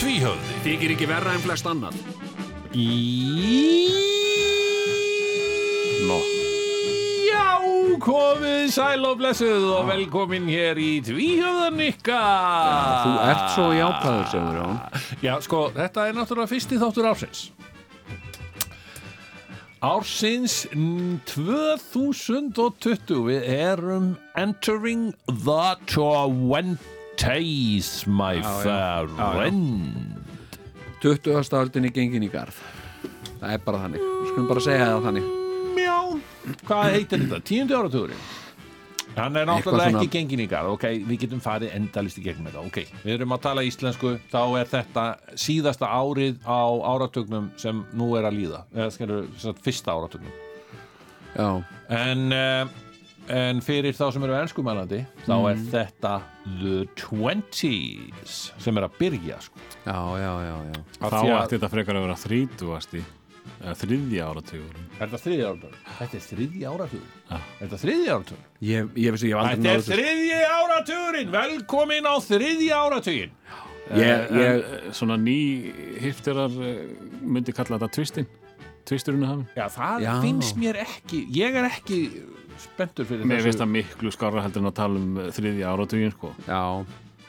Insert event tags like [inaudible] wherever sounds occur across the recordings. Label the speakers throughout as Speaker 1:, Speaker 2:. Speaker 1: Tvíhöfði
Speaker 2: Þykir ekki verra en flest annan. Í... Nó.
Speaker 1: Já, komið sæl og blessuð og velkomin hér í Tvíhöfðan ykkar
Speaker 2: Þú ert svo jápaður, segður hún.
Speaker 1: Já, sko, þetta er náttúrulega fyrsti þáttur ársins. Ársins mm, 2020, við erum entering the 20s, my friend.
Speaker 2: 20. öldin er gengin í garð. Það er bara þannig. Við skulum bara segja það þannig.
Speaker 1: Já, hvað heitir þetta? Tíundi áratugurinn? Hann er náttúrulega
Speaker 2: svona-
Speaker 1: ekki gengin í garð, ok, við getum farið endalist í gegnum þetta, ok. Við erum að tala íslensku, þá er þetta síðasta árið á áratugnum sem nú er að líða, eða skilur, sem sagt, fyrsta áratugnum.
Speaker 2: Já.
Speaker 1: En, eh, en fyrir þá sem eru ennskumælandi, þá er þetta the 20s sem er að byrja, sko.
Speaker 2: Já, já, já, já.
Speaker 1: Af
Speaker 3: Þá
Speaker 1: því
Speaker 3: ætti þetta frekar að vera þrítúasti eða þriðja áratugur Ah.
Speaker 1: Er þetta þriðja áratugur? Þetta er þriðja áratugur. Er þetta þriðja áratugur?
Speaker 2: Ég, ég vissi, ég hef aldrei
Speaker 1: Þetta er
Speaker 2: þessu.
Speaker 1: þriðji áratugurinn, velkomin á þriðji áratuginn
Speaker 2: Ég, ég,
Speaker 3: eh, Svona ný hipterar myndi kalla þetta tvistin tvisturinn að hafa
Speaker 1: Já, það
Speaker 2: Já.
Speaker 1: finnst mér ekki, ég er ekki spenntur fyrir
Speaker 3: Mér finnst
Speaker 1: þessu
Speaker 3: það miklu skarra heldur en að tala um eh, þriðja áratugin sko.
Speaker 2: já.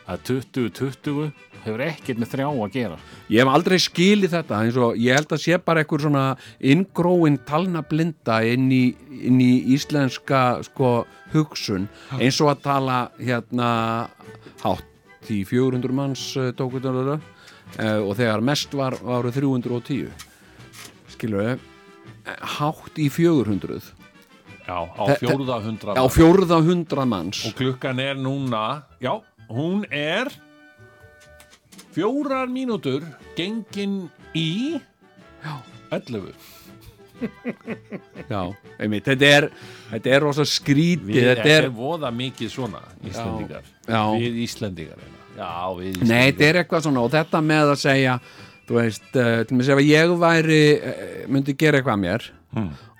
Speaker 3: að 2020 hefur ekkert með þrjá að gera
Speaker 2: Ég hef aldrei skilið þetta eins og ég held að sé bara einhver svona inngróin talnablinda inn í, inn í íslenska sko, hugsun eins og að tala hérna hátt í 400 manns eh, tókutunlega Eh, og þegar mest var áru 310 skilur Eh, hátt í 400
Speaker 1: Já, á
Speaker 2: Þe- þe-
Speaker 1: fjórða hundra
Speaker 2: á fjórða hundra manns
Speaker 1: Og klukkan er núna, já, hún er fjórar mínútur gengin í Já 11
Speaker 2: Já, einmitt, þetta er, þetta er rosa skrítið,
Speaker 1: Við
Speaker 2: þetta er
Speaker 1: erum voða mikið svona, Íslendingar
Speaker 2: Já.
Speaker 1: Við Íslendingar hérna. Já, við
Speaker 2: Nei,
Speaker 1: Íslendingar
Speaker 2: þetta er eitthvað svona og þetta með að segja þú veist, uh, til mig að segja ef ég væri, uh, myndi gera eitthvað að mér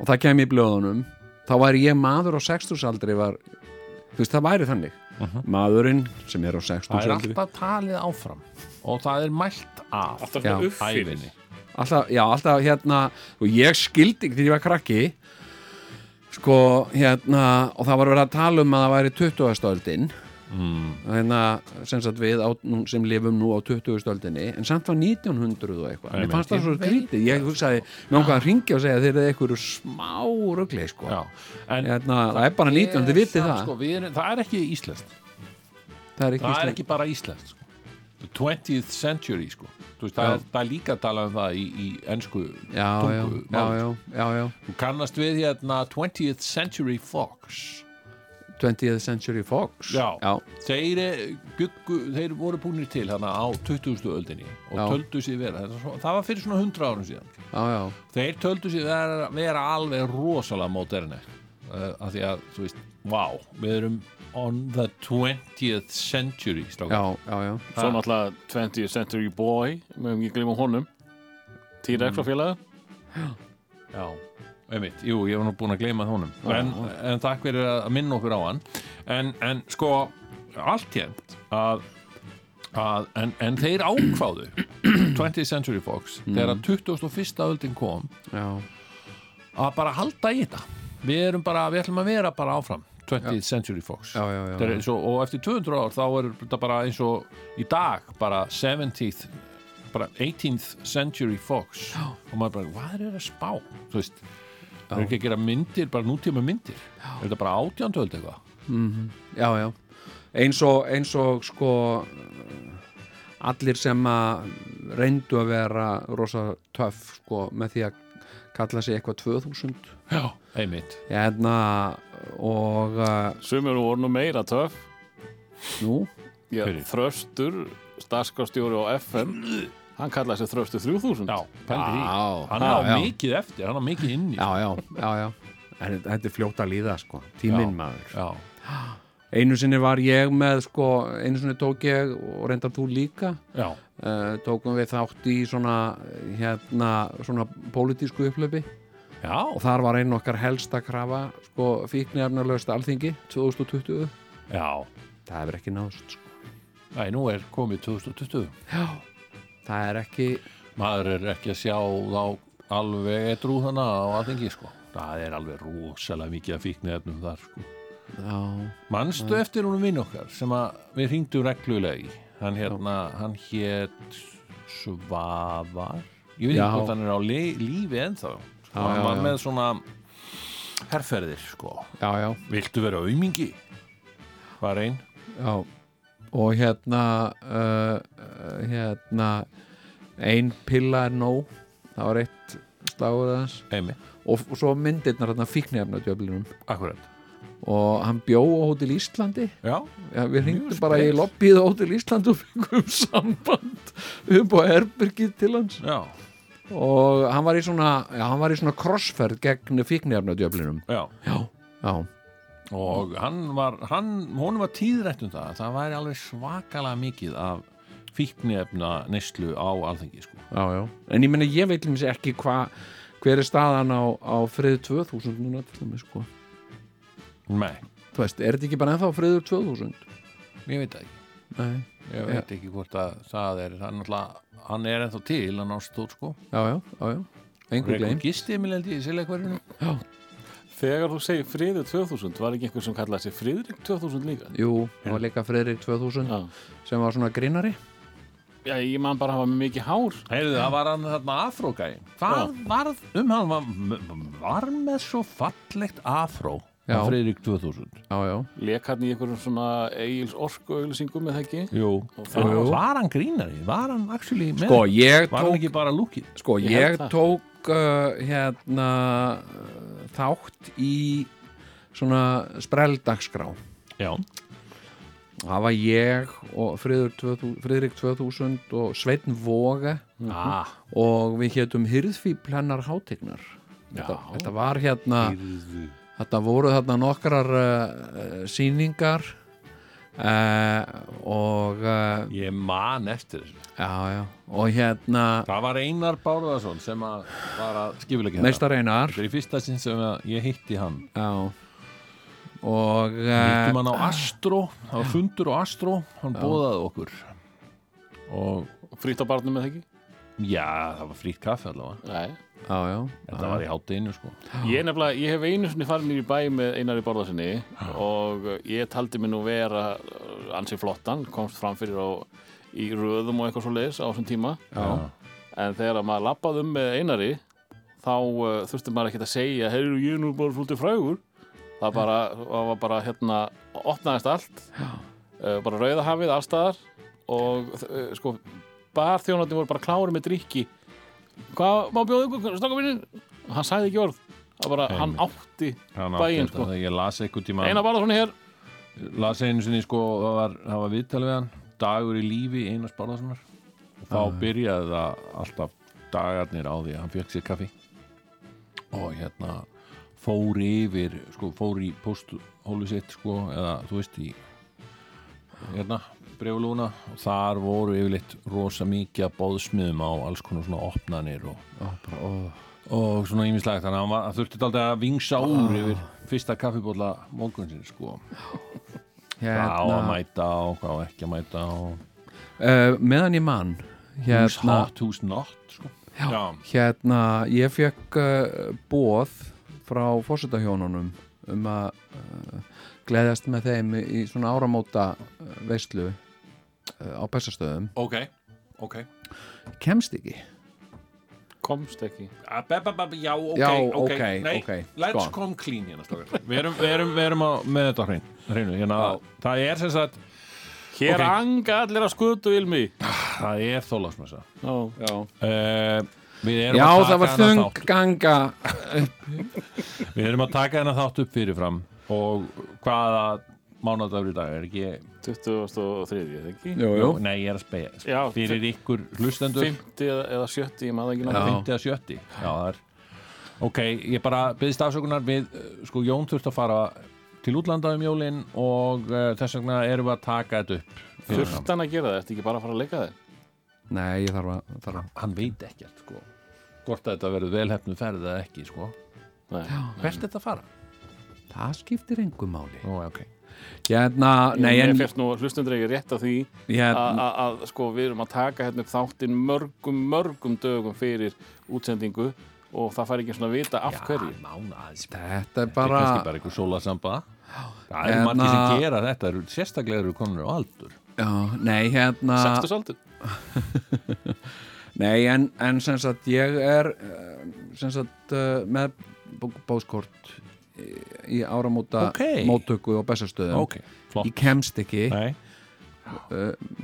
Speaker 2: og það kem í blöðunum þá væri ég maður á sextusaldri var, þú veist, það væri þannig maðurinn sem Mhm. er á
Speaker 1: Það er
Speaker 2: sextusaldri
Speaker 1: alltaf talið áfram og það er mælt af
Speaker 3: Alltaf
Speaker 2: Já.
Speaker 3: upp fyrir.
Speaker 1: ævinni.
Speaker 2: alltaf, já, alltaf hérna og ég skildi ekki þegar ég var krakki sko, hérna og það var verið að tala um að það væri 20. öldin mm. hérna, sem sagt við á, nú, sem lifum nú á 20. öldinni en samt var 1900 og eitthvað mér fannst það svo grítið, ég hugsaði mér ákvað að ringja og segja að þeir eru eitthvað smá rugli, sko
Speaker 1: Já, en
Speaker 2: hérna, það er bara 19, þið vitið það
Speaker 1: sko, við erum, það er ekki íslenskt
Speaker 2: það er ekki,
Speaker 1: það er
Speaker 2: íslenskt.
Speaker 1: ekki bara íslenskt sko. The 20th century sko. Þú veist, það, er, það er líka að tala um það í, í ennsku
Speaker 2: já, já, já, já, já, já
Speaker 1: Þú kannast við hérna 20th century fox
Speaker 2: 20th Century Fox
Speaker 1: Já,
Speaker 2: já,
Speaker 1: Þeir, eh, bjuggu, þeir voru búinir til hana á 20. öldinni og
Speaker 2: Já.
Speaker 1: töldu sér vera þetta er svo- það var fyrir svona 100 árum síðan
Speaker 2: já, já.
Speaker 1: þeir töldu sér vera, vera alveg rosalega móterni uh, af því að, þú veist, wow við erum on the 20th century strákar.
Speaker 2: Já, já, já.
Speaker 3: Svo náttúrulega 20th Century Boy meðum ekki glima honum Týra ekra félaga
Speaker 1: Já, einmitt, jú, ég var nú búin að gleyma honum en, en takk fyrir að minna okkur á hann en, en sko allt hérnt að, að en, en þeir ákváðu [clears throat] 20th Century Fox þegar 21. öldin kom
Speaker 2: já.
Speaker 1: að bara halda í þetta við erum bara, við ætlum að vera bara áfram 20th Century Fox
Speaker 2: Já, já, já,
Speaker 1: Þetta er eins og, og eftir 200 ár þá er þetta bara eins og í dag bara 17th bara 18th century fox já. og maður bara, hvað er þetta að spá? Þú veist, það er ekki að gera myndir bara nútíma myndir, já. er þetta bara átjántöld eitthvað?
Speaker 2: já, já eins og, eins og sko allir sem að reyndu að vera rosa töff sko með því að kalla sig eitthvað 2000
Speaker 1: Já, einmitt
Speaker 2: hérna og uh,
Speaker 3: Sumir voru nú meira töff
Speaker 2: nú
Speaker 3: Já,
Speaker 1: Fyrir.
Speaker 3: Þröstur, starfskastjóri á FM Hann kallaði sig Þröstur 3000
Speaker 1: Já, pældi því
Speaker 2: Já,
Speaker 1: Hann
Speaker 2: já,
Speaker 1: á
Speaker 2: já.
Speaker 1: mikið eftir, hann á mikið inni
Speaker 2: já, já, já, já en þetta- þetta er fljóta að líða sko, tíminn maður
Speaker 1: já,
Speaker 2: einu sinni var ég með sko, einu sinni tók ég og reyndar þú líka
Speaker 1: já,
Speaker 2: uh, tókum við þátt í svona hérna, svona pólitísku upplöfi
Speaker 1: já.
Speaker 2: og þar var einu okkar helsta krafa sko, fíknefnarlaust alþingi 2020
Speaker 1: já.
Speaker 2: það hefur ekki náðst sko.
Speaker 1: Æ, nú er komið 2020
Speaker 2: já, það er ekki
Speaker 1: maður er ekki að sjá þá alveg edrú þannig á aðingi sko. það er alveg rosalega mikið að fíkni efnum þar sko.
Speaker 2: já, Mm.
Speaker 1: manstu eftir húnum vinn okkar sem að við hringdum reglulega í hann hérna, hann hét Svavar ég veit
Speaker 2: Já.
Speaker 1: ekki hvort hann er á li lífi ennþá sko,
Speaker 2: Já,
Speaker 1: hann
Speaker 2: já,
Speaker 1: var
Speaker 2: já.
Speaker 1: með svona herrferðir sko.
Speaker 2: já, já,
Speaker 1: viltu vera aumingi? var einn
Speaker 2: já. og hérna uh, uh, hérna ein pilla er nóg það var eitt slagur aðeins
Speaker 1: Eimi,
Speaker 2: og, og svo myndirnar hérna fíknefnadjöflinum
Speaker 1: akkurat
Speaker 2: og hann bjó á Hótel Íslandi
Speaker 1: já,
Speaker 2: Já, við hringdum
Speaker 1: spes.
Speaker 2: bara í lobbyið á Hótel Ísland og fengum [laughs] samband upp á herbergið til hans
Speaker 1: já,
Speaker 2: og hann var í svona, já, hann var í svona krossferð gegn fíknefnadjöflinum
Speaker 1: já
Speaker 2: já, já,
Speaker 1: og hann var hann, honum var tíðrætt um það að það væri alveg svakalega mikið af fíknefna neyslu á alþengi sko.
Speaker 2: já, já en ég meina ég veit lins ekki hvað hver er staðan á, á friðu 2000 núna til dæmis sko
Speaker 1: nei,
Speaker 2: þú veist, er þetta ekki bara ennþá friður 2000?
Speaker 1: ég veit það ekki
Speaker 2: Nei,
Speaker 1: ég veit ekki hvort að það er það er náttúrulega, hann er ennþá til hann ástóð sko,
Speaker 2: já, já, já, já einhver
Speaker 1: Rekur
Speaker 2: gleim
Speaker 1: gistið mér lendi í selekvarinu
Speaker 3: Þegar þú segir Friður 2000 Var ekki einhver sem kallaði sig Friðrik 2000 líka?
Speaker 2: Jú, það var líka Friðrik 2000
Speaker 3: Já,
Speaker 2: sem var svona grínari
Speaker 3: Já ég man bara hafa mikið hár
Speaker 1: heyrðu, það var hann þarna afrógæin hvað varð um hann var, var með svo fallegt afró
Speaker 2: Já.
Speaker 1: á Friðrik 2000
Speaker 2: Já, já,
Speaker 3: Lek hann í einhverjum svona Egils orku auðlýsingum eða ekki
Speaker 1: Jú.
Speaker 3: það-
Speaker 1: Jú. var hann grínari, var hann actually með
Speaker 2: Sko, ég
Speaker 1: var hann
Speaker 2: tók
Speaker 1: ekki bara lúkið
Speaker 2: Sko,
Speaker 3: Ég
Speaker 2: ég,
Speaker 3: held það.
Speaker 2: tók uh, hérna uh, þátt í svona spreldagskrá.
Speaker 1: já,
Speaker 2: Það var ég og Friður 2000, Friðrik 2000 og Sveinn Voga
Speaker 1: ah,
Speaker 2: og við hétum Hyrðfíbl hennar hátignar. Þetta, þetta var hérna, þetta voru þarna nokkrar uh, sýningar uh, og uh,
Speaker 1: ég man eftir þessu
Speaker 2: já, já, og hérna
Speaker 1: Það var Einar Bárðarsson sem að var að skifilegja þetta.
Speaker 2: meistar einar,
Speaker 1: Þetta er í fyrsta sinn sem að ég hitti hann.
Speaker 2: já, og
Speaker 3: Eh,
Speaker 2: uh,
Speaker 1: Hittum hann á Astro, það var fundur á Astro, hann bóðaði okkur. Og
Speaker 3: Frýtt á barnum eða ekki?
Speaker 1: já, það var frýtt kaffi allavega.
Speaker 3: Nei
Speaker 2: já, já,
Speaker 1: Þetta var í hátteginu sko.
Speaker 3: Ég, er nefnilega, ég hef einu sinni farin í bæ með Einari Borðarsinni og ég taldi mig nú vera uh, ansi flottan, komst fram fyrir á, í röðum og eitthvað svo leiðis á þessum tíma
Speaker 2: já,
Speaker 3: en þegar að maður labbaði um með Einari þá uh, þurfti maður ekkert að segja heyrðu ég er nú bara svolítið frægur það bara, það var bara hérna opnaðist allt uh, bara rauðahafið allstaðar og uh, sko barþjónarnir voru bara klári með drikki hvað má bjóða ykkur, stakka minni og hann sagði ekki orð það bara, hann átti
Speaker 1: Hann
Speaker 3: bæinn
Speaker 1: átti
Speaker 3: sko
Speaker 1: þetta, Ég las einhvern tíma,
Speaker 3: Einar Barðarsson er hér
Speaker 1: las einu sinni sko, það var, það var viðtal við hann, dagur í lífi Einars Bárðarssonar. Og þá byrjaði það alltaf dagarnir á því að hann fekk sér kaffi. og hérna fór yfir, sko, fór í posthólu sitt, sko, eða þú veist í hérna, brefulúna og þar voru yfirleitt rosa mikið að bóðsmiðum á alls konar svona opnanir og, og svona ímislegt, þannig að hann var, hann þurfti alltaf að vingsa úr yfir fyrsta kaffibólla morgunsinn, sko hvað á að
Speaker 2: hérna,
Speaker 1: mæta og hvað á ekki að mæta og
Speaker 2: uh, meðan ég man
Speaker 1: who's
Speaker 2: hérna,
Speaker 1: hot, who's not, sko já, já,
Speaker 2: hérna ég fekk uh, bóð frá fórsetahjónunum um að uh, gleðjast með þeim í svona áramóta uh, veislu uh, á Bessastöðum
Speaker 1: ok, ok
Speaker 2: kemst ekki
Speaker 3: komst ekki
Speaker 1: Ah, ba- ba- ba- Já, ok,
Speaker 2: Já,
Speaker 1: ok,
Speaker 2: ok,
Speaker 1: nei,
Speaker 2: ok,
Speaker 1: let's
Speaker 2: sko.
Speaker 1: come clean hérna strókar Við erum, við erum, við erum á, með þetta á hrein, hreinu hérna, Það er sem sagt,
Speaker 3: hér
Speaker 1: Ok.
Speaker 3: anga allir að skutu ilmi
Speaker 1: það er þólasmessa uh,
Speaker 3: Ó.
Speaker 1: Við erum
Speaker 2: já
Speaker 1: að
Speaker 2: það
Speaker 1: taka
Speaker 2: var
Speaker 1: hana
Speaker 2: þung
Speaker 1: þátt
Speaker 2: ganga
Speaker 1: Við erum að taka hana þátt upp fyrirfram og hvaða mánudagur í dag er ekki
Speaker 3: 23. eða ekki
Speaker 2: jú, jú.
Speaker 1: nei, ég er að spegja
Speaker 3: Já,
Speaker 1: fyrir ykkur hlustendur
Speaker 3: 50 eða- eða 70, ég maður ekki
Speaker 2: Já.
Speaker 3: náttúrulega
Speaker 1: 50 eða 70 Já, það er Ok, ég bara byggðist afsökunar við uh, sko Jón þurft að fara til útlanda um jólin og uh, þess vegna erum við að taka þetta upp fyrir fram.
Speaker 3: Þurftan að gera það, ertu ekki bara að fara að leika þig?
Speaker 2: Nei, ég þarf að, þarf að.
Speaker 1: Hann veit ekkert sko hvort að þetta verður velhefnu ferð eða ekki sko
Speaker 3: Nei,
Speaker 1: Hvert þetta fara?
Speaker 2: Það skiptir engu máli
Speaker 1: Nú, ok
Speaker 2: Hérna, nei,
Speaker 3: ég
Speaker 2: en
Speaker 3: fyrst nú hlustundur ekki rétt af því að-
Speaker 2: hérna,
Speaker 3: að að, sko við erum að taka hérna upp þáttinn mörgum, mörgum dögum fyrir útsendingu og það fær ekki svona að vita af hverju
Speaker 1: Mánaðis
Speaker 2: Þetta er
Speaker 1: Þetta er
Speaker 2: bara
Speaker 1: kannski bara einhver sólasamba Það eru
Speaker 2: Hérna-
Speaker 1: margir sem gera þetta eru, sérstaklega eru konur á aldur
Speaker 2: já, Nei, hérna
Speaker 3: Sextu
Speaker 2: [laughs]
Speaker 3: saldur
Speaker 2: Nei, en, en sem sagt ég er eh, sem sagt eh, með bó- bóskort í í áramóta
Speaker 1: Ókei.
Speaker 2: móttöku og bestastöðum
Speaker 1: Ok, flott
Speaker 2: Ég kemst ekki,
Speaker 1: Nei,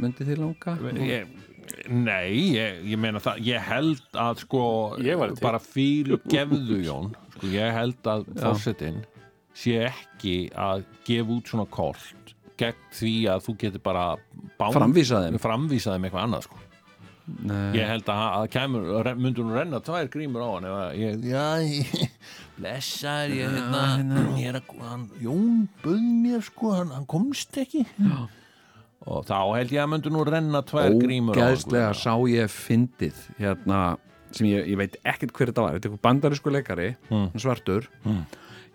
Speaker 2: myndi þið langa?
Speaker 1: ég, nei ég, ég meina það, ég held að sko
Speaker 3: Ég væri til.
Speaker 1: bara fyrir gefðu Jón sko, ég held að fórsetin sé ekki að gefa út svona kolt gegn því að þú getur bara bán,
Speaker 2: Framvísa þeim.
Speaker 1: framvísa þeim eitthvað annað sko
Speaker 2: Nei.
Speaker 1: ég held að, að kemur, re- myndur hún renna tvær grímur á hann ef að ég, já, ég, blessar ég, hérna, ég er að, hann, Jón bauð mér sko, hann, hann komst ekki já. og þá held ég að myndur nú renna tvær grímur á hann sko.
Speaker 2: Ógeðslega sá ég fyndið hérna, sem ég, ég veit ekkert hver þetta var þetta er eitthvað bandarísku leikari,
Speaker 1: Hmm.
Speaker 2: svartur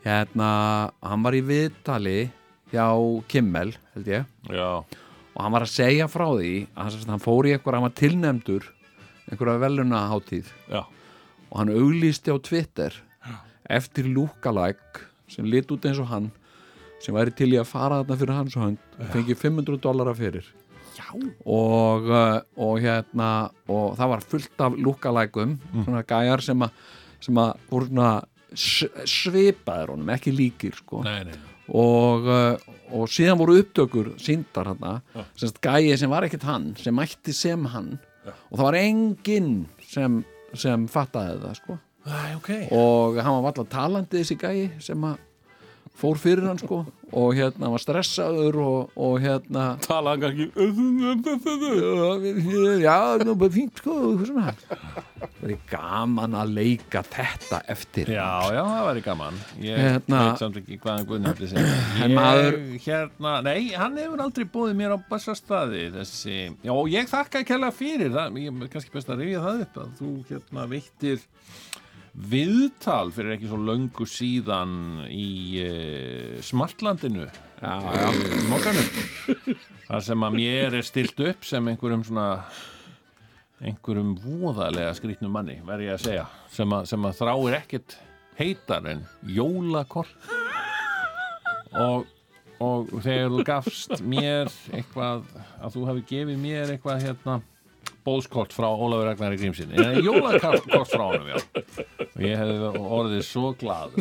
Speaker 2: hérna, hann var í viðtali hjá Kimmel held ég,
Speaker 1: já,
Speaker 2: og hann var að segja frá því að hann, sem sagt, hann fór í eitthvað, hann var tilnefndur einhverja velunahátíð
Speaker 1: já,
Speaker 2: og hann auglýsti á Twitter eftir lúkalæk sem lit út eins og hann sem væri til í að fara þarna fyrir hans hönd fengi 500 dollara fyrir Já. og uh, og hérna og það var fullt af lúkalækum svona gæjar sem að sem að voru svona s- svipaðir honum, ekki líkir sko
Speaker 1: nei, nei
Speaker 2: og, uh, og síðan voru upptökur síndar hann semst gæi sem var ekkert hann sem mætti sem hann og það var enginn sem, sem fattaði það sko.
Speaker 1: Æ, ok,
Speaker 2: og hann var alltaf talandi þessi gæi sem að fór fyrir hann sko og hérna hann var stressaður og, og hérna
Speaker 3: Talaði hann kannski
Speaker 2: já, nú bara fínt sko og eitthvað svona það er gaman að leika þetta eftir
Speaker 1: Já, já, það væri gaman Ég
Speaker 2: Hérna-
Speaker 1: veit samt ekki hvaðan Guðnafli segja
Speaker 2: [clears throat] En
Speaker 1: Ég,
Speaker 2: maður-
Speaker 1: hérna, nei, hann hefur aldrei búið mér á bassastadi þessi, já, og ég þakka kella fyrir það, ég er kannski best að rifja það upp að þú hérna veittir viðtal fyrir ekki svo löngu síðan í uh, Smartlandinu Já, já, mokkanu þar sem að mér er stilt upp sem einhverjum svona einhverjum voðalega skrýtnum manni verð ég að segja, sem að, sem að þráir ekkert heitar en jólakort og, og þegar þú gafst mér eitthvað að þú hafi gefið mér eitthvað hérna bóðskort frá Ólafur Ragnari Grímsin eða jólakort frá honum já. og ég hefði orðið svo glad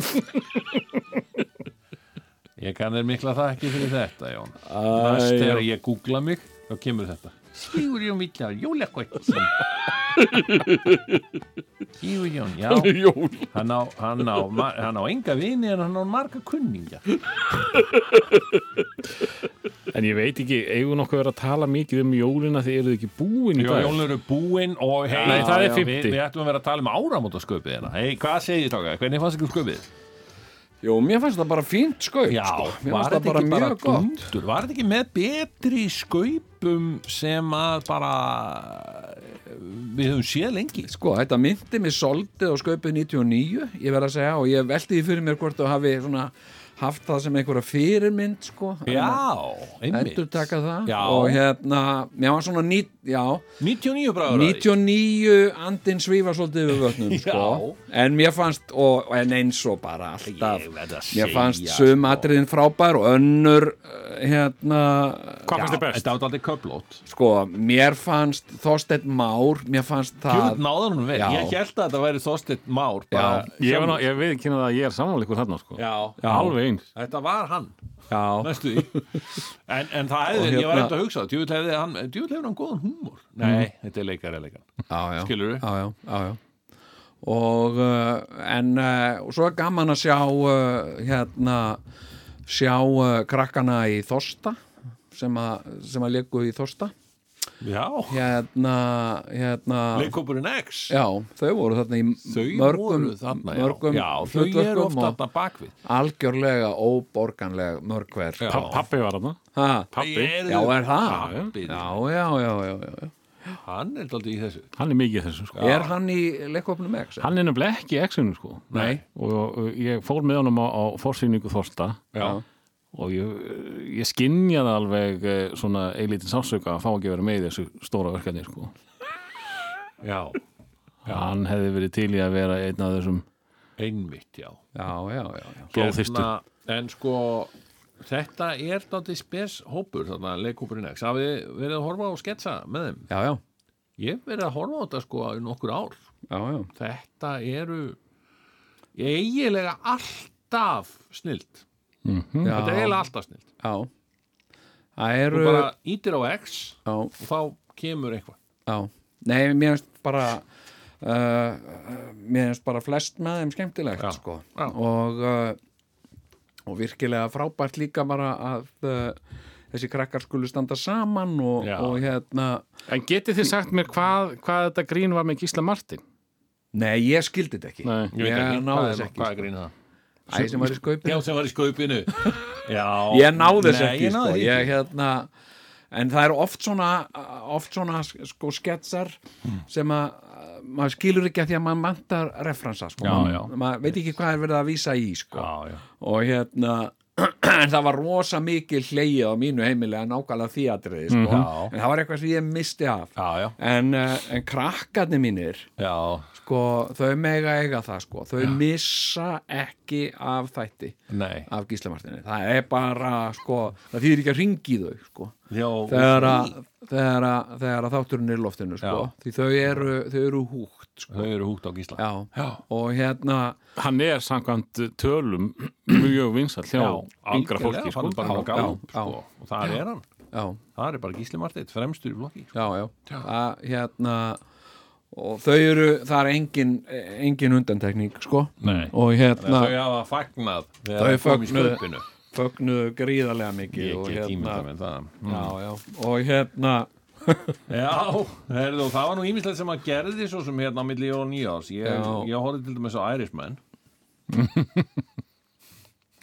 Speaker 1: ég kann þér mikla það ekki fyrir þetta Jón næst þegar ég googla mig þá kemur þetta Sigur Jón Villar, jólakort Sigur Jón, já
Speaker 3: Jól
Speaker 1: hann á, hann á, ma- hann á enga vini en hann á marga kunningja
Speaker 3: En ég veit ekki, eigum nokkuð verið að tala mikið um jólina því eru þið ekki búin í
Speaker 1: Jó,
Speaker 3: dag
Speaker 1: jólin eru búin og hei,
Speaker 3: Nei, það er 50.
Speaker 1: Við, við ætlum að vera að tala um áramótasköpið hérna. Hei, hvað segir þáka? Hvernig fannst ykkur sköpið?
Speaker 2: Jú, mér fannst það bara fínt sko
Speaker 1: Já,
Speaker 2: sko.
Speaker 1: var
Speaker 2: mér fannst það
Speaker 1: þetta
Speaker 2: bara
Speaker 1: ekki bara
Speaker 2: mjög gott
Speaker 1: dundur? Var þetta ekki með betri sköpum sem að bara við höfum séð lengi?
Speaker 2: Sko, þetta myndi mig soldið á sköpið 99, ég verð að segja, og ég velti því fyrir mér hvort þú hafi svona haft það sem einhverja fyrirmynd, sko.
Speaker 1: Já, einmitt.
Speaker 2: Endur taka það.
Speaker 1: Já.
Speaker 2: Og hérna, mér var svona, nít, já,
Speaker 1: 99 bráður
Speaker 2: 99 andinn svífa svolítið
Speaker 1: [laughs]
Speaker 2: við vötnum, sko. En mér fannst, og, og en eins og bara alltaf,
Speaker 1: Ég verð að
Speaker 2: mér fannst
Speaker 1: segja, sko.
Speaker 2: sum atriðin frábær og önnur, eh, hérna,
Speaker 3: Hvað fannst þið best?
Speaker 1: Þetta var aldrei köplót
Speaker 2: sko, mér fannst Þorsteinn Már, mér fannst
Speaker 1: Kjöld
Speaker 2: það...
Speaker 1: náðan hún vel
Speaker 2: Já.
Speaker 1: Ég held að þetta væri þorstitt már bara,
Speaker 3: Ég, var, ná- ég veit ekki að ég er samanlega ykkur þarna sko
Speaker 1: Já,
Speaker 3: Alveg eins
Speaker 1: þetta var hann
Speaker 2: Já.
Speaker 1: næstu því en, en það hefði,
Speaker 2: Og
Speaker 1: ég var
Speaker 2: hérna- Mm.
Speaker 1: eftir að hugsa djúvill hefði hann, djúvill hefur hann góðan húmor nei, þetta er leikari leikan
Speaker 2: já, já.
Speaker 1: Skilurðu?
Speaker 2: já, já, já, eh, já. og uh, en uh, og svo er gaman að sjá uh, eh, hérna sjá uh, krakkana í Þorsta sem að, sem að leiku í Þorsta
Speaker 1: Já,
Speaker 2: hérna, hérna
Speaker 1: leikopurinn X
Speaker 2: já, þau voru þarna í
Speaker 1: Þau
Speaker 2: mörgum,
Speaker 1: voru þarna, já.
Speaker 2: mörgum
Speaker 1: já, Þau eru
Speaker 2: hlutverkum
Speaker 1: ofta
Speaker 2: og
Speaker 1: þarna bakvið
Speaker 2: algjörlega óborganleg mörg hver
Speaker 1: Já.
Speaker 3: Pa- Pabbi var hann
Speaker 2: ha,
Speaker 3: Pabbi,
Speaker 1: Eru-
Speaker 2: já, er það
Speaker 1: Pabbi,
Speaker 2: já, já, já, já, já.
Speaker 1: Hann er aldrei í þessu
Speaker 3: hann er mikið í þessu sko.
Speaker 2: er hann í leikvapnum X?
Speaker 3: Hann er nefnilega ekki í X-inu sko
Speaker 2: Nei.
Speaker 3: og, og ég fór með honum á, á forsýningu Þorsta
Speaker 1: Já,
Speaker 3: og ég, uh, ég skinjaði alveg eh, svona eilítið sásauka að fá ekki að vera með í þessu stóra verkefni sko
Speaker 1: já,
Speaker 3: Hann hefði verið til í að vera einn af þessum
Speaker 1: einmitt, já
Speaker 2: já, já, já, já.
Speaker 3: blóðþyrstur
Speaker 1: Hérna, En sko Þetta er dátti spes hópur þarna leikopurinn X Hafið þið verið að horfa á sketsa með þeim
Speaker 2: Já, já,
Speaker 1: Ég hef verið að horfa á þetta sko í nokkur ár
Speaker 2: já, já.
Speaker 1: Þetta eru eiginlega alltaf snilt
Speaker 2: já,
Speaker 1: Hm? Þetta er eiginlega alltaf snilt
Speaker 2: já. Það eru
Speaker 1: Þú bara ítir á X
Speaker 2: já,
Speaker 1: og þá kemur eitthvað
Speaker 2: já. Nei, mér finnst bara uh, mér finnst bara flest með þeim skemmtilegt
Speaker 1: Já,
Speaker 2: sko.
Speaker 1: já.
Speaker 2: og uh, og virkilega frábært líka bara að uh, þessi krakkar skulu standa saman og,
Speaker 1: Já.
Speaker 2: og hérna
Speaker 3: En getið þið sagt mér hvað, hvað þetta grín var með Gísla Martin?
Speaker 2: Nei, ég skildi þetta ekki
Speaker 3: Nei.
Speaker 1: Ég veit ekki,
Speaker 2: náði
Speaker 1: hvað er-
Speaker 2: þess ekki
Speaker 1: Hvað er grínið það?
Speaker 2: Æ, sem var í skaupinu
Speaker 1: Já, sem var í skaupinu [laughs] Já,
Speaker 2: ég náði þess
Speaker 1: Nei,
Speaker 2: ekki,
Speaker 1: ég náði
Speaker 2: sko.
Speaker 1: því
Speaker 2: ég, hérna, en það er oft svona oft svona sko sketsar
Speaker 1: Hmm.
Speaker 2: sem að maður skilur ekki að því að maður mantar referensa sko.
Speaker 3: Já,
Speaker 2: maður,
Speaker 3: já.
Speaker 2: maður veit ekki hvað er verið að vísa í sko.
Speaker 1: Já, já,
Speaker 2: og hérna [clears throat] en það var rosa mikil hleyið á mínu heimilega nákvæmlega þýatriði sko.
Speaker 1: Mhm. Já.
Speaker 2: en það var eitthvað sem ég misti af
Speaker 1: já, já,
Speaker 2: en, eh, en krakkarnir mínir
Speaker 1: já.
Speaker 2: sko, þau mega eiga það sko. þau missa ekki af þætti
Speaker 1: Nei
Speaker 2: af gíslamartinni það er bara sko, það þýðir ekki að ringi þau sko.
Speaker 1: Já,
Speaker 2: þegar, að, þegar, að, þegar að þátturinn er í loftinu sko.
Speaker 1: Já.
Speaker 2: því þau eru, þau eru húgt sko.
Speaker 1: þau eru húgt á Gísla
Speaker 2: já.
Speaker 1: Já.
Speaker 2: og hérna
Speaker 3: Hann er samkvæmt uh, tölum [clears throat] mjög vinsall hjá yngra
Speaker 1: sko.
Speaker 3: fólki sko.
Speaker 1: bara á
Speaker 2: Já,
Speaker 1: gáum,
Speaker 2: já,
Speaker 1: sko. og það er hann
Speaker 2: já,
Speaker 1: það er bara Gísli Marteit, fremstur í blokki sko.
Speaker 2: já, já, Það, hérna og þau eru, það er engin engin undantekning sko.
Speaker 1: Nei.
Speaker 2: og
Speaker 1: þau
Speaker 2: hérna
Speaker 1: hafa fagnað
Speaker 2: Þau
Speaker 1: þegar það kom í
Speaker 2: fögnuðu.
Speaker 1: skaupinu
Speaker 2: fögnuðu gríðarlega mikið
Speaker 1: ég
Speaker 2: og
Speaker 1: get
Speaker 2: hérna,
Speaker 1: tímynda með það Mm.
Speaker 2: já, já, og hérna
Speaker 1: Já, heyrðu, það var nú ímislegt sem að gerði svo sem hérna á milli og nýjárs ég,
Speaker 2: Já.
Speaker 1: ég horfði til dæmis á Irishman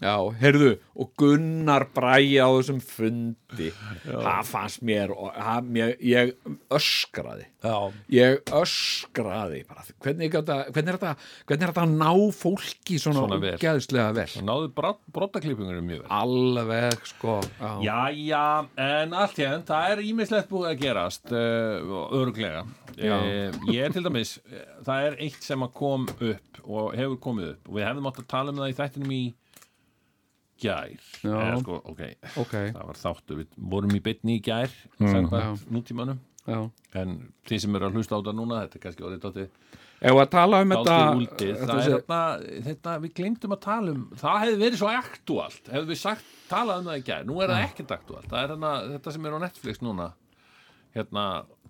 Speaker 2: Já, heyrðu, og Gunnar bræði á þessum fundi það fannst mér, og, það, mér ég öskraði
Speaker 1: Já,
Speaker 2: ég öskraði bara, hvernig, gata, hvernig, er þetta, hvernig er þetta að ná fólki svona,
Speaker 1: Svona vel.
Speaker 2: útgæðslega vel
Speaker 1: náðu brottaklippingunum mjög vel
Speaker 2: alveg sko já,
Speaker 1: Jæja, en allt hérna, það er ímislegt búið að gerast uh, örglega uh, ég er til dæmis, eh, það er eitt sem að kom upp og hefur komið upp og við hefðum átt að tala um það í þættinum í gær
Speaker 2: Já.
Speaker 1: Eða, sko, ok,
Speaker 2: ok,
Speaker 1: það var þáttur við vorum í bytni í gær samkvæmt nútímanum
Speaker 2: Mm. já
Speaker 1: en þið sem eru að hlusta á þetta núna þetta er kannski orðið dóttið
Speaker 2: ef að tala um þetta
Speaker 1: dálítið úldið
Speaker 2: þetta
Speaker 1: það er
Speaker 2: sé-
Speaker 1: þarna, þetta, við glemdum að tala um það hefði verið svo aktúalt hefði við sagt, talað um það í gær, nú er það ekkert aktúalt það er hana, þetta sem er á Netflix núna hérna,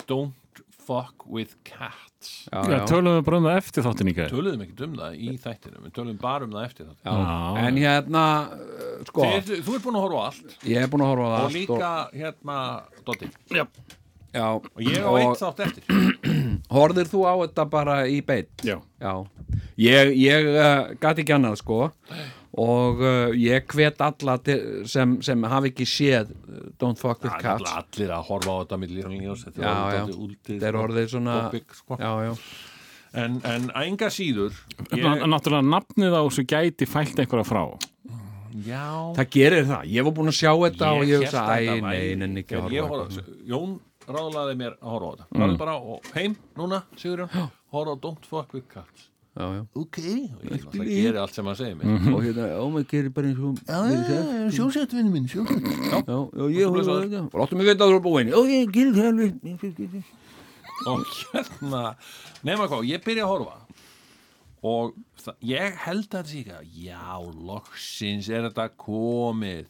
Speaker 1: Don't Fuck With Cats
Speaker 2: já,
Speaker 3: Já,
Speaker 2: já.
Speaker 3: tölum við bara um það eftir þáttin í gæði.
Speaker 1: töluðum ekkert um það í þættinu við töluðum bara um það eftir þáttinu
Speaker 2: Já.
Speaker 3: Já.
Speaker 2: en hérna uh, sko,
Speaker 1: Þið, þú ert búin að horfa á allt
Speaker 2: ég er búin að horfa á það
Speaker 1: og líka hérna Dotti
Speaker 2: já,
Speaker 1: og ég á eitt þátt eftir
Speaker 2: horfðir þú á þetta bara í beitt
Speaker 3: Já.
Speaker 2: Já, ég, ég uh, gati ekki annað sko og uh, ég hvet alla til, sem, sem hafi ekki séð uh, Don't Fuck With
Speaker 1: Það er
Speaker 2: Cats
Speaker 1: náttúrulega allir að horfa á þetta milli og ljós þetta
Speaker 2: Já,
Speaker 1: er orðið
Speaker 2: já.
Speaker 1: dálítið úldið,
Speaker 2: Þetta er
Speaker 1: sko,
Speaker 2: orðið svona
Speaker 1: topic, sko.
Speaker 2: Já, já,
Speaker 1: en, en enga síður
Speaker 3: Ég... Náttúrulega nafnið á þessu gæti fælt einhverja frá.
Speaker 1: já
Speaker 2: það gerir það Ég var búin að sjá þetta og ég
Speaker 1: hélt
Speaker 2: hugsa
Speaker 1: að
Speaker 2: Æ,
Speaker 1: þetta væri-
Speaker 2: nei, nenni ekki að
Speaker 1: Þegar ég
Speaker 2: horfa á
Speaker 1: horfði á þessu, Jón ráðlaði mér að horfa á þetta mm. bara og heim núna, Sigurjón horfa á Don't Fuck With Cats
Speaker 2: Já, já
Speaker 1: ok, og ég náttúrulega geri allt sem hann segir mér
Speaker 2: Og hérna, já, maður gerir bara eins og
Speaker 1: sjósett vinnu minn, sjósett
Speaker 2: Já, já, ég horfa á þetta Og láttu mig veit að þú er búin Já, ég gerir það alveg
Speaker 1: og hérna, nema hvað, ég byrja að horfa og það- ég held að þetta sé ekki að já, loksins er þetta komið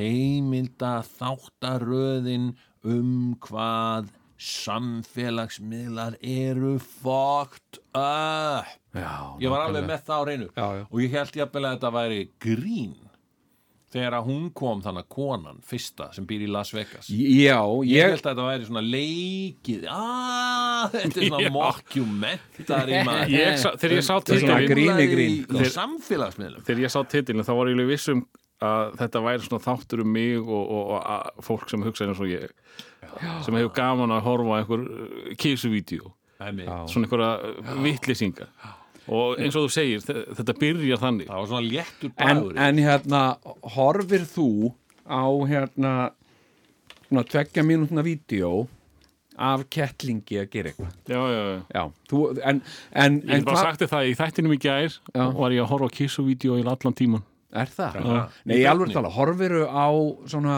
Speaker 1: heimilda þáttaröðin um hvað samfélagsmiðlar eru fucked up
Speaker 2: Já,
Speaker 1: ég var alveg með það á reynu
Speaker 2: Já, já.
Speaker 1: og ég held jafnvel að þetta væri grín þegar að hún kom þannig konan fyrsta sem býr í Las Vegas
Speaker 2: Já,
Speaker 1: Ég
Speaker 2: ég,
Speaker 1: held að þetta væri svona leikið aaaah, þetta er svona
Speaker 3: Já.
Speaker 1: mockumentari maður.
Speaker 3: Ég sá- þegar ég sá
Speaker 1: Þetta er
Speaker 2: svona sko.
Speaker 3: titilin
Speaker 1: umræða
Speaker 2: grín í grín.
Speaker 1: í- á samfélagsmiðlum
Speaker 3: þegar ég sá titilin þá var ég alveg viss um að þetta væri svona þáttur um mig og, og, og að fólk sem hugsa eins og ég sem hefur gaman að horfa á einhver uh, kísuvídeó
Speaker 1: Æmi.
Speaker 3: svona einhverja vittlýsinga og eins og þú segir, þe- þetta byrjar þannig
Speaker 1: Það var svona léttur
Speaker 2: en,
Speaker 1: dagur
Speaker 2: en hérna horfir þú á hérna svona tveggja mínútna vídeo af kettlingi að gera eitthvað
Speaker 3: já, já, já.
Speaker 2: Já, þú, en, en,
Speaker 3: Ég
Speaker 2: en
Speaker 3: hef bara sagt þér það í þættinum í gær var ég að horfa á kísuvídeó í allan tíman
Speaker 2: er það?
Speaker 1: Já.
Speaker 2: Nei, ég alveg tala, horfiru á svona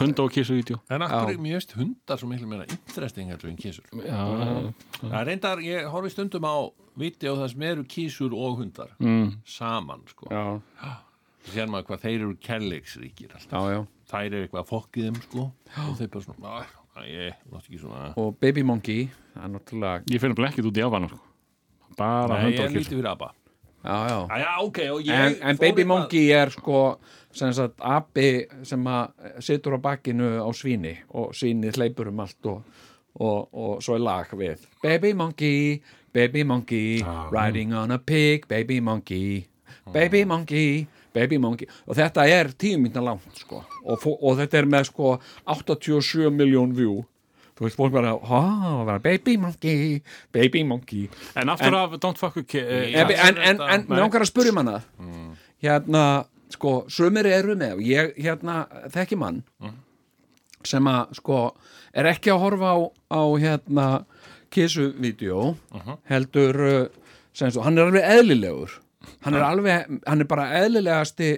Speaker 3: hunda og kísuvídeó
Speaker 1: En akkur, mér veist hundar svo miklu meira interesting heldur en kísur.
Speaker 3: já,
Speaker 1: Það er reyndar, ég horfi stundum á vídeo þar sem eru kísur og hundar mm. saman, sko.
Speaker 2: Já,
Speaker 1: Sér maður hvað þeir eru kærleiksríkir alltaf.
Speaker 2: já, já
Speaker 1: Þær eru eitthvað að fokki þeim, sko. Og þeir bara svona, "Ah, ég, látt ekki svona.
Speaker 2: Og Baby Monkey, það er náttúrulega
Speaker 3: ég finnum blekkið út í afan bara
Speaker 1: Nei, ég
Speaker 3: hunda
Speaker 1: er
Speaker 3: og kísuvídeó
Speaker 1: lítið fyrir abba.
Speaker 2: Já, já
Speaker 1: Æja, ok, og ég...
Speaker 2: En, en
Speaker 1: fór
Speaker 2: Baby
Speaker 1: eitthvað-
Speaker 2: Monkey er sko sem sagt api sem að situr á bakkinu á svíni og svínið hleypur um allt og, og, og svo er lag við Baby Monkey, Baby Monkey
Speaker 1: Ah.
Speaker 2: riding on a pig, Baby Monkey Baby Monkey Baby Monkey og þetta er tíu mínna langt sko og, fó- og þetta er með sko 87 miljón view þú veist fólk bara, há, bara Baby Monkey, Baby Monkey
Speaker 3: En aftur af Don't Fuck With eh,
Speaker 1: Já,
Speaker 2: en,
Speaker 3: Kids
Speaker 2: en, en,
Speaker 1: þetta-
Speaker 2: en
Speaker 3: nei.
Speaker 2: mér langar að spurja manna hérna, sko, sumir eru með og ég, hérna, þekki mann sem að, sko er ekki að horfa á, á hérna, kissu-vídeó heldur, uh, sem svo hann er alveg eðlilegur hann er alveg, hann er bara eðlilegasti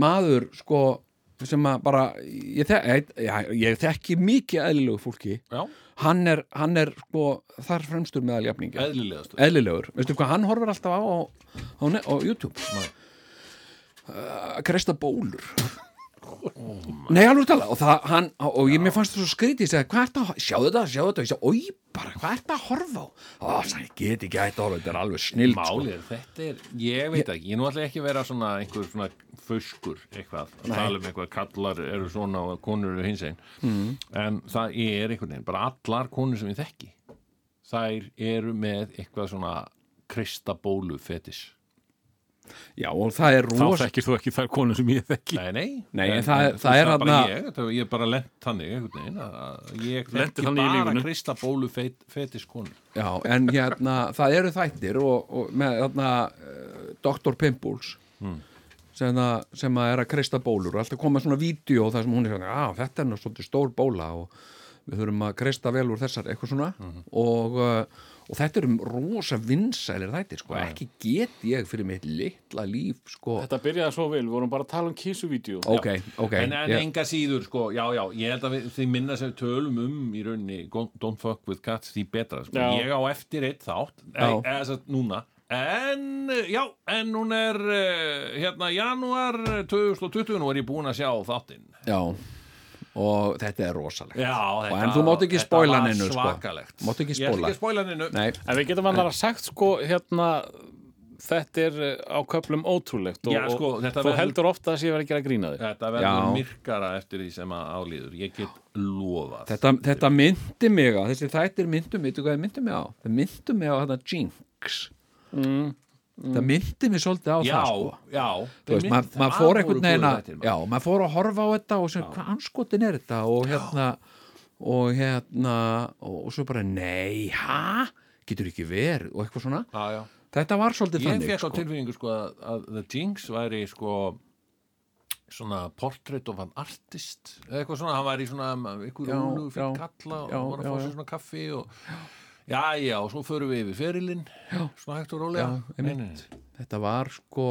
Speaker 2: maður, sko sem að bara, ég, þek, ég, ég þekki mikið eðlilegu fólki
Speaker 1: Já,
Speaker 2: hann er, hann er, sko þar fremstur meðal jafningi
Speaker 1: eðlilegast.
Speaker 2: eðlilegur, veistu hvað hann horfir alltaf á á, á, ne- á YouTube
Speaker 1: Nei.
Speaker 2: Uh, að kreista bólur Nei, alveg tala og, það, hann, og ég, mér fannst það svo skrítið ég sagði, hvað ert að, sjáðu þetta, sjáðu þetta og ég sagði, oi, bara, hvað ert að horfa á Ó, það get ekki hægt að horfa, þetta er alveg sko." snill
Speaker 1: Málið, er, þetta er, ég veit ekki, ég nú ætla ekki að vera svona einhver svona fuskur eitthvað, að tala um eitthvað kallar eru svona og konur eru hins einn mm. en það er einhvern veginn, bara allar konur sem ég þekki þær eru með eitthvað svona kristabólu fetis
Speaker 2: Já, og það er
Speaker 3: Þá
Speaker 2: rosa
Speaker 3: þekkir þú ekki þær konur sem ég þekki
Speaker 1: Nei, nei,
Speaker 2: Nei,
Speaker 1: en,
Speaker 2: það-
Speaker 1: en,
Speaker 2: það er
Speaker 1: það bara
Speaker 2: þarna-
Speaker 1: ég, það, ég er bara lent þannig einhvern veginn, að- að ég
Speaker 3: Lenti
Speaker 1: þekki
Speaker 3: þannig í
Speaker 1: bara
Speaker 3: lífinu.
Speaker 1: kristabólu fet, fetis konur
Speaker 2: Já, en hérna, það eru þættir og, og með hérna uh, Dr. Pimpuls
Speaker 1: Hmm.
Speaker 2: sem, að, sem að er að kreista bólur og alltaf koma svona vídeo þar sem hún er svona, að þetta er nú svolítið stór bóla og við þurfum að kreista vel úr þessar eitthvað svona
Speaker 1: Hmm.
Speaker 2: og, uh, og þetta eru rosa vinsælir þættir sko, ekki get ég fyrir mitt litla líf sko,
Speaker 3: Þetta byrjaði svo vel, við vorum bara að tala um kísuvídeó
Speaker 2: ok, ok
Speaker 1: en, en
Speaker 2: ég,
Speaker 1: enga síður sko, já, já, ég held að við, þið minna sem við tölum um í rauninni Don't don't fuck with cats, því betra sko.
Speaker 3: Já.
Speaker 1: ég á eftir eitt þátt e,
Speaker 2: Já.
Speaker 1: e, satt, núna En, eh, já, en hún er eh, hérna janúar 2020 nú er ég búin að sjá þáttinn
Speaker 2: já og þetta er rosalegt
Speaker 1: Já, þetta
Speaker 2: en þú mátt ekki
Speaker 1: þetta
Speaker 2: spoila
Speaker 1: var
Speaker 2: neinu, sko.
Speaker 1: Svakalegt
Speaker 2: Mátt ekki
Speaker 1: Ég ætla
Speaker 2: spoila.
Speaker 1: ekki að spoila neinu
Speaker 2: Nei,
Speaker 3: En við getum allar að sagt sko hérna Þetta er eh, á köflum ótrúlegt og,
Speaker 1: Já, sko,
Speaker 3: og
Speaker 1: þetta
Speaker 3: þú
Speaker 1: verður-
Speaker 3: heldur ofta að sé verið að gera grína þig
Speaker 1: Þetta verður
Speaker 2: Já.
Speaker 1: myrkara eftir því sem að álíður Ég get lofað
Speaker 2: Þetta, þetta myndi mig á, þessi þættir myndu mig, veitu hvað þið myndu mig á? Það myndu mig á þetta Jinx. Mm, Það myndi mig svolítið á
Speaker 1: Já,
Speaker 2: það, sko.
Speaker 1: já
Speaker 2: Þú veist, maður mað fór einhvern veginn að, já, maður fór að horfa á þetta og sem, hvað anskotin er þetta? Og hérna, og hérna, og, og svo bara, nei, ha? Getur ekki verið og eitthvað svona.
Speaker 1: Já, já
Speaker 2: Þetta var svolítið
Speaker 1: ég
Speaker 2: þannig,
Speaker 1: fekk á tilfinningu sko að, að The Jinx væri sko svona portrait of an artist eða eitthvað svona, hann væri svona um, ykkur
Speaker 2: Já,
Speaker 1: rúlu fyrir
Speaker 2: já,
Speaker 1: kalla og
Speaker 2: já,
Speaker 1: hann var að
Speaker 2: já,
Speaker 1: fá
Speaker 2: já.
Speaker 1: sér svona kaffi og já, já, og svo förum við yfir ferilinn svona hægt og rólega
Speaker 2: Já,
Speaker 1: Nei,
Speaker 2: einmitt.
Speaker 1: nei, nei.
Speaker 2: þetta var sko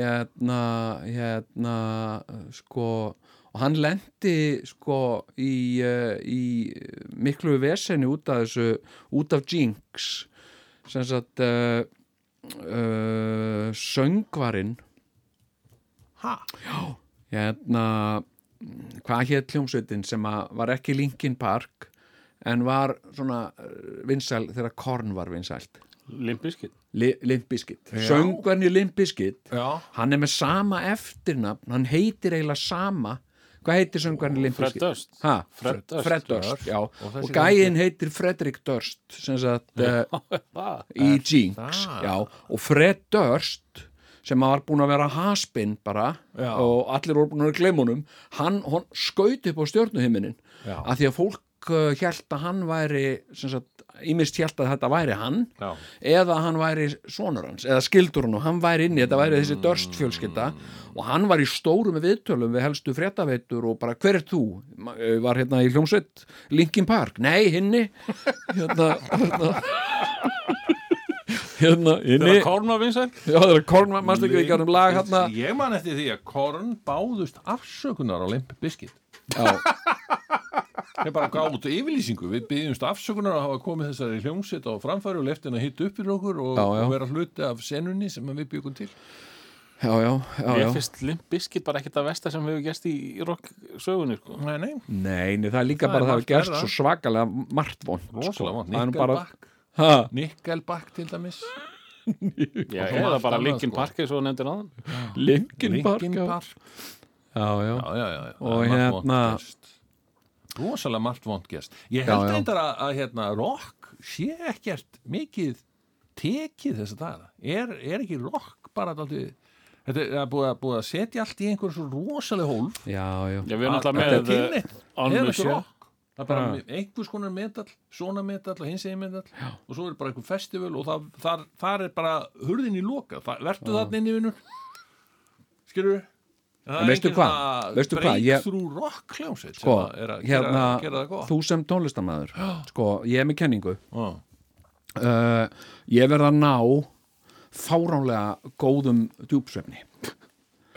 Speaker 2: hérna, hérna sko og hann lendi sko í, uh, í miklu veseni út af þessu út af Jinx sem sagt uh, uh, söngvarinn
Speaker 1: Ha?
Speaker 2: hérna hvað hétt hljómsveitin sem að var ekki Linkin Park en var svona eh, vinsæl þegar Korn var vinsælt
Speaker 3: Limpiskinn
Speaker 2: Limbiskit, söngarni Limbiskit
Speaker 1: Já.
Speaker 2: hann er með sama eftirnafn hann heitir eiginlega sama hvað heitir söngarni
Speaker 3: Fred
Speaker 2: Limbiskit?
Speaker 3: Durst. Fred Durst.
Speaker 2: Fred Durst, já
Speaker 1: Og
Speaker 2: og,
Speaker 1: þessi
Speaker 2: gæinn heitir Fredrik Durst sem sagt uh,
Speaker 3: [laughs] Það
Speaker 2: í Jinx
Speaker 1: það?
Speaker 2: já, og Fred Durst sem var búin að vera haspinn bara
Speaker 1: Já.
Speaker 2: og allir voru búin að glemma honum hann, hann skaut upp á stjörnuhiminin
Speaker 1: Já.
Speaker 2: að því að fólk uh, hélt að hann væri sem sagt, ímist hélt að þetta væri hann
Speaker 1: Já.
Speaker 2: eða hann væri sonur hans eða skildur hann og hann væri inni þetta væri þessi dörst fjölskylda og hann var í stórum viðtölum við helstu fréttaveitur og bara hver er þú? Ma- eh, var hérna í hljómsveit Linkin Park? Nei, hinni hérna hérna hérna,
Speaker 3: er
Speaker 2: inni
Speaker 3: að kórna vinsæl
Speaker 2: já, það er Korn, mannstu ekki ekki um lag hérna
Speaker 1: Ég man eftir því að Korn báðust afsökunar á Limp Bizkit
Speaker 2: já,
Speaker 1: [laughs] Þeir bara gáðu yfirlýsingu, við byggjumst afsökunar að hafa komið þessari hljómsitt á framfæri og leftin að hitta upp fyrir okkur og,
Speaker 2: Já, já.
Speaker 1: og vera hluti af senunni sem við byggum til
Speaker 2: já, já, já,
Speaker 3: Ég
Speaker 2: já.
Speaker 3: finnst Limpiskinn bara ekkert að versta sem hefur gerst í rock sögunni sko.
Speaker 1: Nei, nei,
Speaker 2: Nei, nei, það er líka
Speaker 1: Það
Speaker 2: bara
Speaker 1: er
Speaker 2: það
Speaker 1: margt
Speaker 2: hefur gerst
Speaker 1: verra.
Speaker 2: svo svakalega margt vond
Speaker 1: rosalega vant
Speaker 2: Það er nú bara-
Speaker 1: Nickelback,
Speaker 2: ha,
Speaker 1: Nickelback til dæmis
Speaker 3: Já,
Speaker 1: Og svo
Speaker 3: eða
Speaker 1: margt
Speaker 3: bara
Speaker 1: annað,
Speaker 3: Linkin
Speaker 1: sko.
Speaker 3: Park eins og þú nefndir áðan
Speaker 2: Linkin Park,
Speaker 1: Linkin
Speaker 2: já.
Speaker 1: Park
Speaker 2: já,
Speaker 1: já,
Speaker 2: já,
Speaker 1: já, já, já.
Speaker 2: Og
Speaker 1: Það er margt
Speaker 2: hérna-
Speaker 1: vont gerst. rosalega margt vond gest ég
Speaker 2: Já,
Speaker 1: held
Speaker 2: já.
Speaker 1: reyndar að, að hérna, rock sé ekkert mikið tekið þess að dagana er, er ekki rock bara dálítið Þetta er að búið, að búið að setja allt í einhvern svo rosalega hólf
Speaker 2: já, já.
Speaker 3: Já, við erum
Speaker 1: Þetta
Speaker 3: alltaf
Speaker 1: er
Speaker 3: með eh,
Speaker 1: kynni,
Speaker 3: On
Speaker 1: er ekki
Speaker 3: Mission.
Speaker 1: rock Það er bara
Speaker 2: Já.
Speaker 1: með einhvers konar metal, svona metal og hins egin metal og svo er bara einhver festival og það, þar, þar er bara hurðin í loka það, Vertu þarna inn í vinnur Skilur við?
Speaker 2: En veistu hvað? Veistu hvað? Ég-
Speaker 1: Breakthrough rock hljómsveit
Speaker 2: sko,
Speaker 1: sem að er að
Speaker 2: hérna,
Speaker 1: gera, gera það gott
Speaker 2: þú sem tónlistamæður sko, ég er með kenningu
Speaker 1: Ó,
Speaker 2: uh, ég verð að ná fáránlega góðum djúpsvefni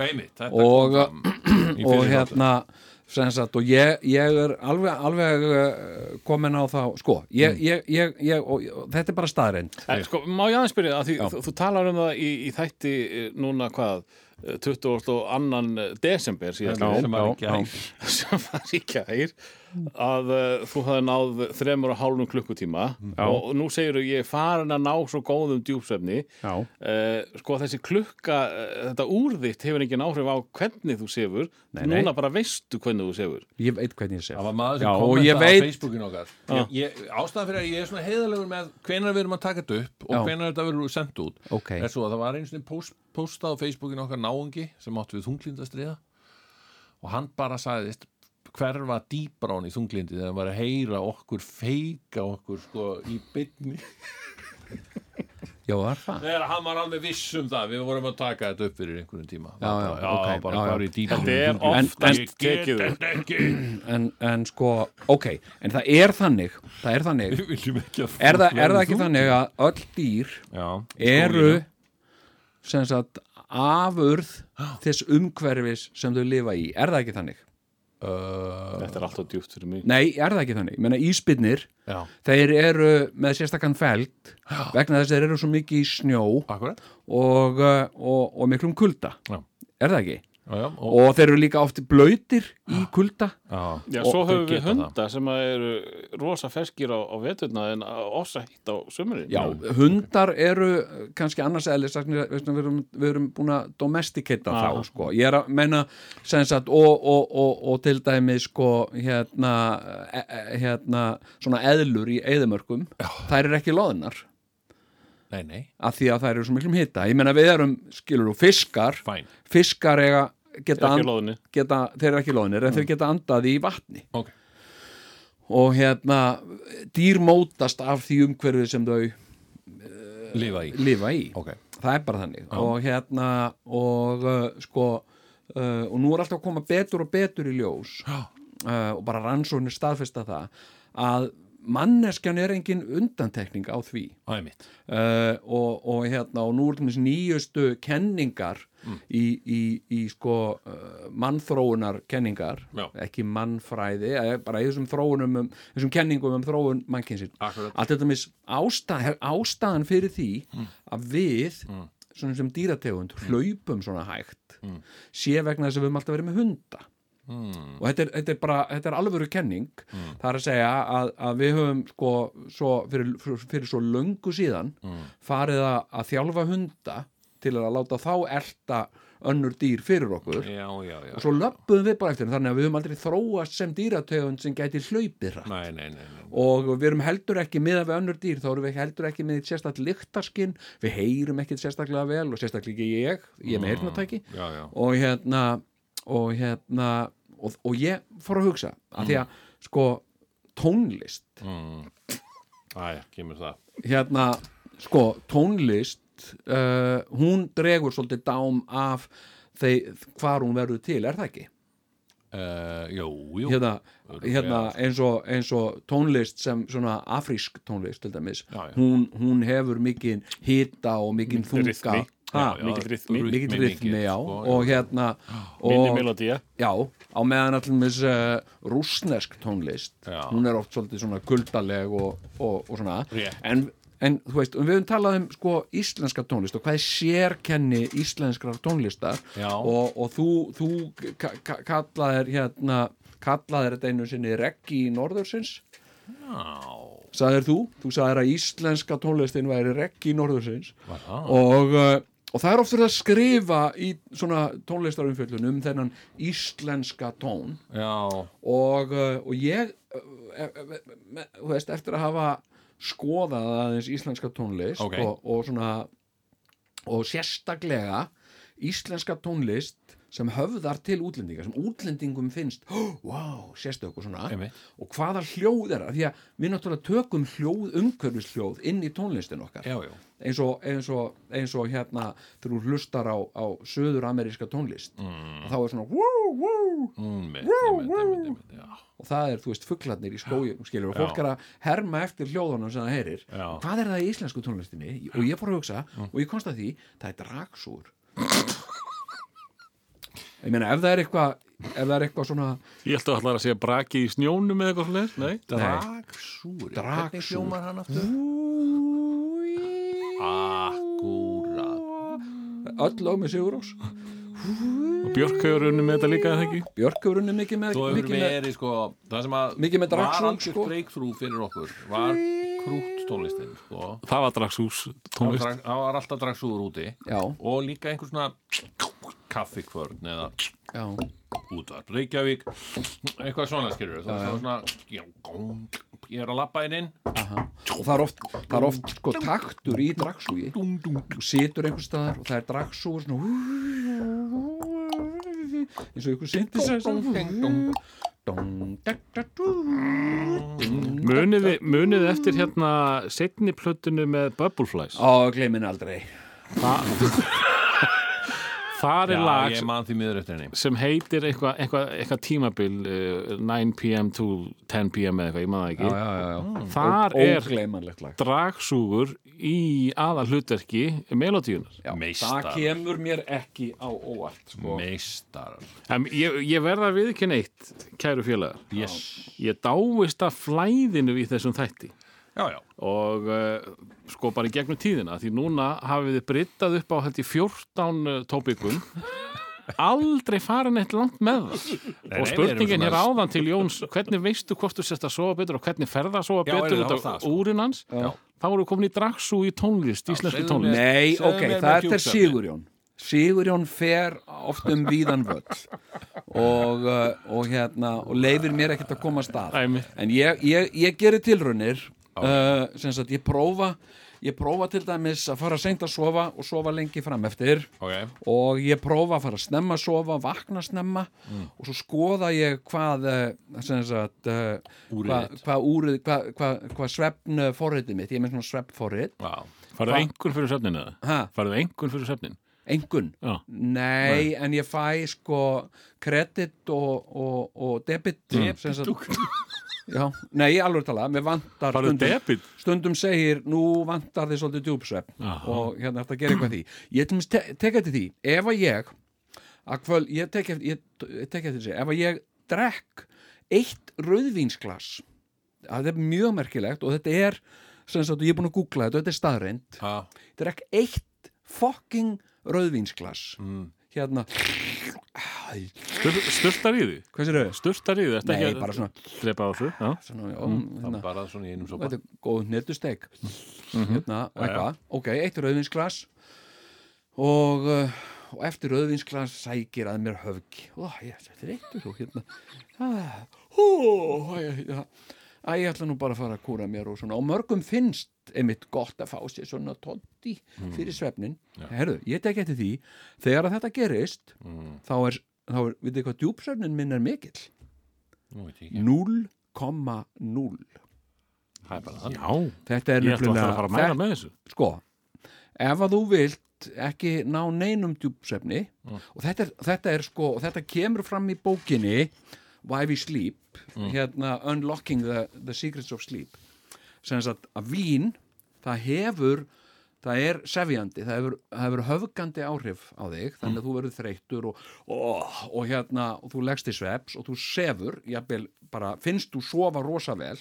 Speaker 1: Einmitt, þetta
Speaker 2: Og-
Speaker 1: kom fram í
Speaker 2: og
Speaker 1: fyrri þáttum.
Speaker 2: hérna sem sagt, og ég, ég er alveg, alveg uh, komin á þá sko,
Speaker 1: Mm.
Speaker 2: ég, ég, ég, ég og, og, þetta er bara staðreind
Speaker 3: En, sko, má ég aðeins spyrja að því þú, þú talar um það í, í þætti eh, núna hvað eh, 20. og annan eh, desember síðast
Speaker 1: Þetta sem að
Speaker 2: já,
Speaker 1: ekki hægt
Speaker 3: [laughs] sem var í gær að uh, þú hafði náð þremur og hálfum klukkutíma og nú segir þú ég er farin að ná svo góðum djúpsvefni
Speaker 2: Já.
Speaker 3: uh, sko þessi klukka uh, þetta úrðitt hefur engin áhrif á hvernig þú sefur
Speaker 2: Nei, nei.
Speaker 3: núna bara veistu hvernig þú sefur
Speaker 2: ég veit hvernig ég
Speaker 1: Það
Speaker 2: sef
Speaker 1: var maður sem
Speaker 2: Já, og ég
Speaker 1: kommenta á
Speaker 2: veit-
Speaker 1: Facebookin okkar ég, ég, Ástæðan fyrir að ég er svona heiðalegur með hvenær við erum að taka þetta upp og
Speaker 2: Já.
Speaker 1: hvenær þetta verður sendt út
Speaker 2: Ok.
Speaker 1: er svo að það var einu sinni post, posta á Facebookin okkar náungi sem áttu við þunglindastriða og hann bara sagðist hverfa dýbra hann í þunglindi þegar hann var að heyra okkur feika okkur sko í bytni
Speaker 2: já, það er það
Speaker 1: þegar hann var alveg viss um það við vorum að taka þetta upp fyrir einhverjum tíma
Speaker 2: Já, já,
Speaker 1: bara,
Speaker 2: ok,
Speaker 1: bara
Speaker 2: já, já.
Speaker 1: bara í dýbra
Speaker 3: Þetta er
Speaker 2: en-
Speaker 3: oftast tekið upp.
Speaker 2: en, en sko, ok, en það er þannig það er
Speaker 1: [laughs]
Speaker 2: þannig
Speaker 1: Við viljum ekki að
Speaker 2: er, það,
Speaker 1: fólk
Speaker 2: er það
Speaker 1: verði
Speaker 2: ekki
Speaker 1: þungt.
Speaker 2: þannig að öll dýr
Speaker 1: Já,
Speaker 2: eru sem sagt afurð þess umhverfis sem þau lifa í er það ekki þannig?
Speaker 1: Uh,
Speaker 3: þetta er alltaf djúpt fyrir mig
Speaker 2: Nei, er það ekki þannig? Ég meina íspinnir,
Speaker 1: já,
Speaker 2: þeir eru með sérstakann fælt vegna þess að þeir eru svo mikið í snjó og,
Speaker 1: akkurat
Speaker 2: uh, og, og miklum kulda
Speaker 1: Já.
Speaker 2: er það ekki?
Speaker 1: Já, já, og,
Speaker 2: Og þeir eru líka oft blöytir í kulda
Speaker 1: já,
Speaker 3: Já,
Speaker 1: Og
Speaker 3: svo
Speaker 1: þau
Speaker 3: höfum við
Speaker 1: geta
Speaker 3: hunda sem að eru rosa ferskir á, á veturna en ossa hitt á sömurinn
Speaker 2: Já, hundar eru uh, kannski annars eðlis við, erum- við erum búin að domesticata
Speaker 3: Aha.
Speaker 2: þá sko. ég er að menna sagt, og, og, og, og til dæmi sko, hérna, e, e- hérna svona eðlur í eðumörkum þær eru ekki loðnar
Speaker 1: Nei, nei,
Speaker 2: af því að þær eru svo miklum hita ég menna við erum, skilur þú, fiskar
Speaker 1: fæn
Speaker 2: fiskar eiga
Speaker 3: Ekki Mm.
Speaker 2: geta,
Speaker 3: á
Speaker 2: and-
Speaker 3: loðunni.
Speaker 2: geta þeir eru ekki loðnir en þeir geta andað í vatni
Speaker 1: Ok,
Speaker 2: og hérna dýr mótast af því umhverfið sem þau
Speaker 1: lifa í
Speaker 2: lifa í
Speaker 1: Ok,
Speaker 2: það er bara þannig og hérna og uh, sko uh, og nú er alltaf að koma betur og betur í ljós uh, og bara rannsóknir staðfesta það að manneskjan er engin undantekning á því
Speaker 1: það er mitt
Speaker 2: uh, og, og hérna og nú er þess nýjustu kenningar í, í, í sko uh, mannþróunar kenningar
Speaker 1: Já.
Speaker 2: ekki mannfræði eh, bara í þessum þróunum um, þessum kenningum um þróun mannkynsir
Speaker 1: Akkurat. Mm.
Speaker 2: allt þetta mis ástæðan, ástæðan fyrir því að við
Speaker 1: Mm.
Speaker 2: svona sem dýrategund hlaupum svona hægt sé vegna þess að við höfum alltaf verið með hunda og þetta er, þetta er bara, þetta er alvöru kenning
Speaker 1: Mm.
Speaker 2: það er að segja að, að við höfum sko, svo fyrir, fyrir, fyrir svo löngu síðan
Speaker 1: Mm.
Speaker 2: farið að, að þjálfa hunda til að láta þá elta önnur dýr fyrir okkur
Speaker 1: já, já, já
Speaker 2: og svo löppuðum við bara eftir þeim, þannig að við höfum aldrei þróast sem dýrategund sem gæti hlaupið hratt
Speaker 1: Nei, nei, nei, nei.
Speaker 2: og við erum heldur ekki miða við önnur dýr þá erum við heldur ekki með sérstakt lyktaskinn við heyrum ekkit sérstaklega vel og sérstaklega ekki ég, ég er með heyrnatæki
Speaker 1: Já, já,
Speaker 2: og hérna og hérna og, og ég fór að hugsa að því að sko tónlist
Speaker 1: æ, kemur það
Speaker 2: hérna sko tónlist uh, hún dregur svolítið dám af þeir, hvar hún verður til, er það ekki?
Speaker 1: uh, Jú, jú
Speaker 2: hérna,
Speaker 1: Örugglega,
Speaker 2: hérna eins, og, eins og tónlist sem svona afrísk tónlist til dæmis,
Speaker 1: Já, já.
Speaker 2: Hún, hún hefur mikinn hita og mikinn þunga
Speaker 3: rytmi.
Speaker 2: Ha,
Speaker 3: Já, já. mikill rytmi.
Speaker 2: mikill rytmi, já
Speaker 1: sko,
Speaker 2: og hérna
Speaker 3: minni
Speaker 2: og,
Speaker 3: melodía
Speaker 2: já, á meðan allumis uh, rúsnesk tónlist
Speaker 1: Já.
Speaker 2: hún er oft svolítið svona kuldaleg og, og, og svona
Speaker 1: Rétt.
Speaker 2: en, en þú veist, við höfum talað um sko íslenska tónlist og hvað er sérkenni íslenskrar tónlistar
Speaker 1: Já.
Speaker 2: og, og þú, þú ka- ka- kallaðir hérna kallaðir þetta einu sinni reggi í norðursins
Speaker 1: Já,
Speaker 2: sagðir þú, þú sagðir að íslenska tónlistin væri reggi í norðursins
Speaker 1: Var það?
Speaker 2: og, uh, og það er oftur að skrifa í svona tónlistarumfjöllun um þennan íslenska tón
Speaker 1: já
Speaker 2: og, uh, og ég uh, e- e- e- me- þú veist, eftir að hafa skoðað aðeins íslenska tónlist
Speaker 1: Ok.
Speaker 2: og, og svona og sérstaklega íslenska tónlist sem höfðar til útlendinga, sem útlendingum finnst oh, wow, sérstöku svona
Speaker 1: Einmitt.
Speaker 2: og hvaða hljóð er það, því að við náttúrulega tökum hljóð, umhverfishljóð inn í tónlistin okkar
Speaker 1: Já, já,
Speaker 2: eins og, eins og, eins og hérna þegar þú hlustar á, á söðurameríska tónlist mm. þá er svona woo, woo,
Speaker 1: mm, mitt, mitt, mitt, mitt, mitt, já
Speaker 2: og það er, þú veist, fuglarnir í skójum skilur, og fólk
Speaker 1: Já.
Speaker 2: er að herma eftir hljóðunum sem það heyrir,
Speaker 1: Já.
Speaker 2: hvað er það í íslensku tónlistinni og ég fór að hugsa og ég komst að því, það er dragsúr ég meina, ef það er eitthvað ef það er eitthvað svona
Speaker 3: ég held að allar að segja braki í snjónum eða eitthvað svoleiðis, nei
Speaker 1: Dragsúri
Speaker 2: Dragsúri.
Speaker 1: Hvernig hljómar hann aftur? Akkúrat
Speaker 2: öll lög með Sigurós
Speaker 3: og Björk hefur unni með þetta líka eða ekki
Speaker 2: Björk hefur unni mikið með,
Speaker 1: Þú hefur
Speaker 2: mikið með
Speaker 1: verið sko Það sem að
Speaker 2: Mikið með dragsúr,
Speaker 1: var algjört
Speaker 2: sko.
Speaker 1: breakthrough fyrir okkur Var krútt tónlistin sko
Speaker 3: það var dragsús
Speaker 1: Það
Speaker 3: tónlist
Speaker 1: var- það var alltaf dragsúður úti
Speaker 2: Já.
Speaker 1: Og líka einhver svona kaffikvörn eða
Speaker 2: já,
Speaker 1: útvarp Reykjavík Eitthvað svona skilur Það var svona já, góng, Ég er að labba inn inn
Speaker 2: og það er oft, það er oft sko, taktur í dragsúi þú situr einhvers staðar og það er dragsúi svona eins og ykkur synti sér
Speaker 3: munið, þið- munið þið eftir hérna setni plötinu með Bubbleflies
Speaker 2: Ó, gleymin aldrei
Speaker 3: þar er lag
Speaker 1: Ég man því miður eftir henni
Speaker 3: sem heitir eitthvað eitthva, eitthva tímabil uh, 9pm to 10pm eða eitthvað, ég maður það ekki
Speaker 1: Mm,
Speaker 3: þar er
Speaker 2: ógleymanlegt lag
Speaker 3: dragsúgur í aða hlutverki melodíunar
Speaker 2: Já, það
Speaker 1: Meistar.
Speaker 2: kemur mér ekki á óvart sko.
Speaker 1: Meistar
Speaker 3: en ég, ég verða viðkynna eitt kæru félagar,
Speaker 1: Yes
Speaker 3: ég dáist að flæðinu í þessum þætti
Speaker 1: Já, já
Speaker 3: og uh, sko bara í gegnum tíðina því núna hafið þið brittað upp á held í 14 tópikum aldrei farin eitt langt með það
Speaker 1: Nei,
Speaker 3: og
Speaker 1: nei, við
Speaker 3: spurningin
Speaker 1: erum
Speaker 3: hér
Speaker 1: svona-
Speaker 3: áðan til Jóns hvernig veistu hvort þú sérst að sofa betur og hvernig ferða að sofa
Speaker 1: Já,
Speaker 3: betur
Speaker 1: heyrðu,
Speaker 3: út
Speaker 1: það
Speaker 3: af
Speaker 1: var það, sko.
Speaker 3: úrin hans
Speaker 1: Já.
Speaker 3: þá voru komin í dragsú í tónlist, íslensku
Speaker 1: segðu
Speaker 3: tónlist
Speaker 1: mér-
Speaker 2: Nei,
Speaker 1: Segðu
Speaker 2: ok,
Speaker 1: mér með
Speaker 2: þetta er
Speaker 1: djúpsefni.
Speaker 2: Sigurjón Sigurjón fer oft um víðan völl og, uh, og hérna og leifir mér ekkert að koma að stað
Speaker 3: Æmi.
Speaker 2: en ég, ég, ég gerir tilraunir uh, sem sagt, ég prófa ég prófa til dæmis að fara seint að sofa og sofa lengi fram eftir
Speaker 1: Ok
Speaker 2: og ég prófa að fara að snemma að sofa, vakna snemma og svo skoða ég hvað eh, sem sagt, eh,
Speaker 1: Úrið
Speaker 2: hvað,
Speaker 1: þitt.
Speaker 2: hvað, úrið, hvað, hvað, hvað svefn forritið mitt, ég er með svona svefn forrit
Speaker 1: Já,
Speaker 3: farðu engun fyrir svefnin eða?
Speaker 2: Ha?
Speaker 3: farðu engun fyrir svefnin?
Speaker 2: engun
Speaker 3: Já.
Speaker 2: Nei, en ég fæ sko kredit og, og, og debit sem sagt- Já, nei, alveg talað, mér vantar
Speaker 3: Farðu debit?
Speaker 2: stundum segir, nú vantar þið svolítið djúpsvepp
Speaker 3: Aha.
Speaker 2: og hérna eftir að gera eitthvað í því Ég til mér te teka eftir því, ef að ég að kvöld, ég tek eftir, ég, ég tek eftir þessi, ef að ég drekk eitt rauðvínsglas að þetta er mjög merkilegt og þetta er sem sagt, og ég er búin að googla þetta, þetta er staðreind
Speaker 1: Já,
Speaker 2: drekk eitt fucking rauðvínsglas
Speaker 1: Mm.
Speaker 2: hérna Æ,
Speaker 3: Stur- Sturtar í því?
Speaker 2: Hvað sér þau?
Speaker 3: Sturtar í því? Ertu ekki
Speaker 2: Nei,
Speaker 3: að
Speaker 2: bara svona,
Speaker 3: Drepa á þessu? Já.
Speaker 2: svona já, mm,
Speaker 1: Það
Speaker 2: hérna,
Speaker 1: er bara svona í einum sopa
Speaker 2: þetta er góð nýrtustek
Speaker 3: Mhm.
Speaker 2: hérna, og eitthvað, ok, eitt rauðvinsglas og, uh, og eftir rauðvinsglas sækir að mér höfg og ég þetta er eitt og hérna ah, hú, ég, ég, Æ, ég ætla nú bara að fara að kúra mér og svona og mörgum finnst einmitt gott að fá sér svona tótti
Speaker 3: Mm.
Speaker 2: fyrir svefnin herðu, ég tek eftir því þegar að þetta gerist
Speaker 3: Mm.
Speaker 2: þá er, þá er, við þið hvað djúpsvefnin minn er mikill
Speaker 1: Nú veit ég ekki
Speaker 2: 0,0
Speaker 1: Það er bara þannig
Speaker 3: Já.
Speaker 2: þetta er
Speaker 3: Ég ætla að fara að fara að mæla með þessu.
Speaker 2: sko ef að þú vilt ekki ná neinum djúpsefni og þetta er, þetta er sko og þetta kemur fram í bókinni Why We Sleep hérna Unlocking the, the Secrets of Sleep sem sagt að vín það hefur það er sefjandi, það hefur, það hefur höfgandi áhrif á þig, þannig að þú verður þreyttur og, og, og hérna og þú leggst í sveps og þú sefur jafnvel, bara finnst þú sofa rosa vel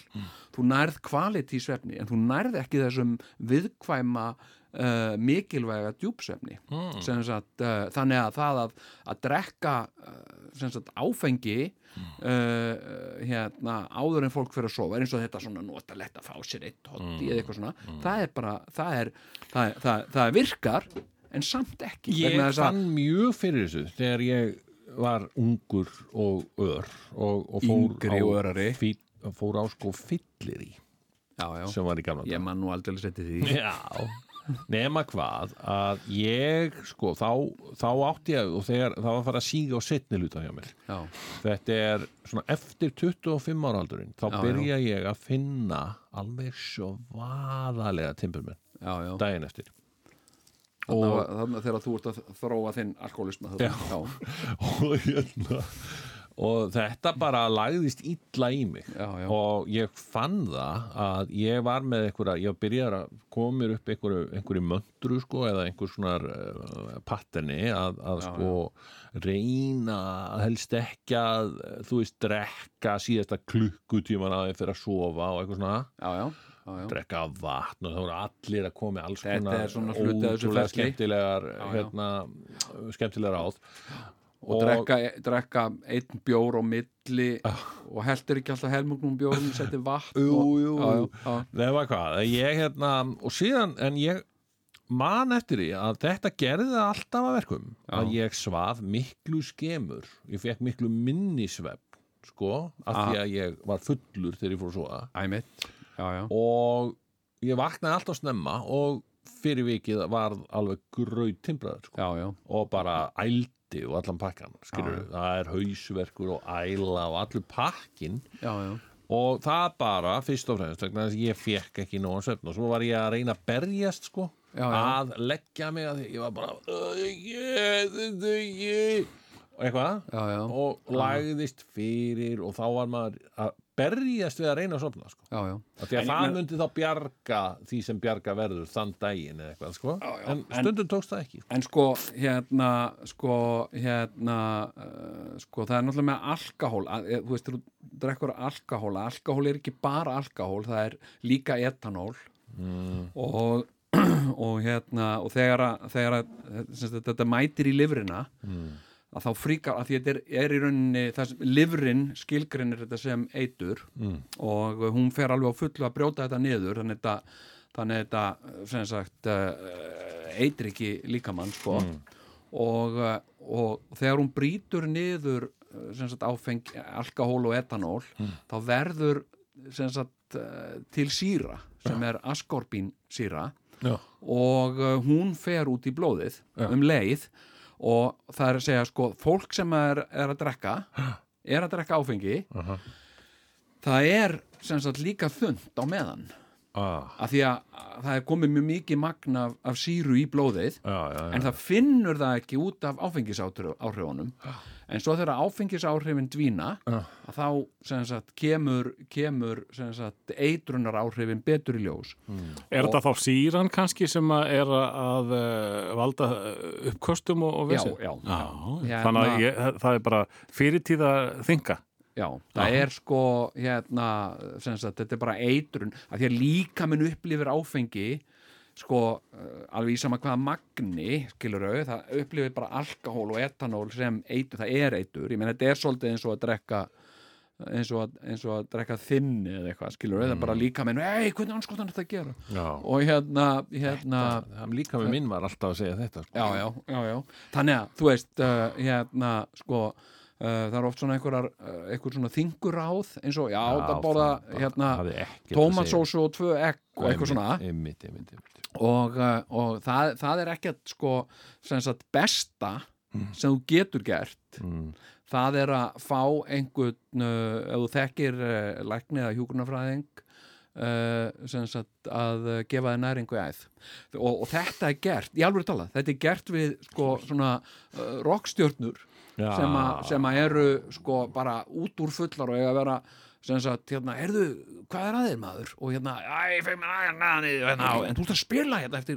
Speaker 2: þú nærð kvaliti í svefni en þú nærð ekki þessum viðkvæma uh, mikilvæga djúpsvefni mm. sagt, uh, þannig að það að, að drekka uh, sem sagt, áfengi uh, hérna, áður en fólk fyrir að sofa er eins og þetta svona notalegt að fá sér eitt hotti eða eitthvað svona það er bara, það er það, er, það, það virkar en samt ekki
Speaker 1: Ég
Speaker 2: vegna þess að-
Speaker 1: fann mjög fyrir þessu þegar ég var ungur og ör og, og fór
Speaker 2: Yngri
Speaker 1: á
Speaker 2: og örari.
Speaker 1: fí, fór á sko fyllir í
Speaker 2: já, já,
Speaker 1: sem var í gamla
Speaker 2: ég
Speaker 1: daga.
Speaker 2: man nú aldrei setið því
Speaker 1: Já, [laughs] nema hvað að ég sko þá, þá átti ég og þegar það var að fara að síga og setni luta hjá mér
Speaker 2: já,
Speaker 1: þetta er svona eftir 25 ára aldurinn þá
Speaker 2: Já,
Speaker 1: byrja ég að finna alveg svo vaðalega timburmenn
Speaker 2: já, já
Speaker 1: daginn eftir
Speaker 2: þannig að, þannig að þegar þú ert að þróa þinn alkoholisma já. Já,
Speaker 1: og hérna og þetta bara lagðist illa í mig
Speaker 2: Já, já.
Speaker 1: og ég fann það að ég var með einhverja, ég byrjar að koma mér upp einhverju, einhverju möndru sko eða einhver svona uh, patterni að, að sko reyna að helst ekki að þú veist drekka síðasta klukkutíman að fyrir að sofa og eitthvað svona
Speaker 2: já, já, já.
Speaker 1: drekka vatn og það voru allir að koma með alls
Speaker 2: Þetta er svona hluti af þessu
Speaker 1: ótrúlega
Speaker 2: ferli.
Speaker 1: skemmtilegar
Speaker 2: já.
Speaker 1: hérna, skemmtilegar áð
Speaker 2: og drekka, e- drekka einn bjór á milli
Speaker 1: Ah.
Speaker 2: og heldur ekki alltaf um helmungnum bjórum seti vatn
Speaker 1: Jú,
Speaker 2: og,
Speaker 1: jú,
Speaker 2: já,
Speaker 1: jú.
Speaker 2: já, já.
Speaker 1: Nefna hvað, ég hérna og síðan, en ég man eftir því að þetta gerði það alltaf að verkum að ég svaf miklu skemur ég fekk miklu minnisvepp sko, af því að ég var fullur þegar ég fór að svoða
Speaker 2: æmitt já, já.
Speaker 1: og ég vaknaði alltaf snemma og fyrir vikið var alveg gröð timbraður sko.
Speaker 2: já, já,
Speaker 1: og bara ældi og allan pakkan skilur, það er hausverkur og æla og allur pakkin
Speaker 2: já, já.
Speaker 1: og það bara fyrst og fremst vegna þess að ég fekk ekki nógan svefn og svo var ég að reyna að berjast sko
Speaker 2: Já, já.
Speaker 1: að leggja mig að því ég var bara "Æ, ég, þetta ég og eitthvað
Speaker 2: Já, já.
Speaker 1: og lagðist fyrir og þá var maður að berjast við að reyna að sofna sko
Speaker 2: já, já.
Speaker 1: Af því að það myndi þá bjarga því sem bjarga verður þann daginn eða eitthvað sko en stundum tókst það ekki
Speaker 2: en sko hérna sko hérna uh, sko það er náttúrulega með alkohól að, eh, þú veist þegar þú drekkur alkohól alkohól er ekki bara alkohól það er líka etanól
Speaker 1: Mm.
Speaker 2: og, [clears throat] og hérna og þegar, að- þegar að, sem sagt, þetta mætir í lifrina
Speaker 1: Mm.
Speaker 2: að þá fríkar að því þetta er, er í rauninni það sem livrin skilgrinir þetta sem eitur mm. og hún fer alveg á fullu að brjóta þetta niður þannig þetta, þannig þetta sem sagt eh, eitir ekki líkamann sko og, eh, og þegar hún brýtur niður eh, sem sagt áfeng alkohól og etanól þá verður sem sagt eh, til síra sem er askorbín síra
Speaker 1: Já,
Speaker 2: og uh, hún fer út í blóðið um leið og það er að segja sko fólk sem er, er að drekka er að drekka áfengi það er sem sagt líka þund á meðan
Speaker 1: ah,
Speaker 2: af því að að það er komið mjög mikið magn af, af síru í blóðið
Speaker 1: já, já, já.
Speaker 2: en það finnur það ekki út af áfengisáhrifunum en svo þegar áfengisáhrifin dvína að þá sem sagt, kemur, kemur sem sagt, eitrunar áhrifin betur í ljós
Speaker 3: Er þetta þá síran kannski sem að er að, að eh, valda eh, uppköstum og, og
Speaker 2: Já,
Speaker 3: vesen?
Speaker 2: já,
Speaker 3: já.
Speaker 2: Hérna-
Speaker 3: Þannig að ég, það er bara fyrirtíða þinga.
Speaker 2: Já, það er sko hérna, sem sagt, þetta er bara eitrun að því að líka minn upplifir áfengi sko, eh, alveg í sama hvaða magni, skilur auð, það upplifir bara alkohól og etanól sem eitur, það er eitur, ég meina þetta er svolítið eins og að drekka eins og að, eins og að drekka þinni eða eitthvað, skilur auð, það er bara líka minn, ei, hvernig anskotan er þetta að gera?
Speaker 1: Já.
Speaker 2: Og hérna, hérna
Speaker 1: það líka með minn var alltaf að segja þetta sko.
Speaker 2: já, já, já, já. þannig að þú veist uh, hérna sko uh, það er oft svona einhverjar uh, einhver svona þinguráð eins og já, það borða hérna tómatsósu og tvö egg og eitthvað svona
Speaker 1: einmitt, einmitt, einmitt.
Speaker 2: og, uh, og það, það er ekkert sko sem sagt besta sem þú getur gert
Speaker 1: Mm.
Speaker 2: það er að fá einhvern uh, ef þú þekkir uh, lækni eða hjúgrunafræðing uh, sem sagt að uh, gefa þér næringu í æð og, og þetta er gert, í alveg tala þetta er gert við sko svona uh, rockstjörnur
Speaker 1: Já.
Speaker 2: sem, a, sem að eru sko bara út úr fullar og eiga að vera sem sagt, hérna, heyrðu, hvað er að þér maður? Og hérna, æ, fyrir mér aðeins aðeins og hérna, en þú ert að spila hérna eftir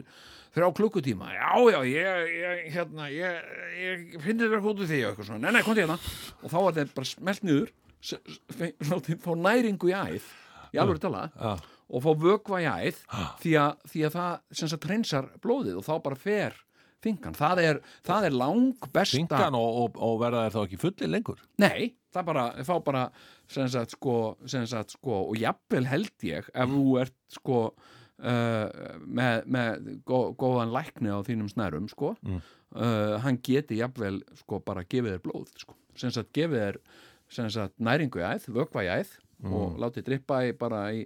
Speaker 2: þrjá klukkutíma, já, já, ég, ég hérna, ég, ég finn þetta út úr því og eitthvað svona, nei, nei, kom til hérna og þá var þetta bara smelt niður s- s- [laughs] fe- frá því- fá næringu í æð í alveg tala
Speaker 1: Já.
Speaker 2: og fá vökva í æð því að, því að það sem sagt reynsar blóðið og þá bara fer fingan, það er, það er lang besta
Speaker 1: Fingan og, og, og verða þær þá ekki fullir lengur
Speaker 2: Nei, það bara, fá bara sem sagt sko, sem sagt sko og jafnvel held ég
Speaker 1: Mm.
Speaker 2: ef þú ert sko uh, með, með gó, góðan lækni á þínum snærum sko
Speaker 1: Mm.
Speaker 2: uh, hann geti jafnvel sko bara gefið þér blóð sko, sem sagt gefið þér sem sagt næringu í æð, vökva í æð
Speaker 1: Mm.
Speaker 2: og látið drippa í bara í,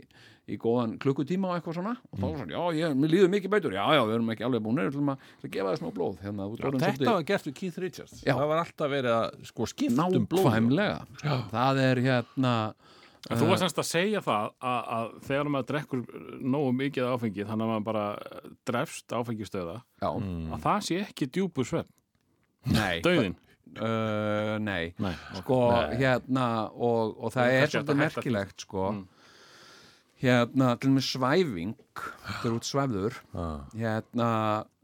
Speaker 2: í góðan klukkutíma og eitthvað svona og
Speaker 1: Mm.
Speaker 2: þá er svona, já, ég, mér líður mikið bætur já, já, við erum ekki alveg búinir, við ætlum að við ætlum að gefa þér smá blóð hérna, þú ert orðinn svolítið-
Speaker 1: Þetta var gert við Keith Richards
Speaker 2: Já.
Speaker 1: Það var alltaf verið að sko skipta um blóð
Speaker 2: nákvæmlega það er hérna
Speaker 3: En þú var semst að segja það að, að þegar maður drekkur nógu mikið af áfengi þannig að maður bara drefst áfengistöða
Speaker 2: já,
Speaker 3: að það sé ekki djúpur svepp
Speaker 2: nei,
Speaker 3: Dauðin
Speaker 2: uh, nei.
Speaker 3: Nei,
Speaker 2: sko hérna og, og það
Speaker 3: Það er
Speaker 2: er svolítið
Speaker 3: kannski hægt að hætta Mm.
Speaker 2: merkilegt sko hérna til með svæfing þegar út svæfður
Speaker 1: Ah,
Speaker 2: hérna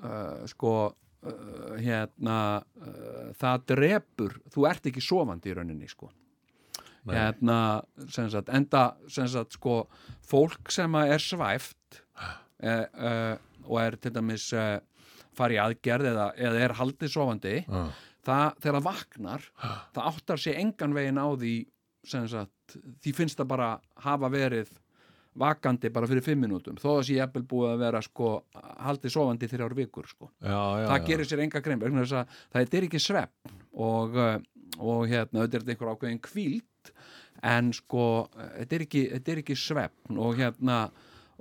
Speaker 2: uh, sko uh, hérna uh, það drepur, þú ert ekki sofandi í rauninni sko hérna sem sagt, enda sem sagt sko fólk sem að er svæft e, e, og er til dæmis e, farið aðgerð eða, eða er haldið sofandi
Speaker 1: ah.
Speaker 2: það, þegar það vaknar það áttar sig engan veginn á því sem sagt, því finnst það bara hafa verið vakandi bara fyrir fimm minútum þó að sé jafnvel búið að vera sko haldið sofandi í þrjár vikur sko
Speaker 1: Já, já,
Speaker 2: það
Speaker 1: já.
Speaker 2: gerir sér enga grein vegna þess að það er ekki svepp og, uh, og hérna, þetta er einhver ákveðin kvíld en sko, uh, þetta er ekki, þetta er ekki svepp og hérna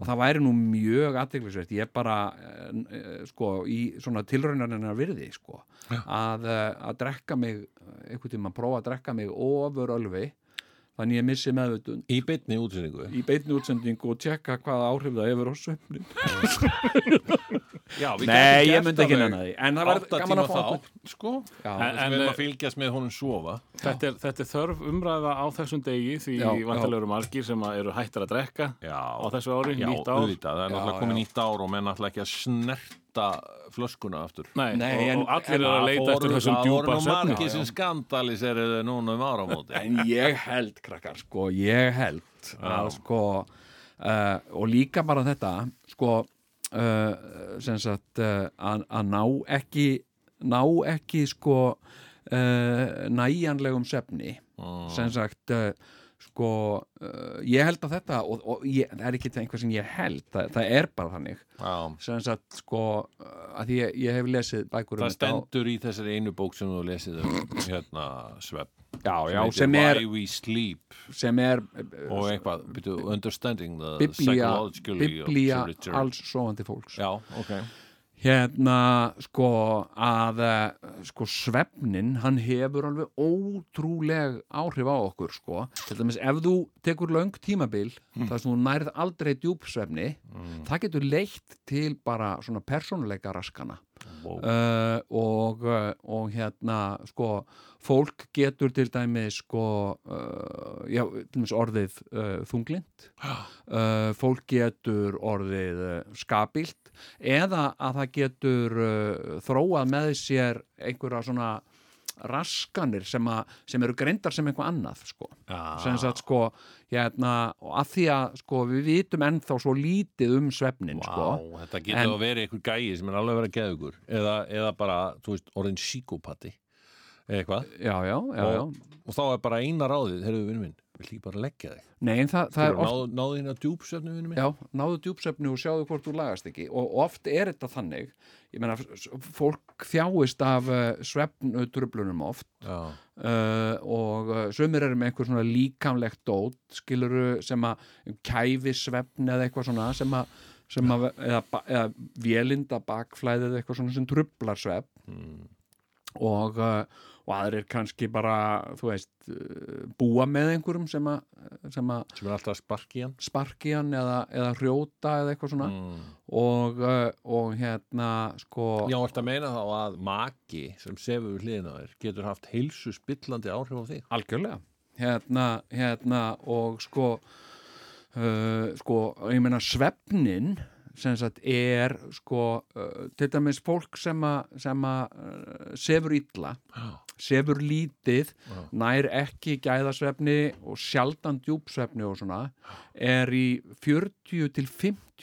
Speaker 2: og það væri nú mjög aðteglisvert ég bara, eh, eh, sko, í svona tilraunarinn að virði, sko að, eh, að drekka mig eh, einhvern tíma að prófa að drekka mig ofur ölfi þannig ég missi meðvutund
Speaker 1: Í beinni útsendingu
Speaker 2: í beinni útsendingu og tjekka hvaða áhrif það hefur á svefnin
Speaker 1: já, við
Speaker 2: Nei,
Speaker 1: gætum
Speaker 2: ég
Speaker 1: gert
Speaker 2: myndi ekki
Speaker 1: alveg
Speaker 2: nenna því, en það væri
Speaker 1: átta
Speaker 2: gaman að
Speaker 1: tíma
Speaker 2: fá
Speaker 1: þá,
Speaker 2: einhvern-
Speaker 1: sko
Speaker 2: Já.
Speaker 1: en,
Speaker 3: En-
Speaker 1: við erum
Speaker 3: en-
Speaker 1: að fylgjast með honum sofa
Speaker 3: þetta er, þetta er þörf umræða á þessum degi því
Speaker 2: Já, já.
Speaker 3: vantilega eru margir sem að eru hættar að drekka
Speaker 1: Já.
Speaker 3: á þessu ári,
Speaker 1: Já,
Speaker 3: nýtt ár
Speaker 1: auðvitað, það er náttúrulega komið nýtt ár og menn ætla ekki að snerta flöskuna aftur
Speaker 3: Nei,
Speaker 2: Nei,
Speaker 3: og,
Speaker 2: en-
Speaker 3: og allir
Speaker 2: en
Speaker 3: eru að
Speaker 1: Það
Speaker 3: leita eftir
Speaker 1: voru-
Speaker 3: þessum djúpa
Speaker 1: Það voru nú margir sem skandaliserið núna um áramóti
Speaker 2: en ég held krakkar sko, ég held að sko uh, og líka bara þetta sko uh, sem sagt uh, að að ná ekki ná ekki sko uh, næjanlegum svefni sem sagt uh, sko, uh, ég held að þetta og, og ég, það er ekki einhver sem ég held það, það er bara þannig
Speaker 1: Já.
Speaker 2: sem sagt sko uh, að því ég, ég hef lesið bækur um
Speaker 1: Það
Speaker 2: þetta og-
Speaker 1: stendur í þessari einu bók sem þú lesið um hérna svepp
Speaker 2: já, já,
Speaker 1: heitir
Speaker 2: sem er,
Speaker 1: Why We Sleep
Speaker 2: sem er uh,
Speaker 1: og eitthvað, byrju, Understanding the
Speaker 2: biblía,
Speaker 1: Psychological
Speaker 2: biblía
Speaker 1: of Sir Richard.
Speaker 2: alls sofandi fólks
Speaker 1: Já, ok
Speaker 2: hérna sko að eh, sko svefnin hann hefur alveg ótrúleg áhrif á okkur sko til dæmis ef þú tekur löng tímabil þar sem þú nærð aldrei djúpsvefni það getur leitt til bara svona persónuleika raskana
Speaker 1: Wow.
Speaker 2: uh, og, eh, og hérna sko fólk getur til dæmi sko uh, já, til dæmis orðið uh, þunglind uh, fólk getur orðið uh, skabilt eh, eða að það getur uh, þróað með sér einhverja svona raskanir sem, að, sem eru greindar sem einhvað annað sko.
Speaker 1: Ah.
Speaker 2: sem sagt sko hérna, og að því að sko, við vitum ennþá svo lítið um svefnin sko.
Speaker 1: Vá, þetta getur
Speaker 2: En-
Speaker 1: að vera einhver gæi sem er alveg að vera geðugur eða, eða bara, þú veist, orðin síkópati eitthvað
Speaker 2: já, já, já, já.
Speaker 1: og, og þá er bara eina ráðið, heyrðu vinn minn við líka bara leggja þig
Speaker 2: Nei, en það, það er oft
Speaker 1: náðu, náðu þín að djúpsöfnu vinn minn
Speaker 2: Já, náðu djúpsefni og sjáðu hvort þú lagast ekki og oft er þetta þannig ég meina, s- fólk þjáist af uh, svefnutröflunum oft
Speaker 1: Já.
Speaker 2: uh, og uh, sömur eru með einhver svona líkamlegt dót skiluru sem að kæfi svefn eða eitthvað svona sem að, sem að eða, ba- eða vélinda bakflæðið eða eitthvað svona sem trublar svefn og, uh, og aðrir kannski bara, þú veist uh, búa með einhverjum sem að, sem að
Speaker 1: sem er alltaf að sparki hann
Speaker 2: sparki hann eða, eða hrjóta eða eitthvað svona og, uh, og hérna sko
Speaker 1: Já, ætti að meina þá að maki sem sefur við hliðina á þér getur haft heilsu spillandi áhrif á þig
Speaker 2: algjörlega hérna, hérna og sko uh, sko, ég meina svefnin sem sagt er sko, uh, til dæmis fólk sem að sem að uh, sefur illa
Speaker 1: Já.
Speaker 2: sefur lítið nær ekki gæðasvefni og sjaldan djúpsvefni og svona er í 40 til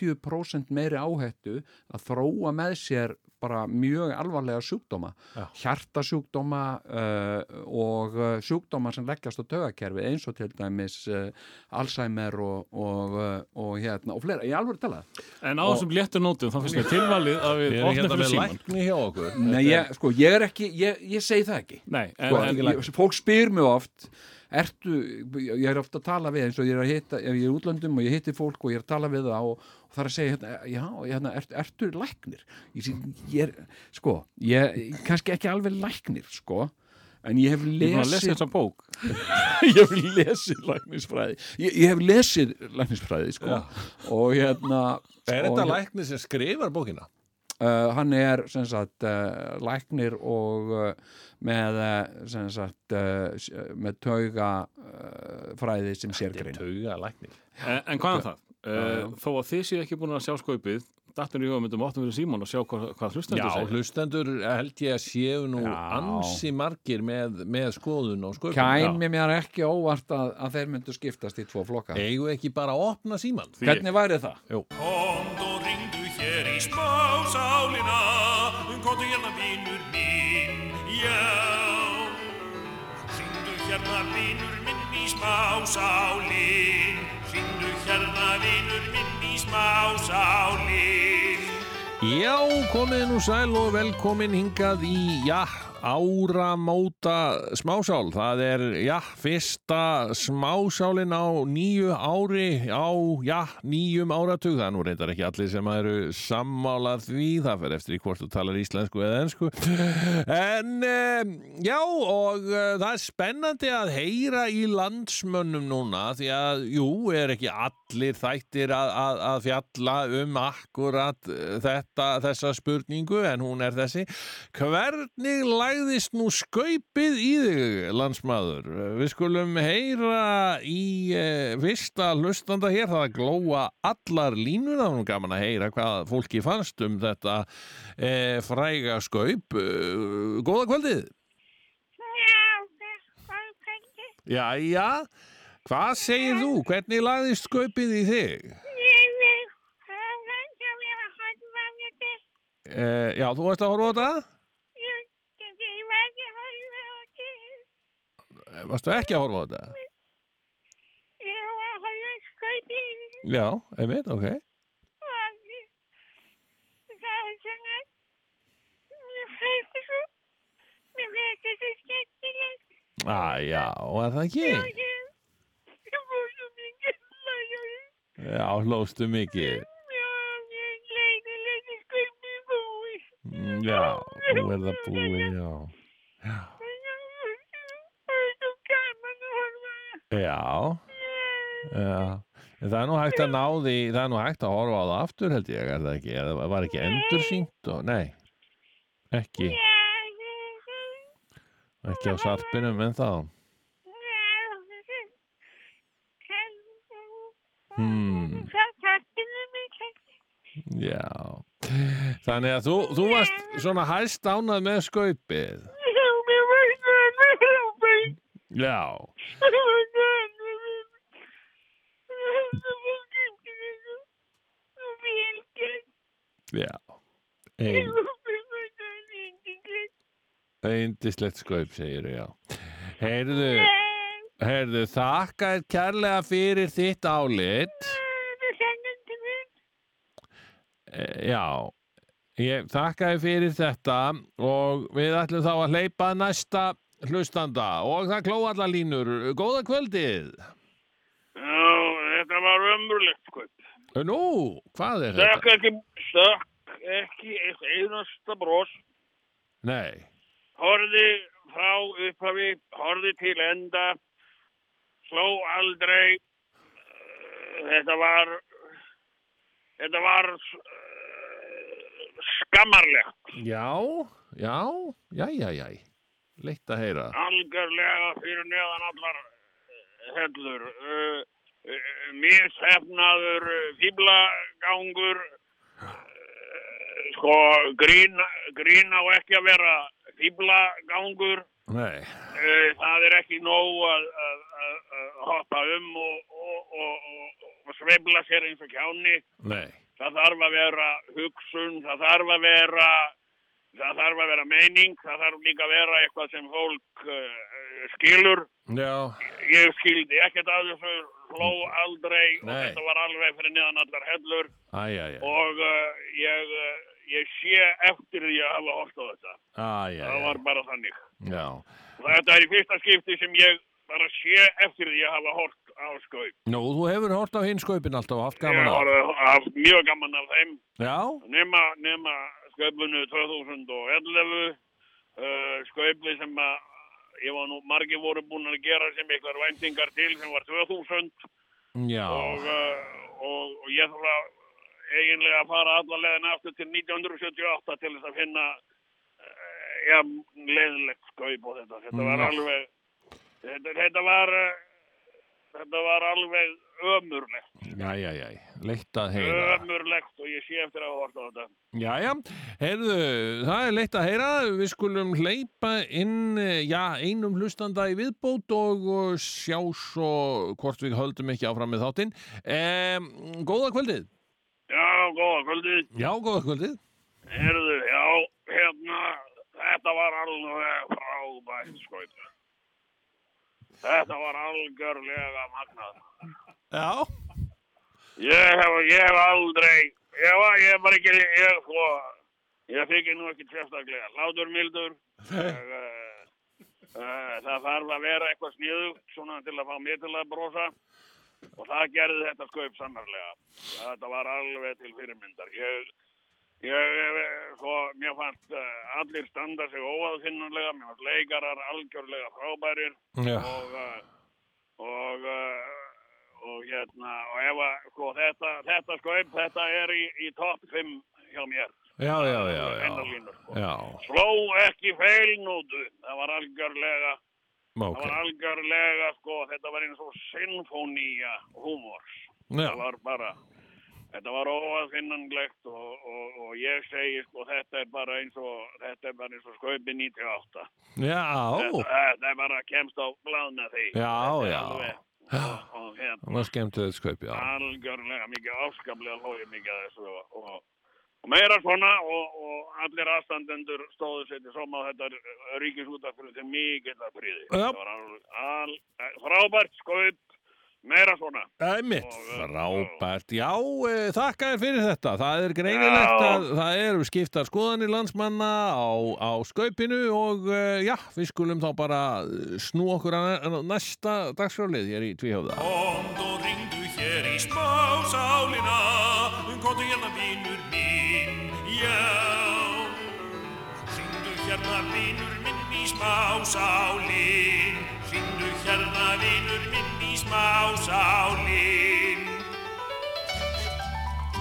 Speaker 2: 50% meiri áhættu að þróa með sér bara mjög alvarlega sjúkdóma
Speaker 1: Já.
Speaker 2: hjartasjúkdóma uh, og uh, sjúkdóma sem leggjast á tögakerfi eins og til dæmis uh, Alzheimer og, og, uh, og hérna og fleira, ég alveg tala
Speaker 3: En á þessum léttu nótum, þá finnst mér tilvalið að við
Speaker 1: Við erum
Speaker 3: opnum
Speaker 1: hérna
Speaker 3: fyrir
Speaker 1: með
Speaker 3: síman.
Speaker 1: lækni hjá okkur
Speaker 2: Nei, ég, sko, ég er ekki, ég, ég segi það ekki
Speaker 3: Nei, en,
Speaker 2: sko,
Speaker 3: en,
Speaker 2: ég, fólk spyr mig oft ertu, ég er ofta að tala við eins og ég er að hitta, ef ég er í útlöndum og ég hitti fólk og ég er að tala við það og, og það er að segja hérna, já, hérna, ert, ertu læknir ég, sé, ég er, sko ég, kannski ekki alveg læknir, sko en ég hef
Speaker 3: ég er búin að lesa
Speaker 2: lesið
Speaker 3: þessa bók.
Speaker 2: [laughs] ég hef lesið læknisfræði ég, ég hef lesið læknisfræði, sko og hérna
Speaker 1: Er
Speaker 2: og
Speaker 1: þetta
Speaker 2: hérna-
Speaker 1: lækni sem skrifar bókina?
Speaker 2: Uh, hann er sem sagt uh, læknir og uh, með uh, sem sagt uh, s- uh, með tauga uh, fræði sem sérgrein
Speaker 1: Tauga lækni
Speaker 3: En, en hvað er það?
Speaker 2: já.
Speaker 3: Uh, þó að þið séu ekki búin að sjá skaupið, dattur í hugum myndum opnum fyrir síman og sjá hvað, hvað hlustendur
Speaker 1: Já,
Speaker 3: segja.
Speaker 1: hlustendur held ég að séu nú
Speaker 2: Já.
Speaker 1: ansi margir með, með skoðun og sköpun
Speaker 2: kæmi mér ekki óvart að, að þeir myndu skiptast í tvo flokka
Speaker 1: Eigum við ekki bara að opna síman?
Speaker 2: hvernig væri það?
Speaker 1: Jú,
Speaker 4: Komdu og ringdu hér í spásálina Komdu hérna vinur minn, já Ringdu hérna vinur minn í smásálin Ringdu hérna vinur minn í smásálin
Speaker 1: Já, komið nú sæl og velkomin hingað í, já, áramóta smásál. Það er, já, fyrsta smásálin á nýju ári á, já, nýjum áratug. Það er nú reyndar ekki allir sem eru sammála því. Það fer eftir í hvort þú talar íslensku eða ensku. En, um, já, og uh, það er spennandi að heyra í landsmönnum núna því að, jú, er ekki allir þættir að, að, að fjalla um akkurat eh, þetta, þessa spurningu, en hún er þessi. Hvernig lagðist nú skaupið í þig, landsmaður? Eh, Við skulum heyra í eh, fyrsta hlustanda hér, það glóa allar línur, það var nú gaman að heyra hvað fólki fannst um þetta eh, fræga skaup. Eh, góða kvöldið! Jæja, hvað segir þú? Hvernig lagðist skaupið í þig? Eh, já, þú varst að horfa á þetta? Eh, Varstu ekki að horfa á þetta? Já, einmitt, ok. Æ, já, er það ekki? Já, hlóstu mikið. Mm, Já, þú er það búið, já.
Speaker 5: Hmm.
Speaker 1: Já, já. En Það er nú hægt að ná því, það er nú hægt að horfa á það aftur held ég, er það ekki? Eða var ekki endursýnt og, nei, ekki, ekki á sarpinum en þá. Hmm, já. Þannig að þú, þú varst svona hæst ánað með skaupið.
Speaker 6: Já, mér varst
Speaker 1: Já, já Ein, eindislegt skaup, segir já Heyrðu, heyrðu þakka þér kærlega fyrir þitt álit
Speaker 5: Hmm.
Speaker 1: Eh, Já, ég þakka þér fyrir þetta og við ætlum þá að hleypa næsta hlustanda og það klóa allar línur. Góða kvöldið!
Speaker 5: Já, þetta var ömurlegt kaup.
Speaker 1: Nú, hvað er þetta?
Speaker 5: Þakk ekki, þakk ekki eitt einasta bros.
Speaker 1: Nei,
Speaker 5: Horði frá upphafi, horði til enda, sló aldrei. Eh, Þetta var, þetta var eh, skammarlegt.
Speaker 1: já, já, já, já, já, leitt að heyra.
Speaker 5: Algjörlega fyrir neðan allar uh, hellur. Eh, eh, Mishefnaður, uh, fýblagangur, sko, grín, grín á ekki að vera fýblagangur.
Speaker 1: Nei,
Speaker 5: Eh, Það er ekki nóg að, að, að, að hoppa um og, og, og, og, og sveifla sér eins og kjáni.
Speaker 1: nei,
Speaker 5: Það þarf að vera hugsun, það þarf að vera, það þarf að vera meining, það þarf líka að vera eitthvað sem fólk uh, skilur.
Speaker 1: já,
Speaker 5: Ég skildi ekkert að þessu, hló aldrei og
Speaker 1: Nei.
Speaker 5: þetta var alveg fyrir neðan allar hellur
Speaker 1: æja, já,
Speaker 5: og uh, ég, uh, ég sé eftir því að hafa hort á þetta.
Speaker 1: æja,
Speaker 5: Það var bara þannig.
Speaker 1: já,
Speaker 5: Og Þetta er í fyrsta skipti sem ég bara sé eftir því að hafa hort á skaup.
Speaker 1: nú, þú hefur hort á hinn skaupin alltaf og haft
Speaker 5: Ég
Speaker 1: gaman á.
Speaker 5: hafði haft mjög gaman af þeim
Speaker 1: Já,
Speaker 5: nema, nema skaupinu 2011 uh, skaupi sem að ég var nú margir voru búin að gera sem eitthvað væntingar til sem var 2000
Speaker 1: já,
Speaker 5: og, uh, og, og ég þarf að eiginlega að fara alla leiðin aftur til 1978 til þess að finna uh, ja, leiðilegt skaup og þetta þetta
Speaker 1: Mm,
Speaker 5: var
Speaker 1: Já.
Speaker 5: alveg þetta, þetta var uh, þetta var alveg ömurlegt
Speaker 1: æja, já, leitt að heyra.
Speaker 5: ömurlegt og ég sé eftir að horta á þetta
Speaker 1: Jæja, heyrðu, það er leitt að heyra, við skulum hleypa inn, eh, já, einum hlustanda í viðbót og og sjá svo hvort við höldum ekki áfram með þáttinn. Um, góða kvöldið.
Speaker 5: já, góða kvöldið
Speaker 1: Já, góða kvöldið.
Speaker 5: Herðu, já, hérna, þetta var alveg frábært skaup. Þetta var algjörlega magnað.
Speaker 1: Já.
Speaker 5: Ég hef, ég hef aldrei, ég var, ég var ekki, ég, sko, ég þykir nú ekki sérstaklega. Látur mildur, ég, uh, uh, það þarf að vera eitthvað sniðugt, svona til að fá mig til að brosa. Og það gerði þetta skaup sannarlega. Þetta var alveg til fyrirmyndar. Ég, ég, ég sko, mér fannst uh, allir standa sig óaðfinnanlega, mér fannst leikarar algjörlega frábærir
Speaker 1: Já,
Speaker 5: og uh, og uh, og hérna og ef að sko þetta, þetta skaup þetta er í, í topp 5 hjá mér
Speaker 1: já, já, já.
Speaker 5: Einar
Speaker 1: Já,
Speaker 5: línur, sko.
Speaker 1: já
Speaker 5: sló ekki feilnótu það var algjörlega það
Speaker 1: ok.
Speaker 5: var algjörlega sko þetta var eins og sinfónía húmors
Speaker 1: Já,
Speaker 5: það var bara þetta var óaðfinnanlegt og, og, og ég segi sko þetta er bara eins og þetta er bara eins og skaupi 98
Speaker 1: já,
Speaker 5: þetta, þetta er bara kemst á blána því
Speaker 1: já,
Speaker 5: Þetta er
Speaker 1: já.
Speaker 5: alveg- og- og hérna
Speaker 1: Það var skemmtilegð skaup, já.
Speaker 5: algjörlega mikið áskaplega hlóið mikið að þessu og, og, og meira svona og, og allir aðstandendur stóðu sér til sóma á þetta ríkisútafrið til mikið að príði
Speaker 1: Já.
Speaker 5: það var al, al, eh, frábært skaup meira svona
Speaker 1: Æmitt,
Speaker 5: Og, uh,
Speaker 1: frábært. Já, eh, þakka þér fyrir þetta. Það er greinilegt
Speaker 5: Já.
Speaker 1: að það eru skiptar skoðanir landsmanna á, á skaupinu og eh, já, við skulum þá bara eh, snú okkur að að næsta dagskrálið hér í Tvíhjóða.
Speaker 4: Komd og ringdu hér í smásálina Komdu hérna vinur minn, já Ringdu hérna vinur minn í smásálin Ringdu hérna vinur minn í smásálin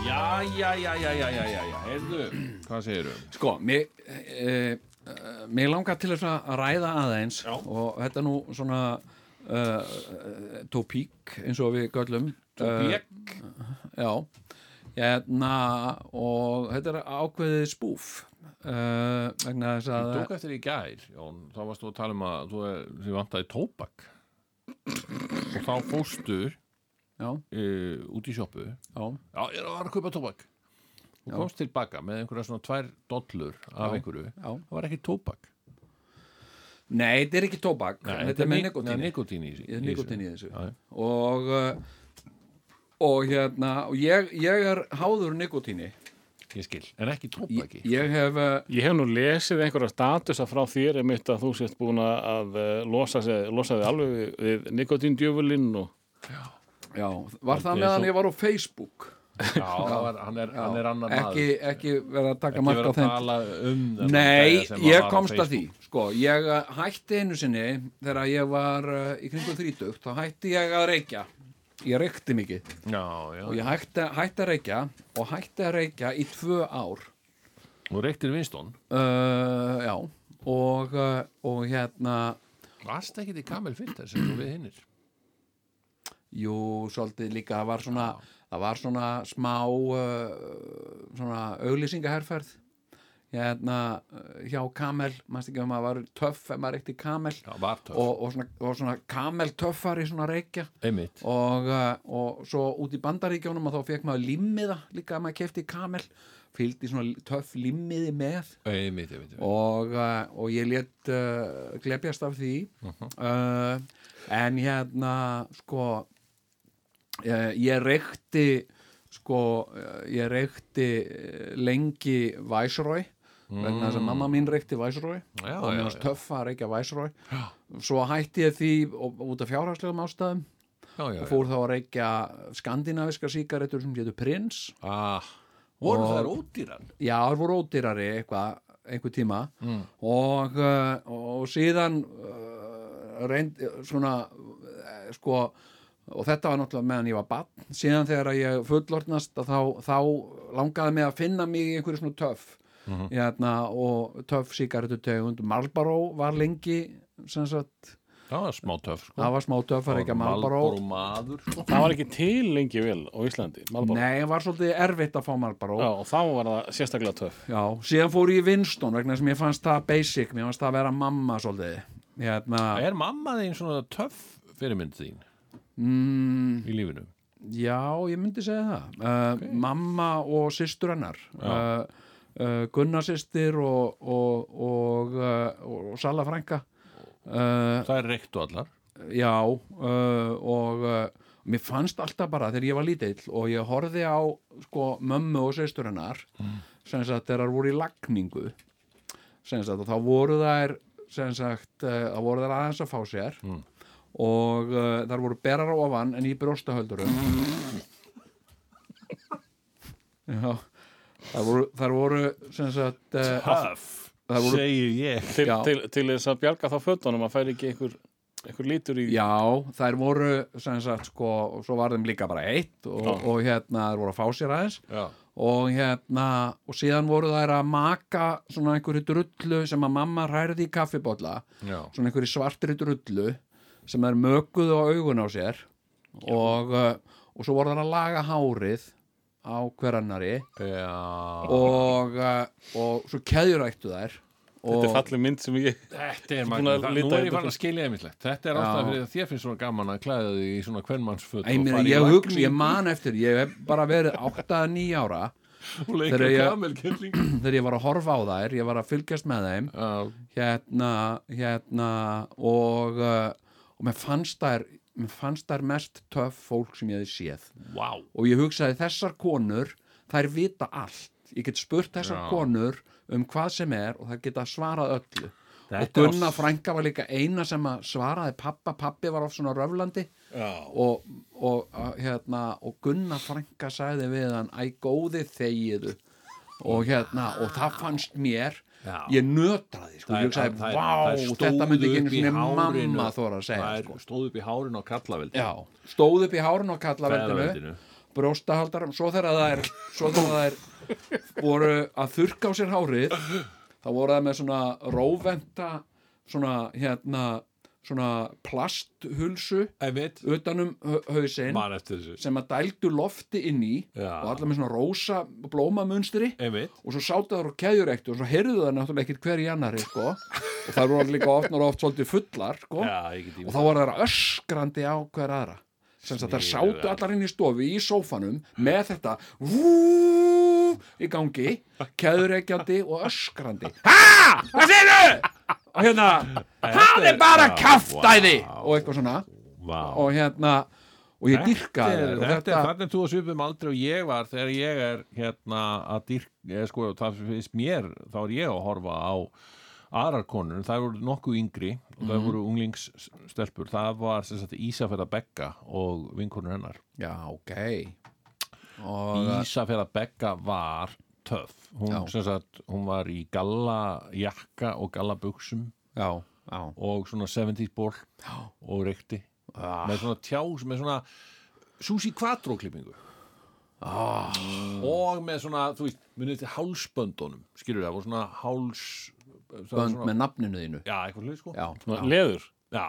Speaker 1: Já, já, já, já, já, já, já, já. Heyrðu, hvað segirðu?
Speaker 2: Sko, mér, e, e, mér langar til þess að ræða aðeins Já. og þetta er nú svona uh, topík eins og við Eh, göllum Topík? já, hérna og þetta er ákveðið spúf uh, vegna þess að
Speaker 1: Ég tók eftir í gær, Jón, þá varst þú að tala um að þú er, þið vantaði tóbak og þá fóstur
Speaker 2: já,
Speaker 1: uh, út í sjoppu Já,
Speaker 2: já,
Speaker 1: ég er að vara að kaupa tóbak og komst tilbaka með einhverja svona tvær dollur af einhverju
Speaker 2: já.
Speaker 1: það var ekki tóbak
Speaker 2: Nei, þetta er ekki tóbak Þetta er með nikotín
Speaker 1: nikotín í,
Speaker 2: Ég er nikotín í þessu
Speaker 1: Já, já.
Speaker 2: og uh, og hérna og ég, ég er háður nikotíni
Speaker 1: Ég skil, en ekki
Speaker 2: ég,
Speaker 1: tóbaki
Speaker 2: ég hef uh,
Speaker 3: Ég hef nú lesið einhverja statusa frá þér einmitt að þú sért búin að eh, losa, sig, losa þig alveg við, við nikotindjöfulinn og
Speaker 2: já, var það
Speaker 1: Aldrei
Speaker 2: meðan
Speaker 1: svo-
Speaker 2: ég var á Facebook
Speaker 1: Já, það var, hann er, hann er annar
Speaker 2: ekki, ekki verið að taka
Speaker 1: maður Ekki vera
Speaker 2: mark á
Speaker 1: að
Speaker 2: þeim
Speaker 1: tala um þennan
Speaker 2: Nei,
Speaker 1: gæja sem
Speaker 2: ég
Speaker 1: var á
Speaker 2: komst að því
Speaker 1: Facebook.
Speaker 2: sko, ég uh, hætti einu sinni þegar ég var uh, í kringum þrítugt þá hætti ég að reykja ég reykti mikið
Speaker 1: Já, já,
Speaker 2: og ég hætti, hætti að reykja og hætti að reykja í tvö ár
Speaker 1: og reyktir Vinstón
Speaker 2: uh, já og, uh, og hérna
Speaker 1: Varst ekki til Kamil Filter sem þú við hinnir
Speaker 2: Jú, svolítið líka, það var svona, það var svona smá uh, svona auglýsingaherferð hérna uh, hjá Kamel, mannst ekki að maður var töff ef maður reykti Kamel
Speaker 1: Já, var töff,
Speaker 2: og, og, svona, og svona Kamel töffar í svona reykja
Speaker 1: einmitt
Speaker 2: og, uh, og svo út í bandaríkjónum að þá fekk maður limmiða líka að maður kefti Kamel fylgdi svona töff limmiði með
Speaker 1: Einmitt, einmitt, einmitt.
Speaker 2: og, uh, og ég let uh, glebjast af því
Speaker 1: Mhm.
Speaker 2: uh, en hérna sko uh, ég reykti sko, uh, ég reykti uh, lengi Væsrói vegna þess að mamma mín reykti Væsrói
Speaker 1: Já,
Speaker 2: og
Speaker 1: já,
Speaker 2: mér varst
Speaker 1: já.
Speaker 2: töffa að reykja Væsrói svo hætti ég því og, út af fjárhagslegum ástæðum
Speaker 1: Já, já,
Speaker 2: og
Speaker 1: já
Speaker 2: fór þá að reykja skandinaviska síkaretur sem getur prins
Speaker 1: ah, Voru
Speaker 2: Og-
Speaker 1: það ódýran?
Speaker 2: já, það voru ódýrari eitthvað einhver tíma og, uh, og síðan uh, reynd svona uh, sko og þetta var náttúrulega meðan ég var barn síðan þegar ég fullorðnast að þá, þá langaði mig að finna mig í einhverju svona töff hérna, og töff síkaretutegund Marlboro var lengi sem sagt,
Speaker 1: Það var smá töff sko
Speaker 2: það var smá töff að reykja Marlboro
Speaker 1: Marlboro maður sko
Speaker 3: það var ekki til lengi vel á Íslandi Malboro.
Speaker 2: Nei, var svolítið erfitt að fá Marlboro
Speaker 3: Já, og þá var það sérstaklega töf
Speaker 2: Já, síðan fór ég í Winston vegna sem ég fannst það basic, mér fannst það að vera mamma svolítið. Hérna,
Speaker 1: Er mamma þín svona töff fyrirmynd þín
Speaker 2: mm,
Speaker 1: í lífinu?
Speaker 2: já, ég myndi segja það. Uh, Mamma og systur hennar. Uh, uh, Gunnarsystir og, og, og, uh, og Salla frænka. Uh,
Speaker 1: Það er reyktu allar
Speaker 2: já, uh, og uh, mér fannst alltaf bara þegar ég var lítill og ég horfði á sko, mömmu og systur hennar sem sagt þegar þær voru í lagningu sem sagt og þá voru þær sem sagt, eh, þá voru þær aðeins að fá sér og uh, þær voru berar á ofan en í brjóstahöldurum já þær voru, þær voru sem sagt uh,
Speaker 1: Töff,
Speaker 2: þær voru
Speaker 1: segir ég
Speaker 3: til,
Speaker 2: Já.
Speaker 3: til, til þess að bjarga þá fötunum að færi ekki einhver, einhver lítur í
Speaker 2: Já, þær voru sem sagt sko, og svo var þeim líka bara eitt og,
Speaker 3: Já.
Speaker 2: og hérna þær voru að fá sér aðeins
Speaker 1: Já
Speaker 2: og hérna og síðan voru þær að maka svona einhverju drullu sem að mamma hrærði í kaffibólla
Speaker 1: Já.
Speaker 2: svona einhverju svartri drullu sem þær mökuðu á augun á sér og, uh, og svo voru þær að laga hárið á hverannari
Speaker 1: Já,
Speaker 2: og, uh, og svo keðjurættu þær
Speaker 3: þetta er
Speaker 2: og,
Speaker 3: falleg mynd sem ég
Speaker 1: þetta er
Speaker 3: búin að
Speaker 1: magnað, Það- nú
Speaker 3: lita
Speaker 1: er ég
Speaker 3: þetta
Speaker 1: farin að skilja einmitt Þetta er ástæðan fyrir að þér finnst svona gaman að klæða þig í svona kvennmannsföt
Speaker 2: Ég, meina, ég hugsa, ég man eftir, ég hef bara verið 8-9 ára
Speaker 1: Leika
Speaker 2: þegar ég-
Speaker 1: kamelkilling
Speaker 2: þegar ég var að horfa á þær, ég var að fylgjast með þeim
Speaker 1: Já,
Speaker 2: hérna, hérna og, uh, og mér fannst þær mér fannst þær mest töff fólk sem ég hefði séð
Speaker 1: vá
Speaker 2: og ég hugsaði þessar konur þær vita allt, ég get spurt þessar
Speaker 1: Já.
Speaker 2: konur um hvað sem er og þær geta svarað öllu og
Speaker 1: Þetta er
Speaker 2: Gunna
Speaker 1: oss-
Speaker 2: frænka var líka eina sem að svaraði pappa, pappi var oft svona röflandi
Speaker 1: Já.
Speaker 2: og, og, uh, hérna, og Gunna frænka sagði við hann æ góði þegiðu og hérna, og það fannst mér
Speaker 1: Já.
Speaker 2: ég nötraði sko,
Speaker 1: Þær-
Speaker 2: ég hugsaði,
Speaker 1: þær-
Speaker 2: vá,
Speaker 1: þær stóðu
Speaker 2: þetta myndi ekki
Speaker 1: upp í
Speaker 2: einu svona
Speaker 1: hárinu.
Speaker 2: mamma þóra að segja
Speaker 1: Þær
Speaker 2: sko.
Speaker 1: stóðu upp í hárinu á kallaveldi
Speaker 2: Já, stóð upp í hárun og kallaveldinu
Speaker 1: Feðraveldinu.
Speaker 2: bróstahaldarum, svo þegar það er svo þegar það er voru að þurrka á sér hárið þá voru það með svona róventa svona hérna svona plasthulsu
Speaker 1: einmitt,
Speaker 2: utanum hausinn
Speaker 1: mann eftir þessu
Speaker 2: sem að dældu lofti inn í
Speaker 1: Já.
Speaker 2: og allar með svona rósa blómamunstri
Speaker 1: einmitt,
Speaker 2: og svo sátu þar og keðjur og svo heyrðu það náttúrulega ekkert hver í annari sko. og það voru líka ofnar og oft svolítið fullar sko.
Speaker 1: já, ég get
Speaker 2: og þá var það öskrandi á hver aðra sem sagt þær sátu allar inn í stofu í sófanum með þetta vú, í gangi keðureikjandi og öskrandi ha, hvað segir þau? og hérna, það er bara kaftæði og eitthvað svona
Speaker 1: wow.
Speaker 2: og hérna, og ég dyrka
Speaker 1: þetta er,
Speaker 2: þær og
Speaker 1: þetta er
Speaker 2: þetta,
Speaker 1: þannig þú að svipum aldrei og ég var þegar ég er hérna að dyrk, eh, sko, það finnst mér þá er ég að horfa á aðrar konur, það voru nokkuð yngri og
Speaker 2: Mhm.
Speaker 1: það voru unglingsstelpur það var sem sagt Ísafjörða Begga og vinkonur hennar
Speaker 2: já, ok og
Speaker 1: Ísafjörða Begga var töff, hún
Speaker 2: Já.
Speaker 1: sem sagt hún var í galla jakka og galla buksum
Speaker 2: já, já,
Speaker 1: og svona 70s ból og reykti
Speaker 2: Ah.
Speaker 1: með svona tjás, með svona Susi Quattro klippingu ah. og með svona þú veist, munið þetta hálsböndunum skilur það, voru svona háls það var
Speaker 2: bönd
Speaker 1: svona,
Speaker 2: með nafninu þínu
Speaker 1: já, eitthvað hlut sko
Speaker 2: já,
Speaker 3: Svona Leður
Speaker 1: já,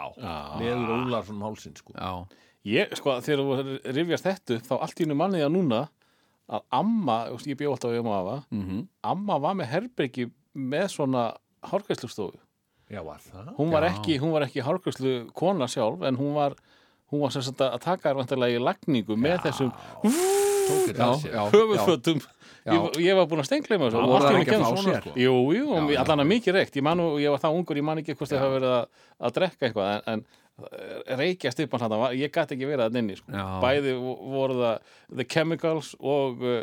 Speaker 1: leður ólar svona um hálsinn sko
Speaker 2: já,
Speaker 3: Ég, sko, þegar þú voru að rifjast þetta upp þá allt í hennu manni það núna að amma, þú veist, ég bjó alltaf um afa
Speaker 2: mhm,
Speaker 3: amma var með herbergi með svona hárgæslustofu
Speaker 1: já, var það?
Speaker 3: hún var
Speaker 2: Já.
Speaker 3: ekki, hún var ekki hárgæslu kona sjálf en hún var, hún var sem sagt að taka þær vantarlega í lagningu með þessum
Speaker 1: Tók þetta
Speaker 2: já,
Speaker 1: að sér.
Speaker 2: já, já,
Speaker 3: höfuðfötum
Speaker 2: Já.
Speaker 3: ég, var- ég var búin að stengleima þessu
Speaker 2: Já,
Speaker 3: og
Speaker 2: voru
Speaker 3: allt í
Speaker 2: þær
Speaker 3: einu
Speaker 2: ekki að
Speaker 3: kemur
Speaker 2: fá
Speaker 3: svona,
Speaker 2: sér?
Speaker 3: sko. Jú, jú,
Speaker 2: Já, já.
Speaker 3: allan að mikið reykt ég, man, nú- ég var það ungur, ég man ekki hvort það hafa verið að, að drekka eitthvað en, eh, en reykja stipan hann, ég gæti ekki verið að nynni sko.
Speaker 2: Já.
Speaker 3: bæði vo- voru það The Chemicals og uh,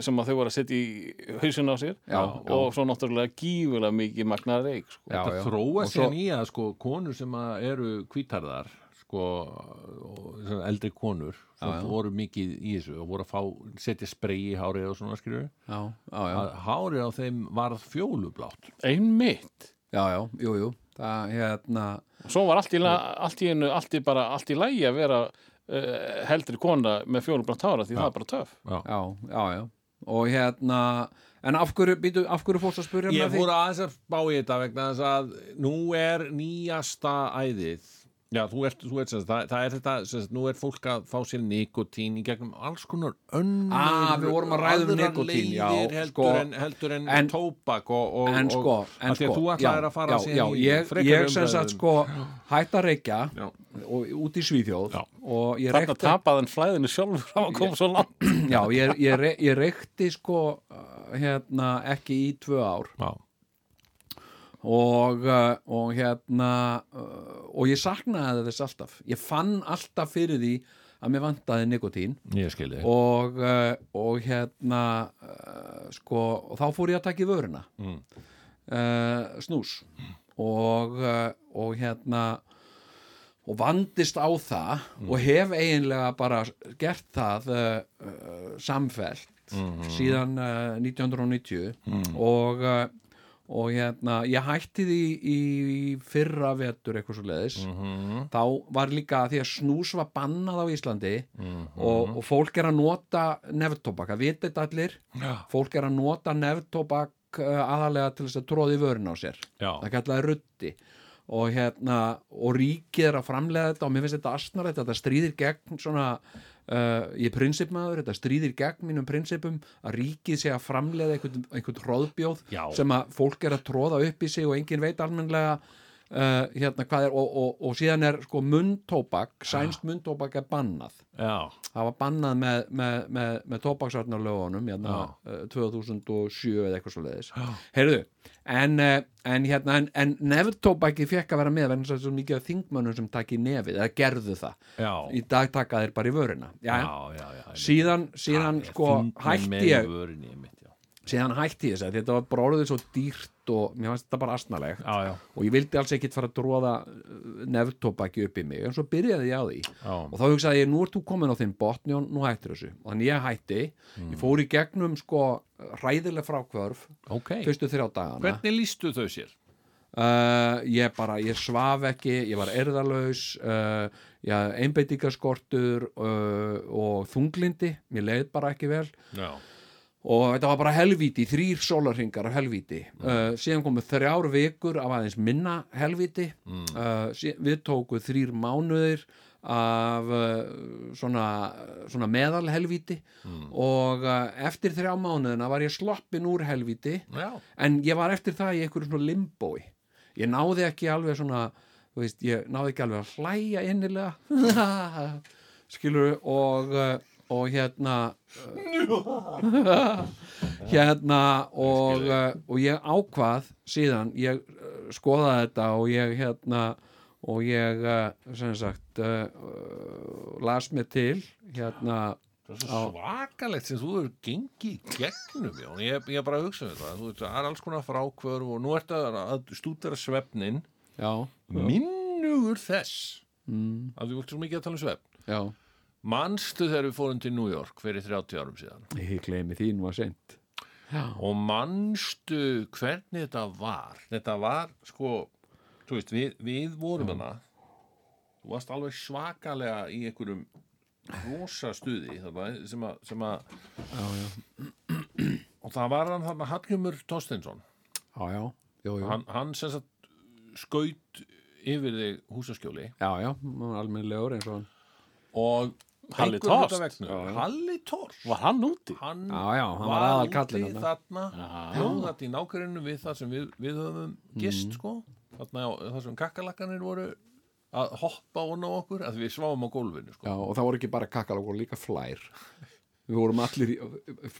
Speaker 3: sem að þau voru að setja í hausin á sér
Speaker 2: Já,
Speaker 3: og svo náttúrulega gífulega mikið magnaða reyk sko.
Speaker 2: já, já.
Speaker 1: þetta þróa
Speaker 2: Og
Speaker 1: sér
Speaker 2: svo-
Speaker 1: svo... í að sko konur sem að eru kvítarðar sko, og svona eldri konur sem voru mikið í þessu og voru að fá, setja sprey í hárið og svona skilur
Speaker 2: já, já, já.
Speaker 1: að hárið á þeim varð fjólublátt
Speaker 3: einmitt
Speaker 2: Já, já, jú, jú Það, hérna,
Speaker 3: svo var allt í, la, allt í, einu, allt í, bara, allt í lægi að vera uh, heldri kona með fjólublátt hára því það er bara töff
Speaker 2: já, já, já Og hérna, en af hverju, býtu, af hverju fórst að spurja
Speaker 1: ég
Speaker 2: mig að
Speaker 1: fór aðeins að spá í þetta vegna þess að nú er nýjasta æðið já, þú ert, þú ert sem sagt, það, það er þetta, sem sagt, nú er fólk að fá sér nikotín í gegnum alls konar önnur
Speaker 2: Ah, við vorum að ræða um
Speaker 1: aðrar
Speaker 2: nikótín,
Speaker 1: leiðir
Speaker 2: já,
Speaker 1: heldur,
Speaker 2: sko.
Speaker 1: en, heldur en,
Speaker 2: En-
Speaker 1: tóbak og, og,
Speaker 2: En sko,
Speaker 1: og,
Speaker 2: en
Speaker 1: af því
Speaker 2: sko
Speaker 1: að þú ætlaðir að fara
Speaker 2: já,
Speaker 1: síðan
Speaker 2: já,
Speaker 1: í
Speaker 2: ég,
Speaker 1: frekari
Speaker 2: ég sem sagt
Speaker 1: umræðu um-
Speaker 2: sko hætt að reykja
Speaker 1: Já.
Speaker 2: og út í Svíþjóð
Speaker 1: Já.
Speaker 2: og ég
Speaker 3: Þarna
Speaker 2: reykti
Speaker 3: tapaði hann flæðinu sjálfur hann var komið svo langt
Speaker 2: já, ég, ég, re- ég reykti sko uh, hérna ekki í tvö ár
Speaker 1: já,
Speaker 2: og, uh, og hérna uh, og ég saknaði þess alltaf ég fann alltaf fyrir því að mér vantaði nikotín
Speaker 1: ég skildi
Speaker 2: og, uh, og hérna uh, sko, og þá fór ég að taka í vöruna mm. snús og, uh, og hérna og vandist á það og hef eiginlega bara gert það uh, uh, samfellt síðan uh, 1990 og, uh, og hérna, ég hætti því í fyrra vetur eitthvað svo leiðis
Speaker 1: Mhm.
Speaker 2: þá var líka því að snús var bannað á Íslandi og, og fólk er að nota neftobak, að vita þetta allir
Speaker 1: Já.
Speaker 2: fólk er að nota neftobak uh, aðalega til þess að tróði vörun á sér
Speaker 1: Já.
Speaker 2: það kallaði ruddi og hérna, og ríkið er að framlega þetta og mér finnst þetta astnarlegt að þetta stríðir gegn svona, uh, ég er prinsipmaður þetta stríðir gegn mínum prinsipum að ríkið sé að framlega einhvern, einhvern hróðbjóð
Speaker 1: Já.
Speaker 2: sem að fólk er að tróða upp í sig og enginn veit almenlega uh, hérna hvað er og, og, og síðan er sko munntóbak sænst munntóbak er bannað
Speaker 1: já,
Speaker 2: það var bannað með, með, með, með tóbaksvarnarlögunum hérna, eh, 2007 eða eitthvað svo leiðis heyrðu, en, eh, en, hérna, en, en nefntóbaki fekk að vera með en svo mikið af þingmönnum sem takk í nefið eða gerðu það,
Speaker 1: Já.
Speaker 2: í dag taka þeir bara í vöruna já,
Speaker 1: já, já, já ég-
Speaker 2: síðan, síðan
Speaker 1: Ég
Speaker 2: sko
Speaker 1: finn mig
Speaker 2: hætti
Speaker 1: með
Speaker 2: ég
Speaker 1: vörinni, ég mitt, já.
Speaker 2: síðan hætti ég þess að þetta var bara orðið svo dýrt og mér fannst þetta bara astnalegt
Speaker 1: Já, já.
Speaker 2: og ég vildi alls ekkit fara að dróða nefntóbaki upp í mig en svo byrjaði ég á því
Speaker 1: Já.
Speaker 2: og þá hugsaði ég, nú ert þú komin á þinn botni og nú hættir þessu og þannig ég hætti,
Speaker 1: Mm.
Speaker 2: ég fór í gegnum sko hræðileg frákvörf
Speaker 1: ok,
Speaker 2: fyrstu þrjá dagana
Speaker 1: hvernig lístu þau sér?
Speaker 2: uh, ég bara, ég svaf ekki ég var erðalaus uh, eh, einbeitingaskortur uh, og þunglindi, mér leið bara ekki vel
Speaker 1: já,
Speaker 2: og þetta var bara helvíti, þrýr sólarringar af helvíti uh, síðan komu þrjár vikur af aðeins minna helvíti uh, sí- við tóku þrýr mánuðir af uh, svona, svona meðalhelvíti og uh, eftir þrjá mánuðina var ég sloppin úr helvíti
Speaker 1: Já.
Speaker 2: en ég var eftir það í einhverju svona limbói ég náði ekki alveg svona þú veist, ég náði ekki alveg að hlæja innilega [laughs] skilur og uh, og [laughs] hérna uh, hérna og, uh, og ég ákvað síðan, ég uh, skoðaði þetta og ég hérna og ég uh, sem sagt uh, uh, las mig til hérna
Speaker 1: Svo svakalegt sem þú hefur gengið í gegnum Jón, ég, ég bara hugsa um þetta þú veist, það er alls konar frákvör og nú ertu að, að stúdara svefnin
Speaker 2: já,
Speaker 1: minnugur þess mm. að þú vilt svo mikið að tala um svefn
Speaker 2: já,
Speaker 1: manstu þegar við fórum til New York fyrir 30 árum síðan
Speaker 2: ég gleymi því nú að seint
Speaker 1: og manstu hvernig þetta var þetta var sko þú veist, við, við vorum hana þú varst alveg svakalega í einhverjum rosa stuði þarna, sem að, sem að já, já. og það var hann þarna Hallgjumur Torstensson
Speaker 2: já, já, jú, jú.
Speaker 1: hann, hann sem sagt skaut yfir þig húsaskjóli
Speaker 2: já, já, almennilegur eins og hann
Speaker 1: og
Speaker 3: Halli
Speaker 1: einhverjum
Speaker 3: Torst.
Speaker 1: hluta vegna- Halli Torst
Speaker 3: Var hann úti?
Speaker 1: hann,
Speaker 2: Já, já, hann var
Speaker 1: var
Speaker 2: aðal
Speaker 1: úti
Speaker 2: kallinn
Speaker 1: þarna hljóðat í nákvæminu við það sem við, við höfum gist
Speaker 2: Mm.
Speaker 1: sko þarna á það sem kakkalakkanir voru að hoppa onna á okkur að við sváum á gólfinu sko
Speaker 2: Já, og það voru ekki bara kakkalakor, líka flær Við vorum allir í,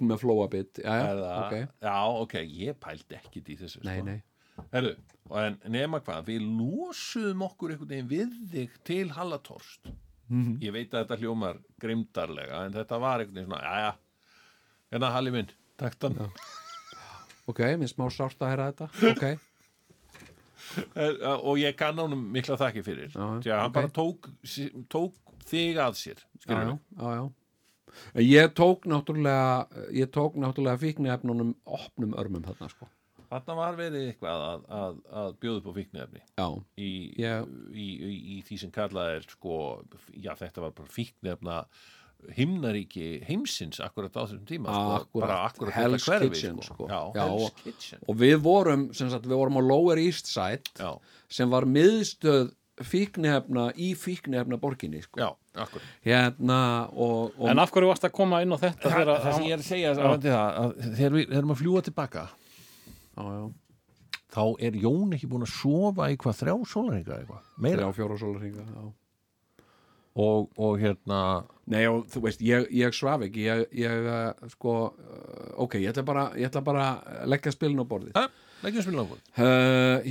Speaker 2: með flóabitt Já, já,
Speaker 1: Eða,
Speaker 2: ok
Speaker 1: já, ok, ég pældi ekkit í þessu
Speaker 2: Nei,
Speaker 1: sko.
Speaker 2: nei,
Speaker 1: Herru, en nema hvað, við losuðum okkur einhvern veginn við þig til Hallatorst.
Speaker 2: Mhm.
Speaker 1: Ég veit að þetta hljómar grimdarlega, en þetta var einhvern veginn svona, jæja, hérna Halli minn, takk þann.
Speaker 2: ok, minn smá sárt að heyra [laughs] þetta Ok,
Speaker 1: Eh, Og ég kann honum mikla þakki fyrir.
Speaker 2: Já, já,
Speaker 1: Því að hann
Speaker 2: ok.
Speaker 1: bara tók, sí- tók þig að sér,
Speaker 2: já,
Speaker 1: skilur
Speaker 2: já,
Speaker 1: við.
Speaker 2: já, já En Ég tók náttúrulega ég tók náttúrulega fíknefnunum opnum örmum þarna, sko
Speaker 1: Þarna var verið eitthvað að, að, að bjóða upp á fíknefni
Speaker 2: Já,
Speaker 1: í,
Speaker 2: Já.
Speaker 1: í, í, í því sem kallað er, sko, já, þetta var bara fíknefna himnaríki heimsins akkurat á þessum tíma sko, bara
Speaker 2: Akkúrat.
Speaker 1: akkurat
Speaker 2: Hell's
Speaker 1: þetta hverfi
Speaker 2: Kitchen, sko.
Speaker 1: Já,
Speaker 2: Já,
Speaker 1: Hell's
Speaker 2: og-
Speaker 1: Kitchen
Speaker 2: og við vorum, sem sagt, við vorum á Lower East Side
Speaker 1: já,
Speaker 2: sem var miðstöð fíknefna í fíknefna borginni, sko
Speaker 1: já, akkurat
Speaker 2: Hérna og, og
Speaker 3: En af hverju varst að koma inn á þetta
Speaker 1: Það,
Speaker 3: þegar
Speaker 1: það sem ég er að segja að, að, að þegar við erum að fljúa tilbaka
Speaker 2: já, já,
Speaker 1: þá er Jón ekki búin að sofa í hvað þrjá sólaringa eitthvað, meira
Speaker 2: þrjá fjóra sólarhinga, já
Speaker 1: og, og hérna
Speaker 2: Nei og þú veist, ég, ég svaf ekki ég, ég eh, sko eh, ok, ég ætla bara, ég ætla bara að leggja spilin á borðið uh,
Speaker 1: að, leggjum spilin á okkur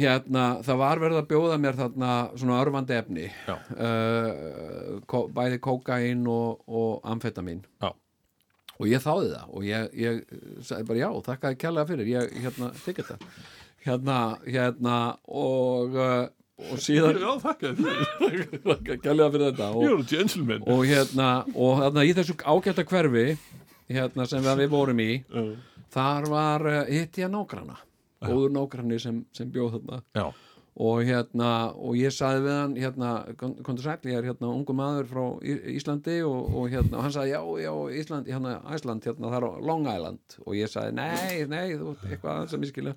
Speaker 2: hérna, það var verið að bjóða mér þarna svona örfandi efni
Speaker 1: Já.
Speaker 2: uh, kó, bæði kókain og, og amfetamin
Speaker 1: Já.
Speaker 2: og ég þáði það og ég, ég eh, sagði bara já, þakkaði kærlega fyrir ég hérna, þykir þetta hérna, hérna og, uh, og síðan [laughs]
Speaker 1: Já, þakka þér,
Speaker 2: kærlega fyrir þetta og,
Speaker 1: eru gentleman
Speaker 2: og hérna og þarna í þessu ágæta hverfi hérna sem við vorum í þar var eh, hitt ég nágrana góður nágrani sem, sem bjóð þarna
Speaker 1: Já,
Speaker 2: og hérna og ég saði við hann hérna, kom- komdu sæll, ég er hérna ungu maður frá Í- Íslandi og, og hérna og hann saði já, já, Ísland, hérna Æsland hérna þar á Long Island og ég saði nei, nei, þú ert eitthvað aðeins að miskilja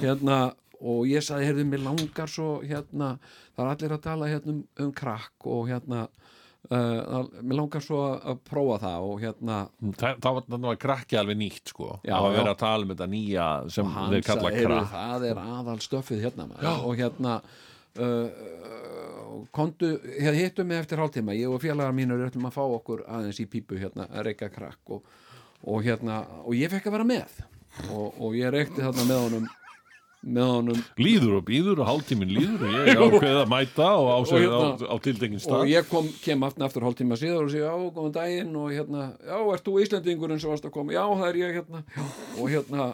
Speaker 2: hérna og ég saði heyrðu, mér langar svo hérna það er allir að tala hérna um, um krakk og hérna uh, það- mér langar svo að prófa það og hérna
Speaker 1: það, það, var, það var krakki alveg nýtt sko
Speaker 2: Já,
Speaker 1: Það var
Speaker 2: já.
Speaker 1: verið að tala um þetta nýja sem
Speaker 2: hann
Speaker 1: þeir kalla
Speaker 2: sagði, "Heyrðu,
Speaker 1: krakk
Speaker 2: það er aðal stöffið hérna maður. og hérna uh, kontu, hér, hittum við eftir hálftíma ég og félagar mínur við ætlum að fá okkur aðeins í pípu hérna að reyka krakk og, og hérna, og ég fekk að vera með og, og ég reykti þarna með honum með honum
Speaker 1: líður og býður og hálftíminn líður [laughs] og ég ákveði að mæta og ásöðu
Speaker 2: Og hérna-
Speaker 1: á, á tiltekin
Speaker 2: og
Speaker 1: stað
Speaker 2: ég kom, kem aftur aftur hálftíma síðar og segi, já, góðan daginn og hérna, já, ert þú Íslendingurinn sem varst að koma já, það er ég hérna og hérna,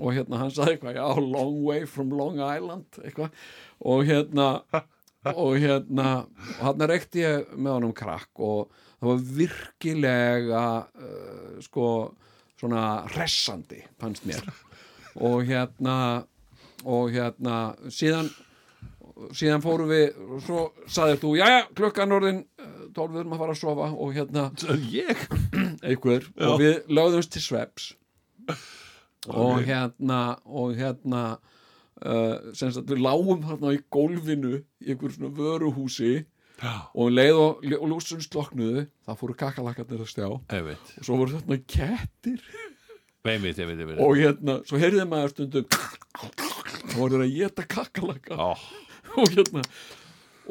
Speaker 2: og hérna hann sagði eitthvað já, long way from Long Island eitthvað, og hérna og hérna, og hann reykti ég með honum krakk og það var virkilega uh, sko, svona hressandi, fannst mér og hérna og hérna, síðan síðan fórum við og svo saðir þú, jæja, klukkan orðin eh,
Speaker 1: [laughs]
Speaker 2: 12 við erum að fara að sofa og hérna
Speaker 1: ég
Speaker 2: einhver og við lögðumst til sveps og hérna og hérna uh, sem sagt við lágum þarna í gólfinu í einhver svona vöruhúsi og um leið og, og lúsun sloknuðu það fóru kakalakkarnir að stjá og
Speaker 1: einmitt,
Speaker 2: svo voru þarna kettir
Speaker 1: einmitt, einmitt, einmitt.
Speaker 2: og hérna, svo heyrði maður stundum þá voru þeir að geta kakalakka
Speaker 1: Ó,
Speaker 2: [laughs] og hérna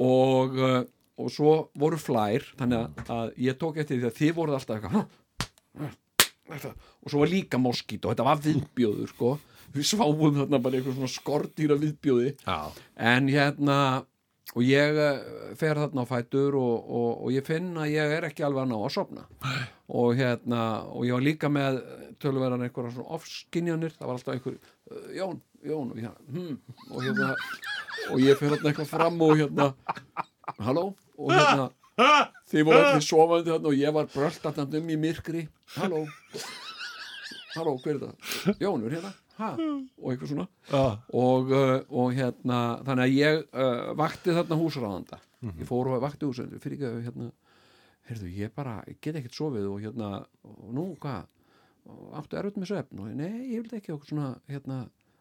Speaker 2: og, uh, og svo voru flær þannig að- að ég tók eftir því að þið voruð alltaf eitthvað "Huh, huh, þetta." og svo var líka moskít og þetta var viðbjóður sko við sváum þarna bara eitthvað svona skordýra viðbjóði
Speaker 1: já,
Speaker 2: en hérna og ég eh, fer þarna á fætur og, og, og ég finn að ég er ekki alveg að ná að sofna og hérna og ég var líka með tölverðan einhverja svona ofskinjanir, það var alltaf einhver eh, Jón, Jón og, ég, hmm, og hérna og ég fer þarna eitthvað fram og hérna halló og hérna þið voru allir sofandi þarna og ég var bröldatand um í myrkri halló halló, hver er það? Jón, er hérna? Ha? og eitthvað svona
Speaker 1: Ah,
Speaker 2: og, uh, og hérna þannig að ég uh, vakti þarna húsráðanda ég fór og vakti húsráðanda fyrir ekki að hérna, heyrðu ég bara ég get ekkert sofið og hérna og nú hvað, Og áttu erfitt með svefn og ég, nei ég vildi ekki okkur svona hérna,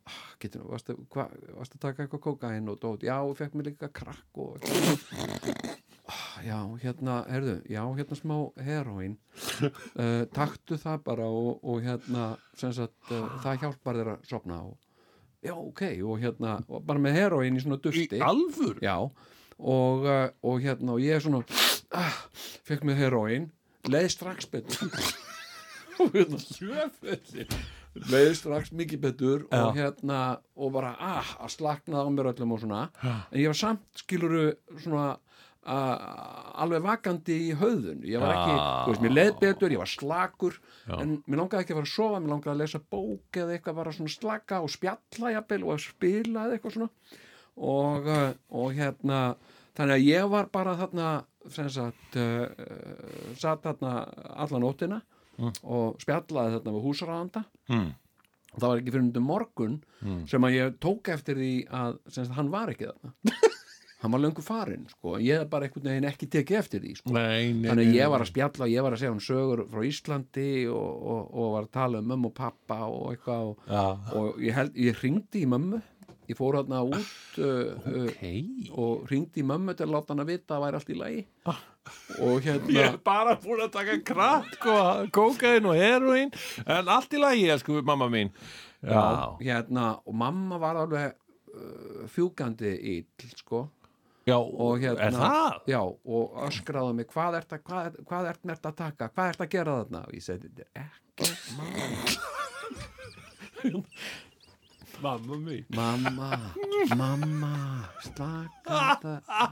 Speaker 2: ah, getur, varstu, hva, varstu að taka eitthvað kókain og dót, já og fekk mér líka krakk og ah, já hérna, heyrðu, já hérna smá heroin uh, taktu það bara og, og hérna sem sagt, uh, það hjálpar þér að sofna og já, ok, og hérna og bara með heroin í svona dufti
Speaker 1: í alvör
Speaker 2: já, og, uh, og hérna og ég svona ah, fekk með heroin, leið strax betur [laughs] og hérna sjöfelli leið strax mikið betur og hérna og bara ah, að slakna á mér öllum og svona en ég var samt skiluru svona Uh, alveg vakandi í höfðun ég var ekki,
Speaker 1: Já.
Speaker 2: þú veist, mér leið betur, ég var slakur en mér langaði ekki að fara að sofa mér langaði að lesa bók eða eitthvað bara svona slaka og spjalla jafnvel og að spila eða eitthvað svona og, uh, og hérna þannig að ég var bara þarna sem sagt uh, uh, satt þarna alla nóttina og spjallaði þarna við húsraðanda
Speaker 1: Mm.
Speaker 2: og það var ekki fyrir undir morgun
Speaker 1: Hmm.
Speaker 2: sem að ég tók eftir því að sem sagt, hann var
Speaker 1: [laughs]
Speaker 2: ekki þarna hann var löngu farinn sko ég hef bara einhvern veginn ekki tekið eftir því sko
Speaker 1: nei, nei,
Speaker 2: þannig
Speaker 1: nei,
Speaker 2: að ég var að spjalla og ég var að segja hún sögur frá Íslandi og, og, og var að tala um mömmu og pappa og eitthvað og,
Speaker 1: já,
Speaker 2: og ég, held, ég ringdi í mömmu ég fór hérna út
Speaker 1: Ah,
Speaker 2: uh, uh,
Speaker 1: hei
Speaker 2: og ringdi í mömmu til að láta hann að vita að það væri allt í lagi
Speaker 1: Ah.
Speaker 2: og hérna
Speaker 1: Ég er bara búin að taka krakk og kókain og heroin en allt í lagi, elsku mamma mín Já,
Speaker 2: hérna og mamma var alveg uh, fjúkandi ill sko
Speaker 1: já
Speaker 2: og hérna
Speaker 1: er það?
Speaker 2: Já, og öskraði á mig hvað ert að, hvað, hvað ert mert að taka, hvað ert að gera þarna og ég segi, þetta er ekki
Speaker 1: Mamma mín
Speaker 2: Mamma, mamma, slaka þetta á.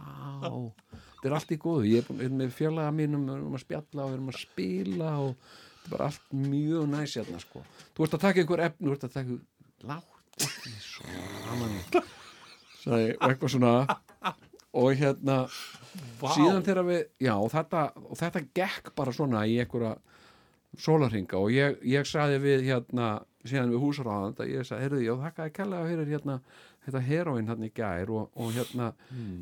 Speaker 2: Þetta er allt í góðu. Ég er búin- er með fjölaða mínum, við erum að spjalla og við erum að spila og þetta er bara allt mjög næs hérna sko. Þú ert að taka einhver efni, þú ert að taka látt ekki svona. Sæði, og eitthvað svona. Og hérna,
Speaker 1: Vá.
Speaker 2: síðan þegar við, já, og þetta, og þetta gekk bara svona í einhverja sólarhinga og ég, ég sagði við hérna, síðan við húsráðand að ég sagði, heyrðu, já, þakkaði kærlega fyrir hérna, þetta heroin hann í gær og, og hérna,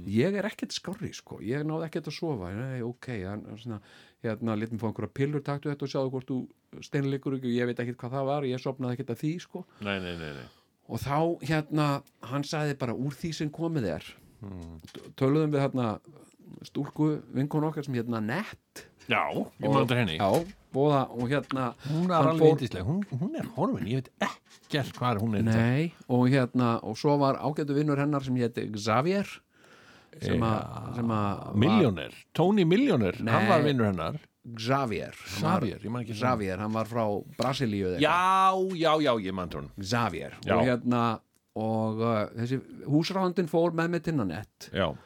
Speaker 2: ég er ekkert skorri sko, ég náði ekkert að sofa nei, ok, hann, svona, hérna, litum fá einhverja pillur, taktu þetta og sjáðu hvort þú steinleikur ekki og ég veit ekkert hvað það var ég sopnaði ekkert að því sko
Speaker 1: Nei, nei, nei, nei
Speaker 2: og þá hérna hann sagði bara úr því sem komið er mm. töluðum við hérna stúlku vinkon okkar sem hérna nett
Speaker 1: Já, ég maður þetta henni
Speaker 2: já, bóða og hérna
Speaker 1: Hún
Speaker 2: hann
Speaker 1: er alveg
Speaker 2: fór-
Speaker 1: yndisleg, hún, hún er horfin, ég veit ekkert hvað hún er
Speaker 2: Nei, og hérna, og svo var ágætu vinnur hennar sem héti Xavier
Speaker 1: Eh,
Speaker 2: sem að sem að var-
Speaker 1: Milljóner, Tony Milljóner, hann
Speaker 2: Nei.
Speaker 1: var vinnur hennar
Speaker 2: Xavier hann var-
Speaker 1: Xavier, ég man ekki svona.
Speaker 2: Xavier, hann var frá Brasilíu eða eitthvað.
Speaker 1: Já, já, já, ég man trón
Speaker 2: Xavier,
Speaker 1: Já.
Speaker 2: og hérna og uh, þessi húsráðandinn fór með mig tinnan ett
Speaker 1: Já,
Speaker 2: og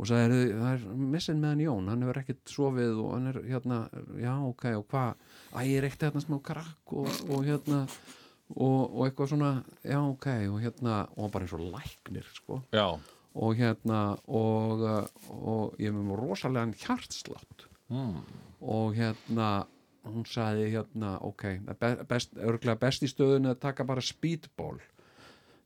Speaker 2: sagði, "Heyrðu, það er missin með hann Jón hann hefur ekkert sofið og hann er hérna já, ok, og hvað æ, ég reykti hérna smá krakk og, og hérna og, og eitthvað svona já, ok, og hérna, og hann bara eins og læknir, sko
Speaker 1: já,
Speaker 2: og hérna og, uh, og ég er með rosalega hjartslátt mm. og hérna hún sagði hérna ok, það er be- best, örglega best í stöðunni að taka bara speedball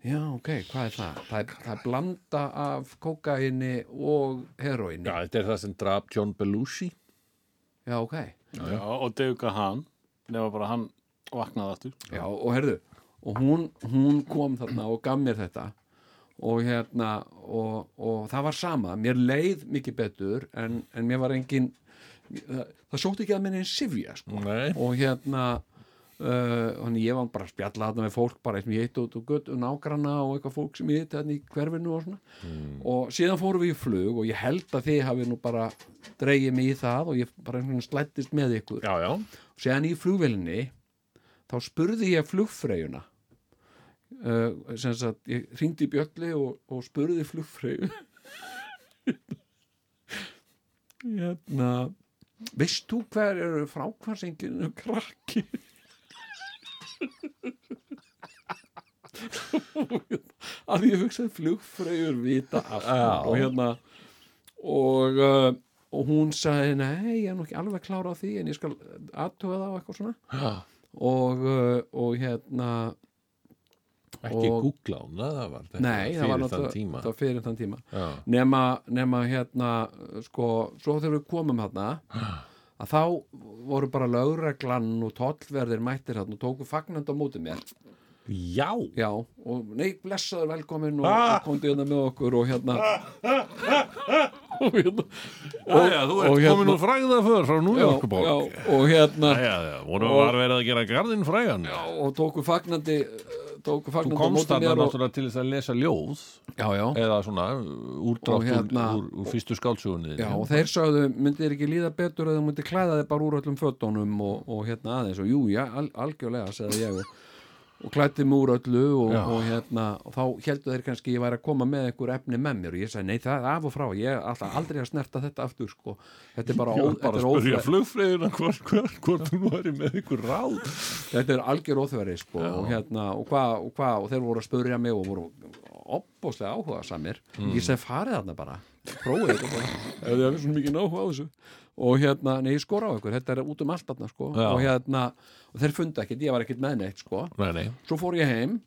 Speaker 2: já ok, hvað er það? það er, það er blanda af kókaini og heroini
Speaker 1: já, þetta er það sem draf John Belushi
Speaker 2: já ok,
Speaker 3: Já, og Deuka hann nema bara hann vaknaði aftur
Speaker 2: Já, og herðu, og hún, hún kom þarna og gaf mér þetta og hérna, og, og það var sama, mér leið mikið betur en, en mér var engin það, það sótti ekki að minni en sifja sko.
Speaker 1: Nei.
Speaker 2: og hérna uh, hann ég var bara að spjalla þarna með fólk bara sem ég hitt út og gött og nágrana og eitthvað fólk sem ég hitt þarna í hverfinu og svona og síðan fórum við í flug og ég held að þið hafi nú bara dreigið mig í það og ég bara einhvern veginn slættist með ykkur
Speaker 1: já, já,
Speaker 2: síðan í flugvelinni þá spurði ég flugfreyjuna uh, sem sagt ég hringdi í bjöllu og, og spurði flugfreyju [laughs] hérna veist þú hver eru frákvarsenginu krakki [laughs] að ég hugsaði flugfreyjur vita
Speaker 1: Já.
Speaker 2: allt og hérna og, uh, og hún sagði nei, ég er nú ekki alveg klára á því en ég skal aðtöða það og eitthvað svona
Speaker 1: Já.
Speaker 2: og, uh, og hérna
Speaker 1: ekki
Speaker 2: Og-
Speaker 1: googla hún það var þetta
Speaker 2: nei, það var
Speaker 1: fyrir þann
Speaker 2: náttúrulega
Speaker 1: tíma
Speaker 2: það var fyrir þann tíma
Speaker 1: já,
Speaker 2: nema, nema hérna uh, sko, svo þegar við komum hérna að þá voru bara lögreglan og tollverðir mættir hérna og tóku fagnand á móti mér
Speaker 1: já.
Speaker 2: já, og nei, blessaður velkomin og,
Speaker 1: Ah!
Speaker 2: og komdu hérna með okkur og hérna
Speaker 1: Jæja, þú ert
Speaker 2: og hérna-
Speaker 1: komin úr fræða för frá New
Speaker 2: já,
Speaker 1: York
Speaker 2: já, og hérna
Speaker 1: já, já, voru var verið að gera garðin frægan
Speaker 2: og tóku fagnandi tóku
Speaker 1: þú
Speaker 2: fagnandi á
Speaker 1: komst
Speaker 2: móti
Speaker 1: þarna
Speaker 2: mér og,
Speaker 1: náttúrulega Eh, til þess að lesa ljóð
Speaker 2: já, já,
Speaker 1: eða svona
Speaker 2: Og
Speaker 1: úrdrátt
Speaker 2: hérna-
Speaker 1: úr, úr, úr fyrstu skálsugunni
Speaker 2: já, og þeir sagðu myndi þér ekki líða betur eða þú myndi klæða þig bara úr öllum fötunum og, og hérna aðeins og jú, já, al, algjörlega, sagði ég og, og klætti mig úr öllu og,
Speaker 1: Já.
Speaker 2: og hérna, og þá heldur þeir kannski ég væri að koma með einhver efni með mér og ég sagði, nei, það er af og frá, ég ætla aldrei að snerta þetta aftur, sko, þetta er bara,
Speaker 1: Ég
Speaker 2: ó,
Speaker 1: var bara að
Speaker 2: þetta, er
Speaker 1: spyrja
Speaker 2: óþver-
Speaker 1: flugfræðina hvort hvar, hvar hún væri með ykkur ráð
Speaker 2: þetta er algjör óþveri, sko, og hérna og hvað, og hvað, og þeir voru að spurja mig og voru opbóðslega áhuga samir
Speaker 1: Mm.
Speaker 2: ég segi, farið þarna bara prófið þetta bara, ef þið hafið svona mikið náhuga á þessu og hérna, nei, ég skora á ykkur þetta er út um allt þarna, sko
Speaker 1: Já.
Speaker 2: og hérna, og þeir funda ekkit, ég var ekkit með neitt, sko
Speaker 1: Nei, nei,
Speaker 2: svo fór ég heim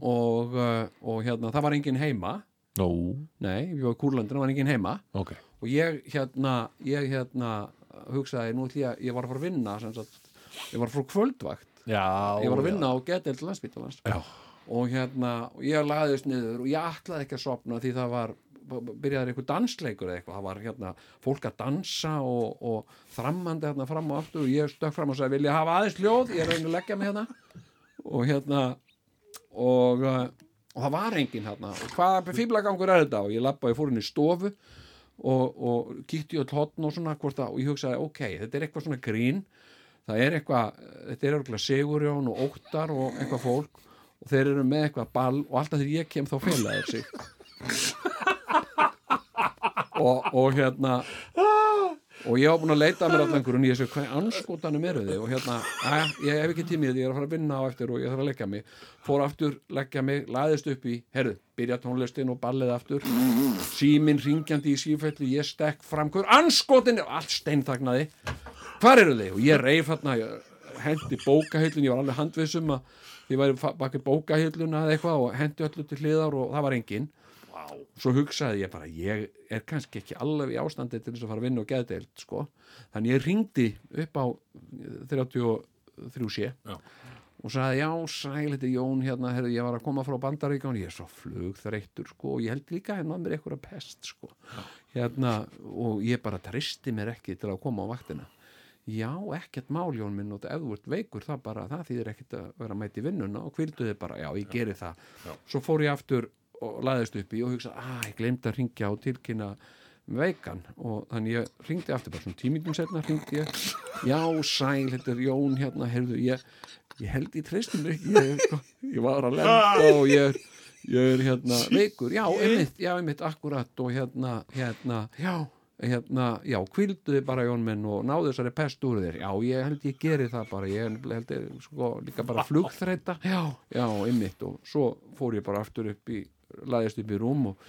Speaker 2: og, uh, og hérna, það var enginn heima
Speaker 1: no,
Speaker 2: nei, ég var í Kúrlandinu, það var enginn heima
Speaker 1: ok
Speaker 2: og ég hérna, ég hérna hugsaði, nú ætli ég, ég var að fara að vinna sem sagt, ég var að fara á kvöldvakt
Speaker 1: Já,
Speaker 2: ég var að vinna á geteld landsbítalans
Speaker 1: Já.
Speaker 2: og hérna, og ég laðist niður og ég ætlaði ekki að sopna því það var byrjaði einhver dansleikur eða eitthvað það var hérna fólk að dansa og, og þrammandi hérna fram og aftur og ég stökk fram og sagði, vil ég hafa aðeins ljóð ég er að reyna að leggja mig hérna og hérna og, uh, og það var enginn hérna og hvað fíblagangur er þetta og ég labbaði fór inn í stofu og, og kíkti í öll hotn og svona hvort að, og ég hugsaði, ok, þetta er eitthvað svona grín það er eitthvað, þetta er eitthvað Sigurjón og Óttar og eitthvað fólk og þeir eru með eitthvað ball og alltaf þegar ég kem þá fela þeir sig og, og hérna og ég var búin að leita að mér allan hverjum ég sé hvað anskotanum eru þið og hérna, að, ég hef ekki tímið ég er að fara að vinna á eftir og ég þarf að leggja mig fór aftur, leggja mig, laðist upp í herðu, byrja tónlistin og ballið aftur síminn ringjandi í sífellu ég stekk fram hver anskotin er?" og allt steinþagnaði hvar eru þið? Og ég reif hérna, ég hendi bókahillun, ég var alveg handvissum að ég væri fa- baki bókahilluna eða eitthvað og hendi öllu til hliðar og það var enginn. Wow. Svo hugsaði ég bara, ég er kannski ekki alveg í ástandi til þess að fara að vinna og geðdeild, sko. Þannig ég ringdi upp á 33 sé
Speaker 1: Já.
Speaker 2: og sagði, já, sæl, þetta er Jón hérna, herrðu, ég var að koma frá Bandaríkjón, ég er svo flugþreyttur, sko, og ég held líka hérna mér eitthvað pest, sko. Hérna, og ég bara tristi mér ekki til að koma á vaktina já, ekkert mál Jón minn og ef þú ert veikur það bara, það þýðir ekkert að vera mætt í vinnuna og hvildu þið bara, já, ég geri það svo fór ég aftur og laðist upp í og hugsa, að ég glemd að ringja og tilkynna veikan og þannig ég ringdi aftur bara svona tímingum setna ringdi ég, já, sæl þetta er Jón hérna, heyrðu, ég ég held ég treysti mig ekki, ég, ég var að lenda og ég er ég er hérna veikur, já, einmitt, já, einmitt akkurat og hérna, hérna já, hérna, já, kvilduði bara Jón minn og náðu þessari pest úr þér já, ég held ég geri það bara, ég nefnilega held ég, sko, líka bara flugþreita já, já, einmitt og svo fór ég bara aftur upp í, laðist upp í rúm og,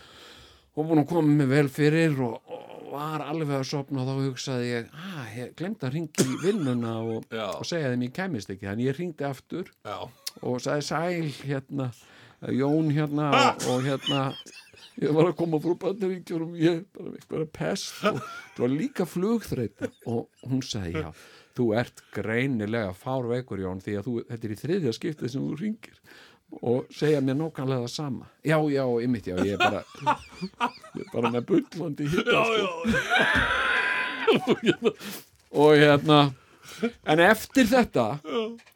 Speaker 2: og búin að koma mig vel fyrir og, og var alveg að sopna og þá hugsaði ég, að, ég glemd að ringi í vinnuna og,
Speaker 1: Já.
Speaker 2: og segja þeim ég kæmist ekki, þannig ég ringdi aftur
Speaker 1: Já,
Speaker 2: og sagði sæl hérna Jón hérna og, og hérna ég var að koma frá bandaríkjunum ég bara eitthvað pest og þú var líka flugþreyt og hún sagði já þú ert greinilega fárveikur Jón því að þú, þetta er í þriðja skiptið sem þú ringir og segja mér nákvæmlega það sama já, já, ymmit, já, ég er bara ég er bara með bullandi hitta sko. [laughs] og hérna en eftir þetta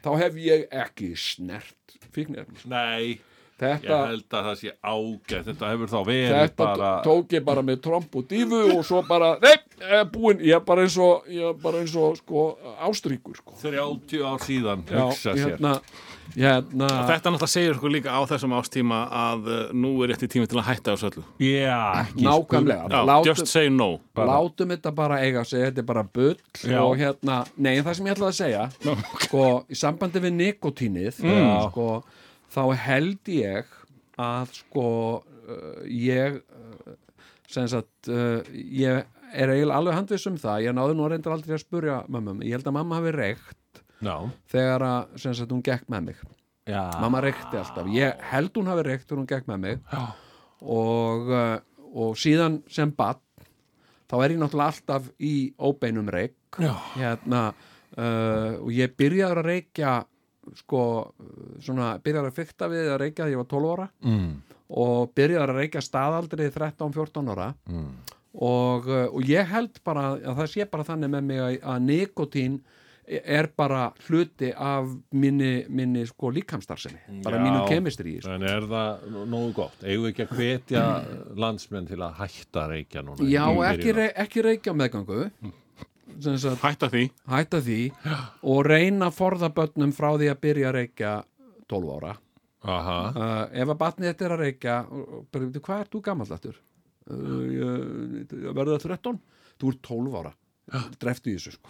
Speaker 2: þá hef ég ekki snert fíknefni
Speaker 1: Nei, ég
Speaker 2: þetta,
Speaker 1: held að það sé ágætt Þetta hefur þá verið
Speaker 2: þetta
Speaker 1: bara
Speaker 2: tók ég bara með tromp og dífu og svo bara, nei, eh, búinn ég er bara eins og, ég er bara eins og sko, ástríkur sko.
Speaker 1: 30 ár síðan
Speaker 2: Já,
Speaker 1: hugsa sér
Speaker 2: hérna, hérna
Speaker 3: Þetta náttúrulega segir okkur líka á þessum ástíma að uh, nú er rétti tími til að hætta þessu öllu.
Speaker 1: Já, ekki
Speaker 2: nákvæmlega
Speaker 3: Já,
Speaker 2: látum,
Speaker 3: just say no.
Speaker 2: látum þetta bara eiga sig, þetta er bara bull
Speaker 1: Já.
Speaker 2: og hérna, nei, en það sem ég ætlaði að segja sko, í sambandi við nikotínið sko, þá held ég að sko uh, ég uh, sem sagt, uh, ég er eiginlega alveg handviss um það, ég náði nú reyndar aldrei að spurja mamma, um. ég held að mamma hafi reykt
Speaker 1: Já,
Speaker 2: þegar að, sem sagt, hún gekk með mig
Speaker 1: já
Speaker 2: mamma reykti alltaf, ég held hún hafi reykt þegar hún gekk með mig og, uh, og síðan sem bann þá er ég náttúrulega alltaf í óbeinum reyk
Speaker 1: Já.
Speaker 2: hérna uh, og ég byrjaður að reykja sko, uh, svona byrjaður að fykta við að reykja þegar ég var 12 ára
Speaker 1: mm.
Speaker 2: og byrjaður að reykja staðaldrið 13-14 ára
Speaker 1: Mm.
Speaker 2: og, uh, og ég held bara að það sé bara þannig með mig að, að nikotín er bara hluti af minni, minni sko líkamstarfsemi bara
Speaker 1: Já.
Speaker 2: mínu kemistri í sko.
Speaker 1: En er það nú- nógu gott? Eigum við ekki að hvetja landsmenn til að hætta að reykja núna?
Speaker 2: Já,
Speaker 1: Í byrjun? Hm.
Speaker 2: ekki, rey, ekki reykja meðgangu sem sagt
Speaker 3: Hætta því.
Speaker 2: hætta því og reyna að forða börnum frá því að byrja að reykja 12 ára
Speaker 1: Aha,
Speaker 2: uh, ef að batnið þetta er að reykja og- og bara, "Veitu, hvað ert þú gammallættur? Uh, ég, ég verða 13 þú ert 12 ára dreftu í þessu sko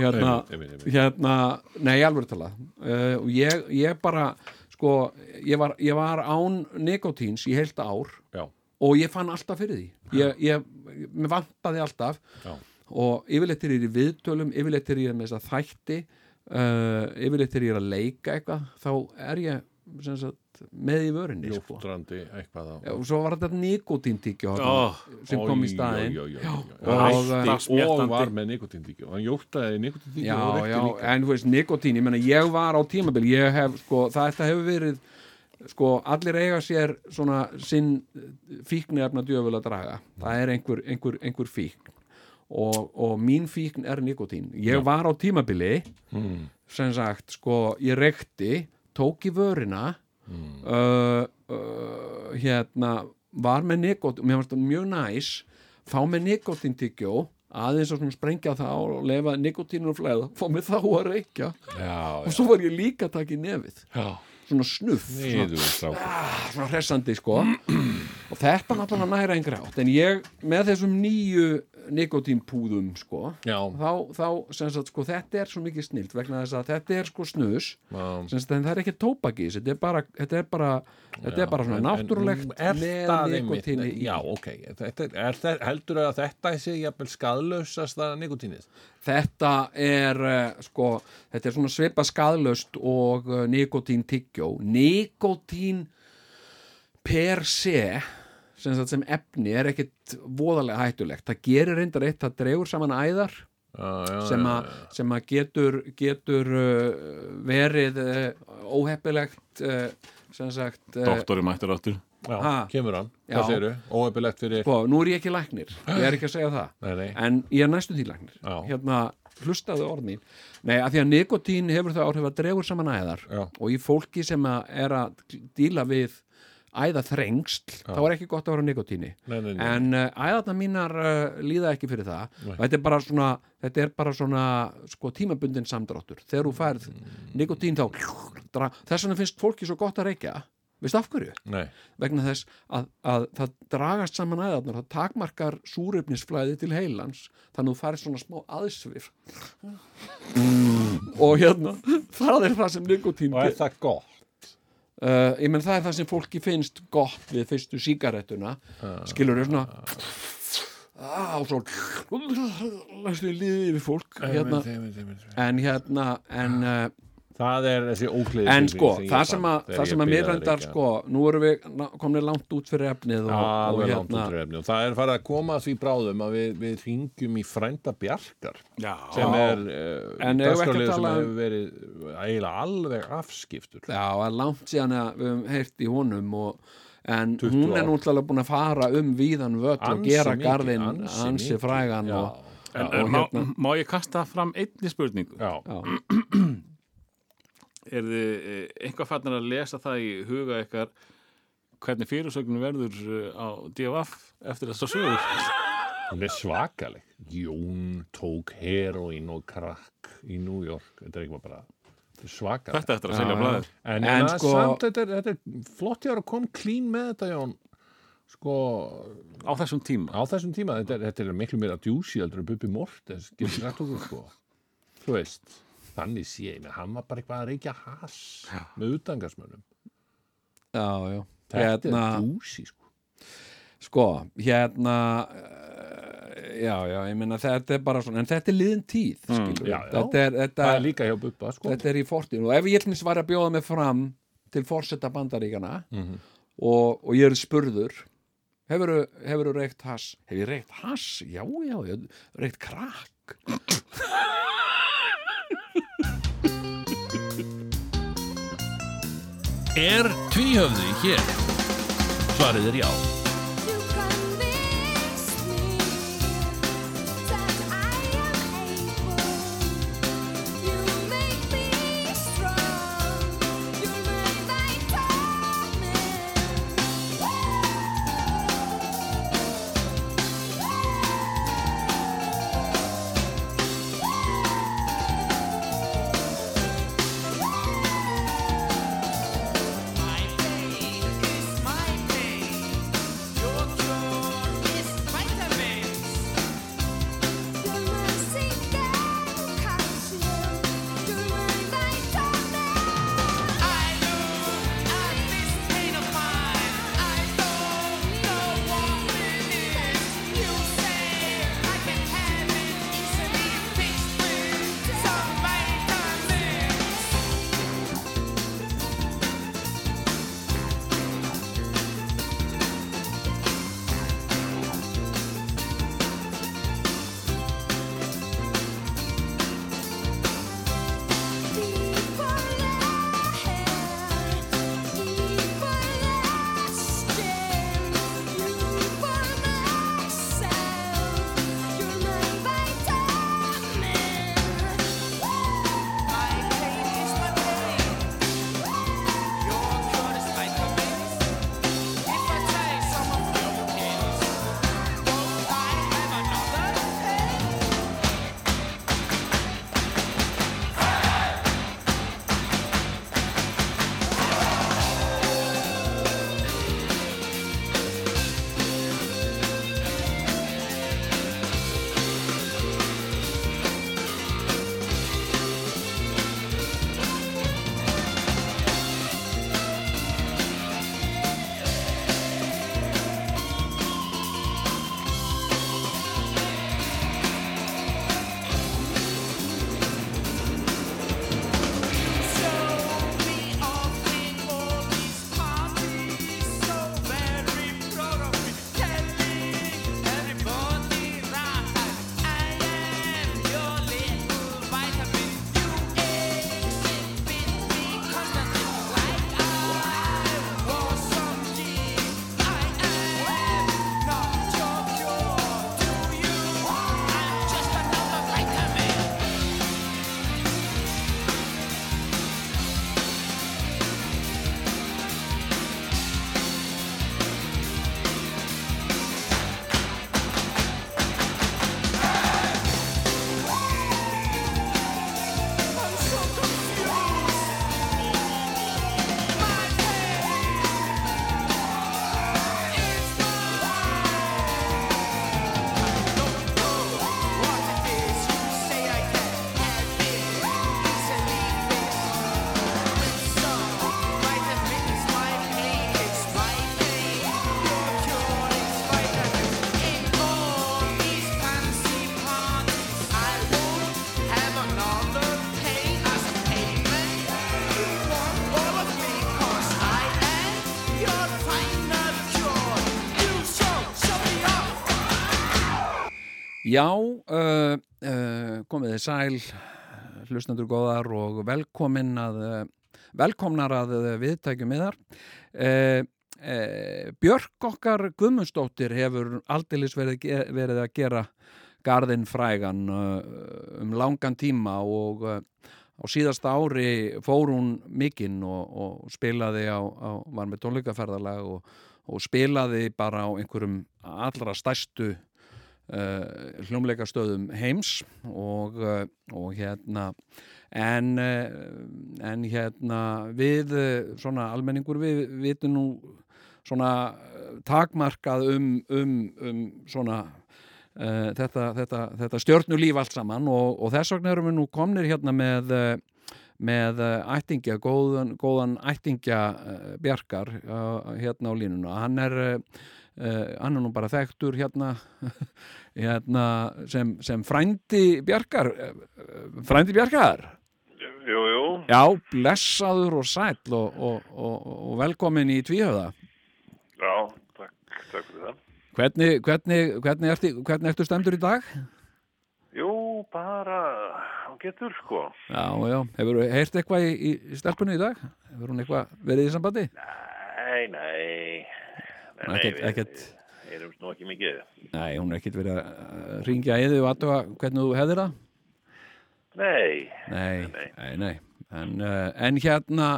Speaker 2: hérna,
Speaker 1: Einmitt, einmitt, einmitt.
Speaker 2: hérna nei, alveg tala uh, og ég, ég bara, sko ég var, ég var án nikotíns í heilt ár
Speaker 1: já,
Speaker 2: og ég fann alltaf fyrir því ég, ég, mér vantaði alltaf
Speaker 1: Já.
Speaker 2: og yfirleitt er ég í viðtölum yfirleitt er ég með þess að þætti uh, yfirleitt er ég að leika eitthvað þá er ég sem sagt, með í vörinni sko.
Speaker 1: júftrandi eitthvað á
Speaker 2: Já, og svo var þetta nikotíndíkja
Speaker 3: Oh,
Speaker 2: sem kom í staðin
Speaker 1: Oj, oj, oj, oj, oj.
Speaker 2: og-
Speaker 1: Hætti
Speaker 3: Smjattandi.
Speaker 1: og var með nikotindíkju hann júftaði nikotindíkju
Speaker 2: já,
Speaker 1: og reykti
Speaker 2: já,
Speaker 1: líka
Speaker 2: en þú veist, nikotín ég meina, ég var á tímabil, ég hef sko, það þetta hefur verið sko, allir eiga sér svona sinn fíknefna djöful að draga það er einhver, einhver, einhver fíkn og, og mín fíkn er nikotín ég var á tímabili sem sagt, sko, ég reykti tók í vörina uh, uh, hérna var með nikotín, mér varst það mjög næs fá með nikotín tyggjó aðeins og svona sprengja það og lefa nikotínur og flæða, fá með þá að reykja
Speaker 1: já,
Speaker 2: og svo var ég líka að taka í nefið
Speaker 1: já.
Speaker 2: svona snuff svona,
Speaker 1: Niður, strákur.
Speaker 2: ah, svona hressandi sko og þetta náttúrulega næra einhverja átt en ég með þessum nýju nikotínpúðum sko
Speaker 1: já,
Speaker 2: þá, þá sem sagt sko þetta er svo mikið snilt vegna þess að þetta er sko snus
Speaker 1: já.
Speaker 2: sem sagt en það er ekki tóbakis þetta er bara, þetta er bara, þetta er bara svona
Speaker 1: En- en
Speaker 2: náttúrulegt
Speaker 1: nú er það
Speaker 2: með
Speaker 1: einmitt-
Speaker 2: nikotíni í.
Speaker 1: já, ok þetta, er, er, þe- heldur að þetta sé jafnvel skadlausasta nikotínið
Speaker 2: þetta er eh, sko, þetta er svona svipa skadlaust og eh, nikotín tyggjó nikotín per se sem, sagt, sem efni er ekkit voðalega hættulegt, það gerir reyndar eitt það dregur saman æðar
Speaker 1: já, Ah, já,
Speaker 2: sem að, sem að getur, getur uh, verið uh, óheppilegt uh, sem sagt uh,
Speaker 3: Doktori mættur áttur.
Speaker 1: já,
Speaker 2: Ha.
Speaker 1: kemur hann,
Speaker 2: Já.
Speaker 1: hvað segirðu, óöpilegt fyrir
Speaker 2: sko, nú er ég ekki læknir, ég er ekki að segja það
Speaker 1: nei, nei,
Speaker 2: en ég er næstum því læknir
Speaker 1: Já.
Speaker 2: hérna, hlustaðu orð mín nei, að því að nikotín hefur það áhrif að dregur saman æðar
Speaker 1: Já.
Speaker 2: og í fólki sem að er að díla við æða þrengst, þá er ekki gott að vera á nikotíni
Speaker 1: nei, nei, nei.
Speaker 2: en uh, æðarna mínar uh, líða ekki fyrir það
Speaker 1: Nei.
Speaker 2: og þetta er bara svona, þetta er bara svona sko, tímabundin samdráttur þegar þú færð
Speaker 1: Mm.
Speaker 2: nikotín þá dra, þess vegna finnst fólki svo gott að reykja veist af hverju?
Speaker 1: nei.
Speaker 2: vegna þess að, að það dragast saman æðarnar, það takmarkar súröfnisflæði til heilans þannig að þú farið svona smá aðsvif og hérna það er það sem nikotín
Speaker 1: Mm. og er það gott
Speaker 2: uh, ég menn það er það sem fólki finnst gott við fyrstu sígarettuna
Speaker 1: Ah.
Speaker 2: skilur þau svona á, svo læstu liðið yfir fólk hérna,
Speaker 1: Einmitt, einmitt, einmitt. Ah.
Speaker 2: en hérna en, uh,
Speaker 1: það er þessi ókliðis
Speaker 2: en sko, það sem að, það sem að mér reyndar sko, nú erum við ná- komnir langt út fyrir efnið og, og
Speaker 1: alveg langt
Speaker 2: hérna
Speaker 1: út reyfni og það er farið að koma að því bráðum að við, við ringjum í frænda Bjarkar
Speaker 3: Já.
Speaker 1: sem er uh,
Speaker 2: En eigum við ekki að
Speaker 1: dagskrárliður sem
Speaker 2: tala um-
Speaker 1: hefur verið eiginlega alveg afskiptur
Speaker 2: já, það er langt síðan að við höfum heyrt í honum og En
Speaker 1: 20
Speaker 2: hún er
Speaker 1: ár.
Speaker 2: náttúrulega búin að fara um víðan völl og
Speaker 1: Ansi
Speaker 2: gera
Speaker 1: mikið,
Speaker 2: garðin
Speaker 1: ansi
Speaker 2: ansi,
Speaker 1: mikið.
Speaker 2: frægan
Speaker 1: Já.
Speaker 2: og,
Speaker 3: En,
Speaker 2: og hérna-
Speaker 3: en má, má ég kasta fram einni spurningu?
Speaker 1: Já.
Speaker 3: Er þið eh, eitthvað farnar að lesa það í huga ykkar hvernig fyrirsögnum verður eh, á DFF eftir þess að sögur?
Speaker 1: Hún er svakaleg. Jón tók heroin og krakk í New York. Þetta er ekki bara þetta er svakaleg.
Speaker 3: Þetta eftir að selja blæðir.
Speaker 1: En,
Speaker 2: En
Speaker 1: en
Speaker 2: sko-
Speaker 1: samt, þetta er, þetta er flott ég var að koma klín með þetta, Jón. Sko,
Speaker 3: Á þessum tíma.
Speaker 1: á þessum tíma, þetta er, þetta er miklu meira djúsi heldur en Bubi Mortens, getur rætt okkur,
Speaker 2: [laughs]
Speaker 1: sko. Þú veist, þannig sé ég, menn hann var bara eitthvað að reykja hass með utangarsmönnum.
Speaker 2: Já, já
Speaker 1: Þetta
Speaker 2: Hérna,
Speaker 1: er djúsi, sko.
Speaker 2: sko, hérna eh, Já, já, ég meina þetta er bara svona, en þetta er liðin tíð skilur
Speaker 1: Mm,
Speaker 2: við.
Speaker 1: já, já.
Speaker 2: Þetta er, þetta,
Speaker 1: Það er líka hjá Bubba, sko.
Speaker 2: þetta er í fortíð og ef ég hlins var að bjóða mig fram til forseta bandaríkana og, og ég er spurður hefurðu, hefurðu reykt hass hef ég reykt hass? Já, já, ég hef reykt krakk
Speaker 1: Er tvíhöfði hér? Svarið er já.
Speaker 7: You convinced me that I am able. You make me strong. You make my My pain is my pain.
Speaker 2: Já, uh, uh, komið þið sæl hlustendur góðar og velkomin að uh, velkomnar að uh, viðtækjum yðar uh, uh, Björk okkar Guðmundsdóttir hefur aldeilis verið, ge- verið að gera garðin frægan uh, um langan tíma og uh, á síðasta ári fór hún mikinn og, og spilaði á, á, var með tónleikaferðalag og, og spilaði bara á einhverjum allra stærstu uh, hljómleika heims og, uh, og hérna en, uh, en hérna við uh, svona almenningur við vitum nú svona uh, takmarkað um, um, um svona uh, þetta, þetta, þetta stjörnulíf allt saman og, og þess vegna erum við nú komnir hérna með uh, með eh, ættingja, góðan, góðan ættingja uh, Bjarkar uh, hérna á línuna. Hann er, uh, uh, hann er nú bara þekktur hérna, hérna sem, sem frændi Bjarkar. Uh, frændi Bjarkar?
Speaker 6: Jú, jú,
Speaker 2: Já, blessaður og sæll og, og, og, og velkomin í tvíhöða.
Speaker 6: já, takk, takk fyrir það.
Speaker 2: Hvernig, hvernig, hvernig, ertu, hvernig ertu stemdur í dag?
Speaker 6: Jú, bara, hún getur sko.
Speaker 2: Já, já, hefur þú heyrt eitthvað í, í stelpunni í dag? Hefur hún eitthvað verið í sambandi?
Speaker 6: Nei, nei, nei, nei,
Speaker 2: Ekkert-
Speaker 6: við-
Speaker 2: ekkert.
Speaker 6: við erum nú ekki mikið.
Speaker 2: Nei, hún er ekkert verið að ringja í þig og aðtöga hvernig þú hefðir það?
Speaker 6: Nei,
Speaker 2: Nei,
Speaker 6: Nei.
Speaker 2: nei, nei. En, uh, en hérna,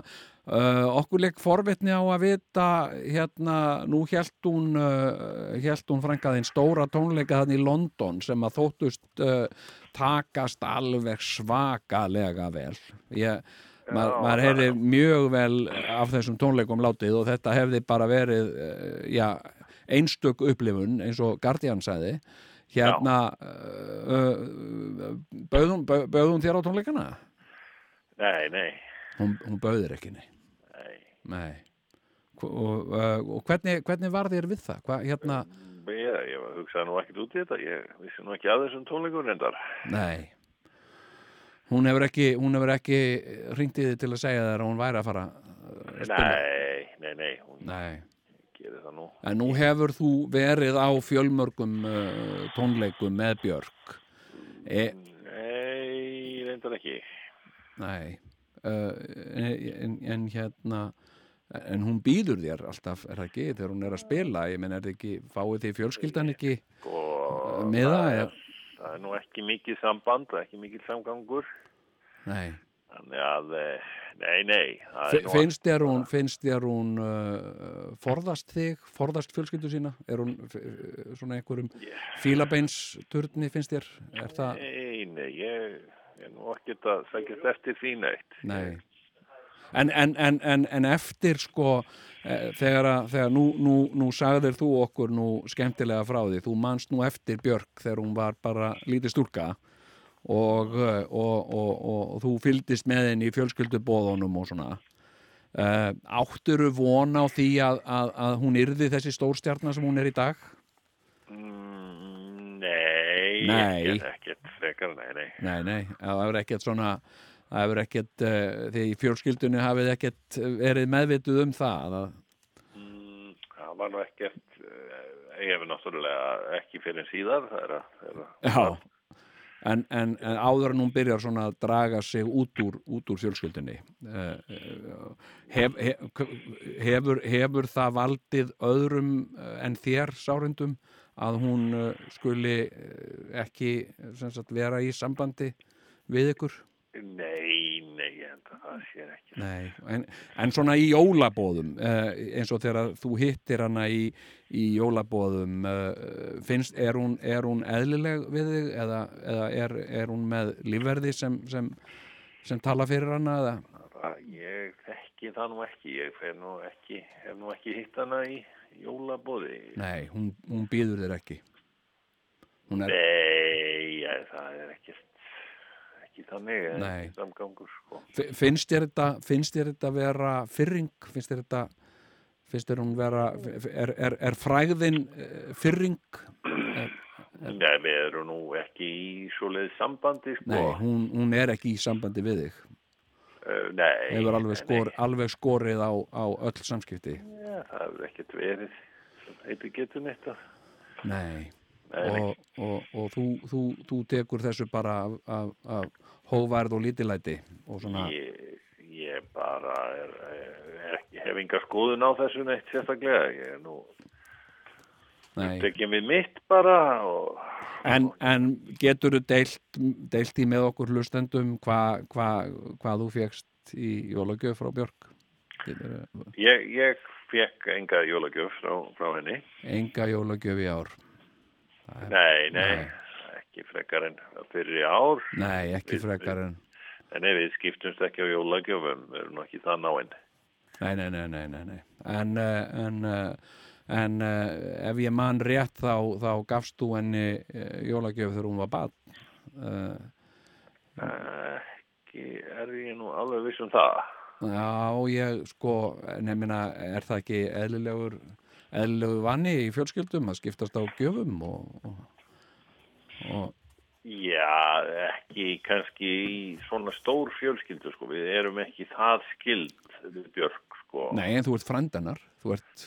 Speaker 2: uh, okkur leik forvitni á að vita, hérna, nú held hún, uh, held hún frangaðin stóra tónleika þannig í London sem að þóttust uh, takast alveg svakalega vel. Ég, maður maður heyri mjög vel af þessum tónleikum látið og þetta hefði bara verið, uh, já, einstök upplifun eins og Guardian sagði. Hérna, uh, uh, bauðum, bauðum þér á tónleikana?
Speaker 6: nei, nei,
Speaker 2: Hún, hún bauðir ekki, nei.
Speaker 6: nei.
Speaker 2: nei. Hvo- Og, uh, og hvernig, hvernig var þér við það? Hva, hérna,
Speaker 6: Ég, ég hugsaði nú ekkert út í þetta, ég vissi nú ekki að þessum tónleikum reyndar.
Speaker 2: nei. Hún hefur ekki, hún hefur ekki ringt í þið til að segja þér að hún væri að fara. uh, að spila?
Speaker 6: Nei, nei, nei, hún
Speaker 2: Nei.
Speaker 6: gerir það nú.
Speaker 2: En nú hefur þú verið á fjölmörgum uh, tónleikum með Björk. E,
Speaker 6: Nei, reyndar ekki.
Speaker 2: Nei, uh, en, en hérna, en hún býður þér alltaf, er það ekki, þegar hún er að spila, ég menn er það ekki, fáið þið fjölskyldan ekki
Speaker 6: Og
Speaker 2: með það?
Speaker 6: það,
Speaker 2: eða-
Speaker 6: er, Sko, það er nú ekki mikið samband, það er ekki mikið samgangur.
Speaker 2: Nei,
Speaker 6: Þannig að, eh, nei, nei. það er
Speaker 2: Fe-
Speaker 6: nú-
Speaker 2: finnst þér hún, finnst þér hún uh, forðast þig, forðast fjölskyldu sína, er hún f- uh, svona einhverjum fílabeinsturni finnst þér, er það,
Speaker 6: Nei, nei, ég ég er nú ekkert að sækjast eftir því neitt.
Speaker 2: nei. En, en, en, en, en eftir sko eh, þegar, að, þegar nú, nú, nú sagðir þú okkur nú skemmtilega frá því þú manst nú eftir Björk þegar hún var bara lítið stúlka og, eh, og, og, og, og þú fylgdist með henni í fjölskyldubóðunum og svona uh, átturu von á því að, að, að hún yrði þessi stórstjarnar sem hún er í dag?
Speaker 6: Mm, Nei,
Speaker 2: Nei.
Speaker 6: Ekkert, ekkert frekar, nei, nei.
Speaker 2: Nei, nei, það hefur ekkert svona það hefur ekkert, uh, því í fjölskyldunni hafið ekkert eh, verið meðvituð um það að
Speaker 6: Mm, Það var nú ekkert, eh, ég hef náttúrulega ekki fyrir síðar, það er að, það er að
Speaker 2: Já, en, en, en áður en hún byrjar svona að draga sig út úr, út úr fjölskyldinni Eh, eh, hef, hef, hefur, hefur það valdið öðrum eh, en þér sárendum að hún eh, skuli eh, ekki sem sagt, vera í sambandi við ykkur?
Speaker 6: Nei, nei, ég held að það sé ekki.
Speaker 2: Nei, en, en svona í jólabóðum eh, eins og þegar þú hittir hana í, í jólabóðum eh, finnst, er hún, er hún eðlileg við þig eða, eða er, er hún með lífverði sem, sem, sem tala fyrir hana eða?
Speaker 6: Það, ég þekki það nú ekki, ég fer nú ekki, hef nú ekki hitt hana í jólabóði.
Speaker 2: Nei, hún, hún býður þér ekki Hún er,
Speaker 6: Nei, ég, það er ekkert, ekki þannig, það er
Speaker 2: Nei.
Speaker 6: ekki samgangur, sko.
Speaker 2: fi- finnst þér þetta finnst þér þetta vera fyrring finnst þér þetta finnst þér hún vera er, er, er fræðin eh, fyrring
Speaker 6: Nei, við erum nú ekki í svoleið sambandi, sko.
Speaker 2: Nei, hún, hún er ekki í sambandi við þig
Speaker 6: Eh, nei.
Speaker 2: hefur
Speaker 6: nei,
Speaker 2: alveg, skor, alveg skorið á, á öll samskipti
Speaker 6: Nei, það hefur ekkert verið sem heitir getur neitt að
Speaker 2: Nei
Speaker 6: Nei,
Speaker 2: og, og, og þú, þú, þú tekur þessu bara af, af, af hóværð og lítilæti og svona
Speaker 6: ég, ég bara er, er ekki, hef enga skoðun á þessu neitt sérstaklega. Ég er nú
Speaker 2: nei.
Speaker 6: tekið við mitt bara og
Speaker 2: en, en getur þú deilt, deilt í með okkur hlustendum hva, hva, hvað þú fegst í jólagjöf frá Björk getur,
Speaker 6: ég, ég fekk enga jólagjöf frá, frá henni.
Speaker 2: enga jólagjöf í ár
Speaker 6: Nei, nei,
Speaker 2: Nei.
Speaker 6: ekki frekar en fyrir ár.
Speaker 2: nei, ekki frekar en
Speaker 6: En ef við skiptumst ekki á jólagjöfum, við erum nú ekki það náinn.
Speaker 2: Nei, nei, nei, nei, nei, nei. En, eh, en, eh, en eh, ef ég man rétt þá, þá gafst þú henni eh, jólagjöf þegar hún var bad. Uh,
Speaker 6: Ekki er ég nú alveg viss um það.
Speaker 2: já, ég sko, nefnina, er það ekki eðlilegur, eðlilegur vanni í fjölskyldum að skiptast á gjöfum og, og, og
Speaker 6: Já, ekki kannski í svona stór fjölskyldu, sko. Við erum ekki það skild, við Björk, sko.
Speaker 2: nei, en þú ert frændanar, þú ert,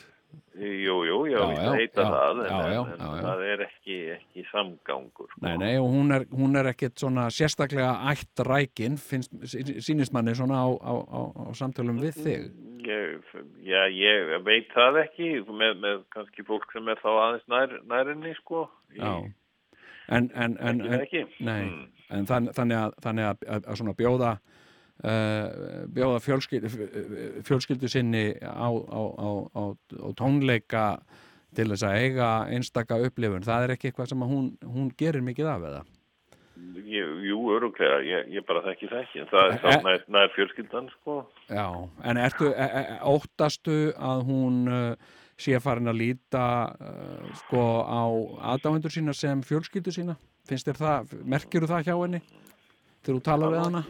Speaker 6: Jú, jú, já,
Speaker 2: Já,
Speaker 6: við
Speaker 2: já,
Speaker 6: heita
Speaker 2: já,
Speaker 6: það, en,
Speaker 2: já, já, já, já.
Speaker 6: en, en það er ekki, ekki samgangur, sko.
Speaker 2: nei, nei, og hún er, hún er ekkit svona sérstaklega ætt rækin, finnst, sýnist manni svona á, á, á, á samtölum við þig.
Speaker 6: Ég, já, ég veit það ekki, með, með kannski fólk sem er þá aðeins nær, nærinni, sko. Ég,
Speaker 2: Já. En, en, en,
Speaker 6: Ekki
Speaker 2: en,
Speaker 6: það ekki.
Speaker 2: Nei, en þann, þannig, að, þannig að, að, að svona bjóða uh, bjóða fjölskyldu, fjölskyldu sinni á, á, á, á, á tónleika til þess að eiga einstaka upplifun það er ekki eitthvað sem að hún, hún gerir mikið af eða
Speaker 6: Mm, Ég, jú, öruglega, ég, ég bara þekki það ekki, en það
Speaker 2: Eh,
Speaker 6: er þá nær, nær fjölskyldan, sko.
Speaker 2: Já, en ertu, e, e, e- óttastu að hún uh, sé farin að líta uh, sko á aðdáendur sína sem fjölskyldu sína? Finnst þér það, merkirðu það hjá henni þegar þú talar við hana?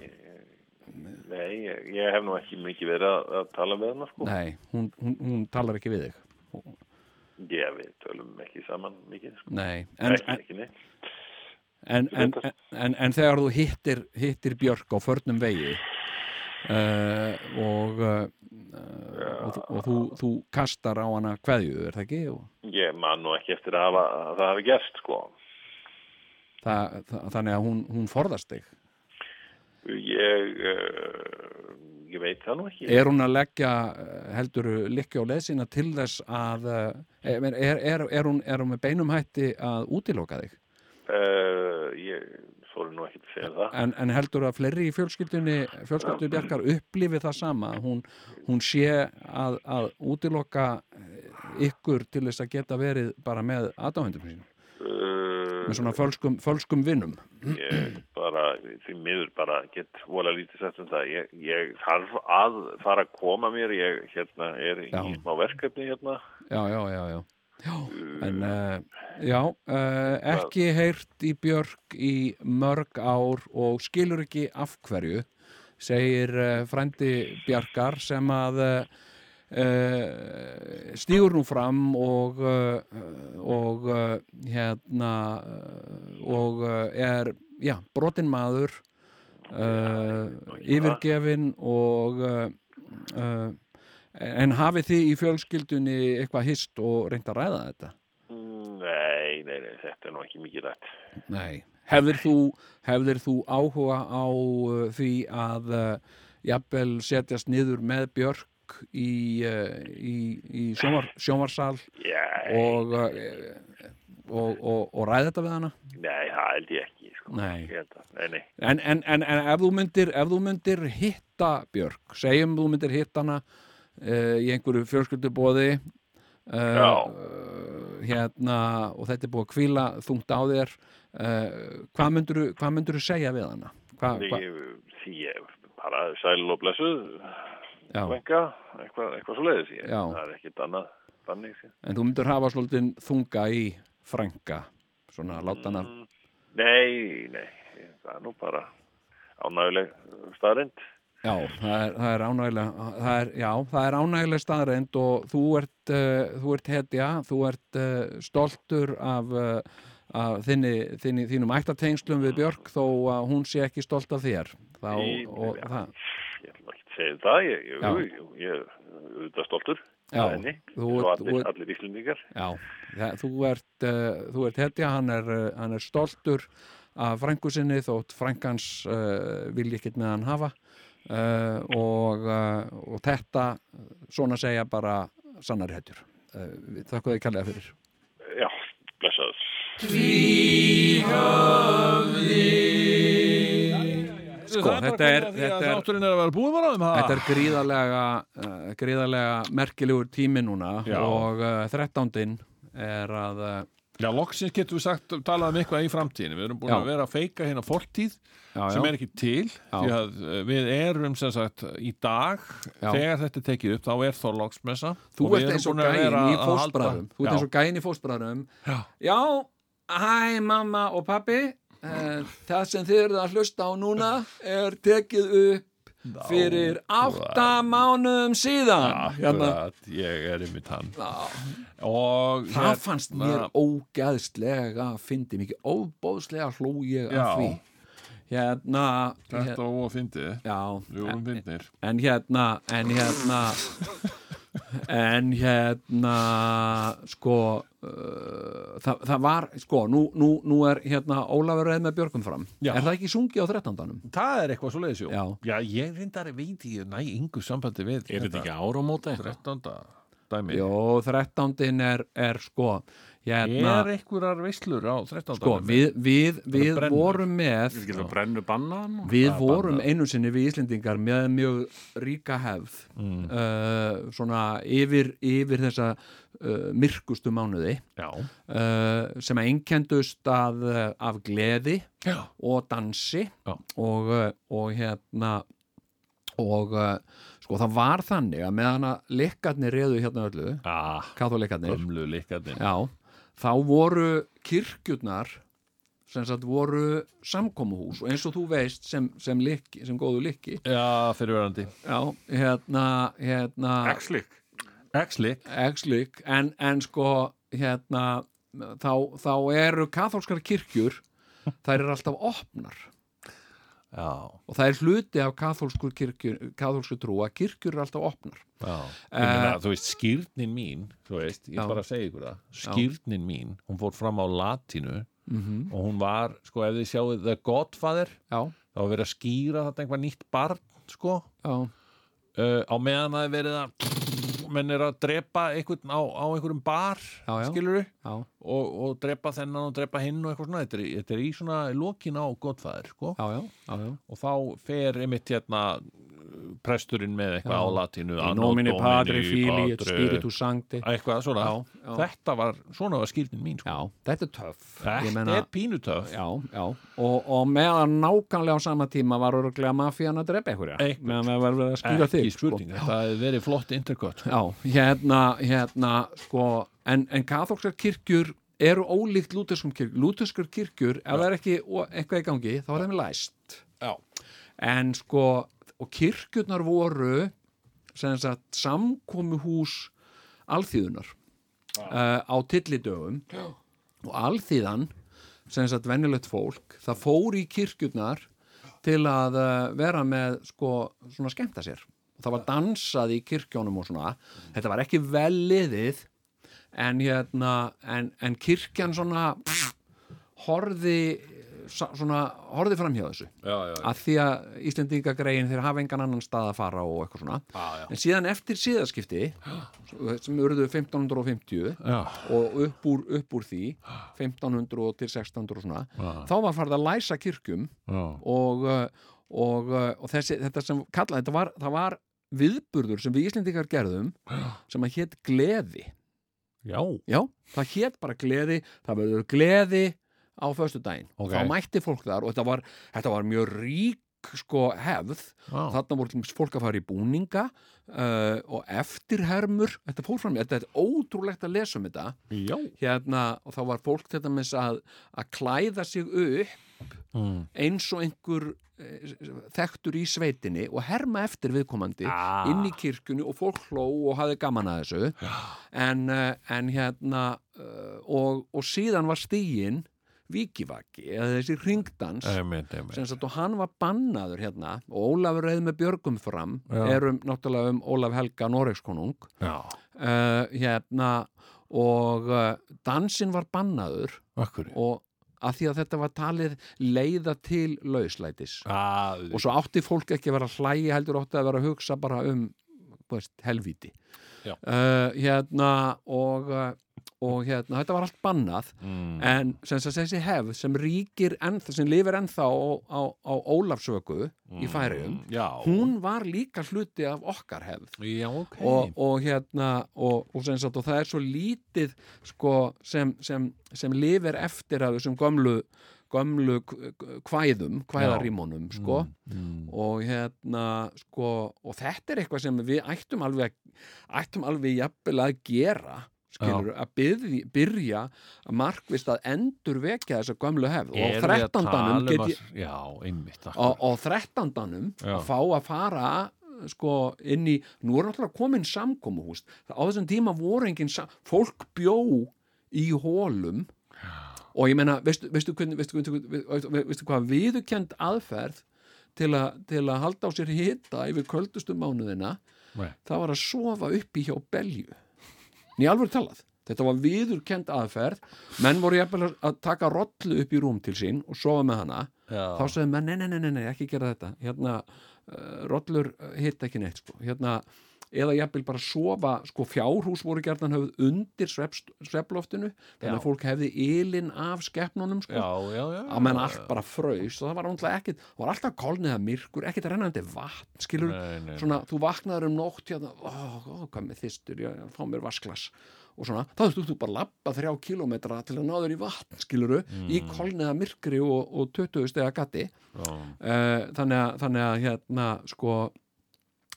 Speaker 6: Nei, ég, ég hef nú ekki mikið verið að, að tala með hana, sko.
Speaker 2: Nei, hún, hún, hún talar ekki við þig.
Speaker 6: Ég, við tölum ekki saman mikið, sko.
Speaker 2: Nei, en,
Speaker 6: ekki,
Speaker 2: en,
Speaker 6: ekki neitt.
Speaker 2: en, en, en, en þegar þú hittir, hittir Björk á förnum vegi uh, og, uh, og, þú- og þú, þú kastar á hana kveðju, er það ekki? Og,
Speaker 6: Ég man nú ekki eftir að, hafa, að það hafi gerst, sko.
Speaker 2: það, það, þannig að hún, hún forðast þig.
Speaker 6: Ég, uh, ég veit það nú ekki.
Speaker 2: Er hún að leggja eh, heldur likki á leðsina til þess að eh, er, er, er, er, hún, er hún með beinum hætti að útiloka þig?
Speaker 6: Uh, ég þóri nú ekki að segja það.
Speaker 2: en, en heldur að fleiri í fjölskyldunni fjölskyldu Bjarkar upplifi það sama að hún, hún sé að, að útiloka eh, ykkur til þess að geta verið bara með aðdáhendum sínum,
Speaker 6: Uh,
Speaker 2: með svona fölskum, fölskum vinnum
Speaker 6: ég bara, því miður bara get vola lítið sett um það. Ég, ég þarf að fara að koma mér. Ég hérna, er
Speaker 2: Já.
Speaker 6: í smá verkefni hérna.
Speaker 2: já, já, já, já Já, en uh, já, uh, ekki heyrt í Björk í mörg ár og skilur ekki af hverju, segir uh, frændi Bjarkar sem að uh, uh, stígur nú fram og, uh, og uh, hérna uh, og uh, er, já, brotin maður, uh, yfirgefin og uh, uh, En hafið þið í fjölskyldunni eitthvað hist og reynd að ræða þetta?
Speaker 6: Nei, nei, nei, þetta er nú ekki mikið rætt.
Speaker 2: Nei. Hefðir þú, hefðir þú áhuga á uh, því að uh, jafnvel setjast niður með Björk í, uh, í, í sjónvar, sjónvarsal
Speaker 6: Ég,
Speaker 2: og, uh, og, og, og ræða þetta við hana?
Speaker 6: nei, það held ég ekki, sko.
Speaker 2: Nei.
Speaker 6: Ég held að- Nei, nei.
Speaker 2: En, en, en, en ef, þú myndir, ef þú myndir hitta Björk, segjum þú myndir hitta hana uh, í einhverju fjölskyldubóði
Speaker 6: Já.
Speaker 2: uh, hérna, og þetta er búið að kvíla þungt á þér uh, hvað myndirðu hvað myndirðu segja við hana? Hva,
Speaker 6: Því,
Speaker 2: Ah, hva,
Speaker 6: því ég bara sæl og blessuð og
Speaker 2: já,
Speaker 6: eitthvað, eitthvað, eitthvað svo leiðis ég,
Speaker 2: Já.
Speaker 6: það er ekkit annað þannig séð.
Speaker 2: en þú myndir hafa svolítið þunga í frænka svona láta hana
Speaker 6: Nei, nei, það er nú bara ánæguleg staðrind
Speaker 2: Já, það er, það er ánægilega það er, já, það er ánægilega staðreind og þú ert, uh, þú ert hetja þú ert uh, stoltur af, uh, af þinni, þinni, þínum ættatengslum við Björk þó að hún sé ekki stolt af þér þá,
Speaker 6: Í-
Speaker 2: og,
Speaker 6: já.
Speaker 2: það,
Speaker 8: um
Speaker 6: Ég ætlum ekki að segja það, ég, ég,
Speaker 2: Já.
Speaker 6: ég, ég, ég er auðvitað stoltur
Speaker 2: Já,
Speaker 8: henni,
Speaker 2: þú
Speaker 8: svo
Speaker 2: ert-
Speaker 8: allir,
Speaker 2: þú ert-
Speaker 8: allir íslendingar
Speaker 2: Já, það, þú ert uh, þú ert hetja, hann er, uh, hann er stoltur af frængu sinni þótt frængans uh, vilja ekkert með hann hafa uh, og, uh, og þetta svona segja bara sannar hetjur uh, við þakka þið kallega fyrir
Speaker 8: Já, blessaður
Speaker 1: Sko,
Speaker 2: þetta er- þetta er-
Speaker 1: Þátturinn er að vera búið bara um það
Speaker 2: Þetta er gríðarlega, uh, gríðarlega merkilegur tími núna
Speaker 1: Já.
Speaker 2: og uh, 13. er að uh,
Speaker 1: Já, loksins getum við sagt, talað um eitthvað í framtíðinu Við erum búin
Speaker 2: Já.
Speaker 1: að vera að feika hérna fortíð
Speaker 2: já,
Speaker 1: sem
Speaker 2: já,
Speaker 1: er ekki til því að eh, við erum sem sagt í dag
Speaker 2: Já.
Speaker 1: þegar þetta er tekið upp, þá er Þorláksmessa
Speaker 2: þú
Speaker 1: og við erum
Speaker 2: ert eins og
Speaker 1: búin að
Speaker 2: gæin
Speaker 1: vera
Speaker 2: í
Speaker 1: að halda-
Speaker 2: fóstbræðum þú ert
Speaker 1: Já.
Speaker 2: eins og gæin í fóstbræðum
Speaker 1: Já.
Speaker 2: já, hæ mamma og pappi uh, það sem þið eruð að hlusta á núna er tekið upp fyrir átta mánuðum síðan hérna,
Speaker 1: Akkurat, ég er yfir tann og hérna,
Speaker 2: það fannst mér ógæðslega fyndi mikið, óbóðslega hló ég
Speaker 1: Já.
Speaker 2: af því hérna,
Speaker 1: þetta var að fyndið
Speaker 2: Já,
Speaker 1: við vorum fyndnir
Speaker 2: en hérna, en hérna en hérna sko uh, það, það var, sko, nú, nú, nú er hérna Ólafur reið með Björgum fram
Speaker 1: Já.
Speaker 2: er það ekki sungið á 13.
Speaker 1: það er eitthvað svo leiðis, jú
Speaker 2: Já.
Speaker 1: já, ég reyndar veit ég næ yngu sambandi við
Speaker 3: Er þetta ekki áramóta eitthvað?
Speaker 1: 13. dæmi
Speaker 2: Jó, 13. er, er sko hérna,
Speaker 1: er einhverjar veislur á 13.
Speaker 2: sko, við, við, við
Speaker 1: brennur.
Speaker 2: vorum með
Speaker 3: Við getum að brennu banna hann og-
Speaker 2: Við vorum einu sinni við Íslendingar með mjög ríka hefð uh, svona yfir, yfir þessa uh, myrkustu mánuði
Speaker 1: já,
Speaker 2: uh, sem að einkendust að, uh, af gleði
Speaker 1: já,
Speaker 2: og dansi
Speaker 1: Já.
Speaker 2: og, uh, og hérna og uh, sko það var þannig að meðan að leikarnir reðu hérna öllu,
Speaker 1: ah,
Speaker 2: katholeikarnir
Speaker 1: ömlu líkandinn
Speaker 2: já, þá voru kirkjurnar sem sagt voru samkomuhús og eins og þú veist sem, sem, likki, sem góðu likki
Speaker 1: já, fyrirverandi
Speaker 2: já, hérna, hérna
Speaker 3: Axlik
Speaker 1: X-lik,
Speaker 2: X-lík, en, en sko hérna, þá, þá eru kathólskar kirkjur þær eru alltaf opnar
Speaker 1: já,
Speaker 2: og það er hluti af kathólsku kirkjur kathólsku trú að kirkjur eru alltaf opnar
Speaker 1: já Ég meina, þú veist, skýrnin mín, þú veist, ég
Speaker 2: Já.
Speaker 1: bara segi ykkur það, skýrnin mín, hún fór fram á latínu og hún var, sko, ef þið sjáuð The Godfather,
Speaker 2: já,
Speaker 1: þá var verið að skýra þetta einhvað nýtt barn, sko,
Speaker 2: já,
Speaker 1: uh, á meðan það er verið að, menn er að drepa einhvern á, á einhverjum bar,
Speaker 2: Já, já.
Speaker 1: skilurðu,
Speaker 2: já,
Speaker 1: og, og drepa þennan og drepa hinn og eitthvað svona, þetta er, í- þetta er í svona lokin á Godfather, sko,
Speaker 2: já, já, já, já.
Speaker 1: og þá fer einmitt hérna uh, presturinn með eitthvað á latínu,
Speaker 2: Í
Speaker 1: Anno
Speaker 2: nóminni
Speaker 1: Domini
Speaker 2: padri fíli,
Speaker 1: Patri-
Speaker 2: spiritu sancti
Speaker 1: eitthvað svona
Speaker 2: Já, já.
Speaker 1: þetta var, svona var skýrnin mín sko.
Speaker 2: já, þetta er töff
Speaker 1: þetta
Speaker 2: Ég meina-
Speaker 1: er pínutöf
Speaker 2: já, já, og, og meðan nákvæmlega á sama tíma var örglega mafían að drepa einhverja
Speaker 1: Einhvern.
Speaker 2: meðan það var verið að skýra þig sko.
Speaker 1: ekki spurning, þetta hefði verið flott intercut
Speaker 2: Já, hérna, hérna sko, en, en katholskar kirkjur eru ólíkt lúterskum kirkjur lúterskar kirkjur, ef það er ekki o- eitthvað í gangi, þá er það með læst
Speaker 1: já,
Speaker 2: en sko, og kirkjurnar voru sem sagt samkomuhús alþýðunar uh, á tillidögum og alþýðan sem sagt venjulegt fólk, það fór í kirkjurnar til að uh, vera með sko svona skemmta sér og það var dansað í kirkjónum og svona þetta var ekki vel liðið en hérna en, en kirkjan svona pff, horði sa- svona horði framhjá þessu
Speaker 1: já, já, já.
Speaker 2: að því að Íslendingagregin þeir hafa engan annan stað að fara og eitthvað svona
Speaker 1: Já, já.
Speaker 2: en síðan eftir síðaskipti [gasps] sem urðu 1550
Speaker 1: já.
Speaker 2: og upp úr, upp úr því 1500 til 1600 og svona
Speaker 1: Já.
Speaker 2: þá var farið að læsa kirkjum og, uh, og, uh, og þessi, þetta sem kallaði, þetta var, það var viðburður sem við Íslendingar gerðum sem að hétt gleði
Speaker 1: já.
Speaker 2: Já, það hétt bara gleði, það verður gleði á föstudaginn.
Speaker 1: Ok.
Speaker 2: Þá mætti fólk þar og þetta var, þetta var mjög rík sko hefð.
Speaker 1: já.
Speaker 2: Þarna voru til dæmis fólk að fara í búninga uh, og eftirhermur. Þetta fór fram, þetta er ótrúlegt að lesa um þetta.
Speaker 1: já.
Speaker 2: Hérna, og þá var fólk til dæmis að, að klæða sig upp
Speaker 1: Mm.
Speaker 2: eins og einhver eh, þekktur í sveitinni og herma eftir viðkomandi
Speaker 1: Ah.
Speaker 2: inn í kirkjunni og fólk hló og hafði gaman að þessu en, eh, en hérna eh, og, og síðan var stígin vikivaki eða þessi ringdans
Speaker 1: Einmitt, einmitt.
Speaker 2: sem sagt og hann var bannaður hérna og Ólafur reið með Björgum fram
Speaker 1: Já.
Speaker 2: erum náttúrulega um Ólaf Helga Noregskonung
Speaker 1: já.
Speaker 2: Eh, uh, hérna og uh, dansinn var bannaður
Speaker 1: Akkur
Speaker 2: og að því að þetta var talið leiða til lauslætis
Speaker 1: Að
Speaker 2: og svo átti fólk ekki að vera að hlæja heldur átti að vera að hugsa bara um þú veist, helvíti
Speaker 1: Já.
Speaker 2: uh, hérna og, uh, og hérna, þetta var allt bannað
Speaker 1: mm.
Speaker 2: en sem þess að þessi hefð sem ríkir ennþá, sem lifir ennþá á, á, á Ólafsöku í Færiðum
Speaker 1: mm, Já
Speaker 2: hún var líka hluti af okkar hefð
Speaker 1: Já, ok
Speaker 2: og, og hérna og, og, sem sagt, og það er svo lítið sko, sem, sem, sem lifir eftir af þessum gömlu gömlu k- k- kvæðum kvæðarímónum sko.
Speaker 1: mm.
Speaker 2: og hérna sko, og þetta er eitthvað sem við ættum alveg ættum alveg jafnvel að gera skilur, að byrja, byrja að markvist að endur vekja þessa gömlu hefð og
Speaker 1: Erum við mm. að tala um
Speaker 2: 13. get ég
Speaker 1: að- Já, einmitt
Speaker 2: og,
Speaker 1: akkurat.
Speaker 2: og þrettandanum
Speaker 1: Já.
Speaker 2: að fá að fara sko inn í, nú er náttúrulega komin samkomuhús, Það- á þessum tíma voru engin sam, fólk bjó í hólum og ég meina, veistu, veistu, hvernig, veistu, veistu, veistu, veistu hvað viðukend aðferð til, a, til að halda á sér hita yfir köldustu mánuðina
Speaker 1: Nei.
Speaker 2: það var að sofa uppi hjá belju Nei, alveg talað þetta var viðurkend aðferð menn voru jafnvel að taka rollu upp í rúm til sín og sofa með hana þá
Speaker 1: Já,
Speaker 2: sagði menn, nei, nei, nei, nei, nei, ekki gera þetta hérna, uh, rollur uh, hitt ekki neitt, sko, hérna eða jafnvel bara sofa, sko, fjárhús voru gerðan höfð undir svefst, svefloftinu þannig
Speaker 1: Já.
Speaker 2: að fólk hefði ilin af skeppnunum, sko,
Speaker 1: já, já, já
Speaker 2: að menn allt bara fraus og það var náttúrulega ekkit, það var alltaf kolniða myrkur, ekkit rennandi vatn, skilur
Speaker 1: Nei, nei,
Speaker 2: svona, þú vaknaður um nótt hérna, ó, ó, hvað með þistur, já, já, fá mér vasklas og svona, þá þú þú bara labba þrjá kilometra til að náður í vatn, skiluru
Speaker 1: Mm.
Speaker 2: í kolniða myrkri og, og 20 stega gatti
Speaker 1: já.
Speaker 2: uh, þannig, að, þannig að hérna sko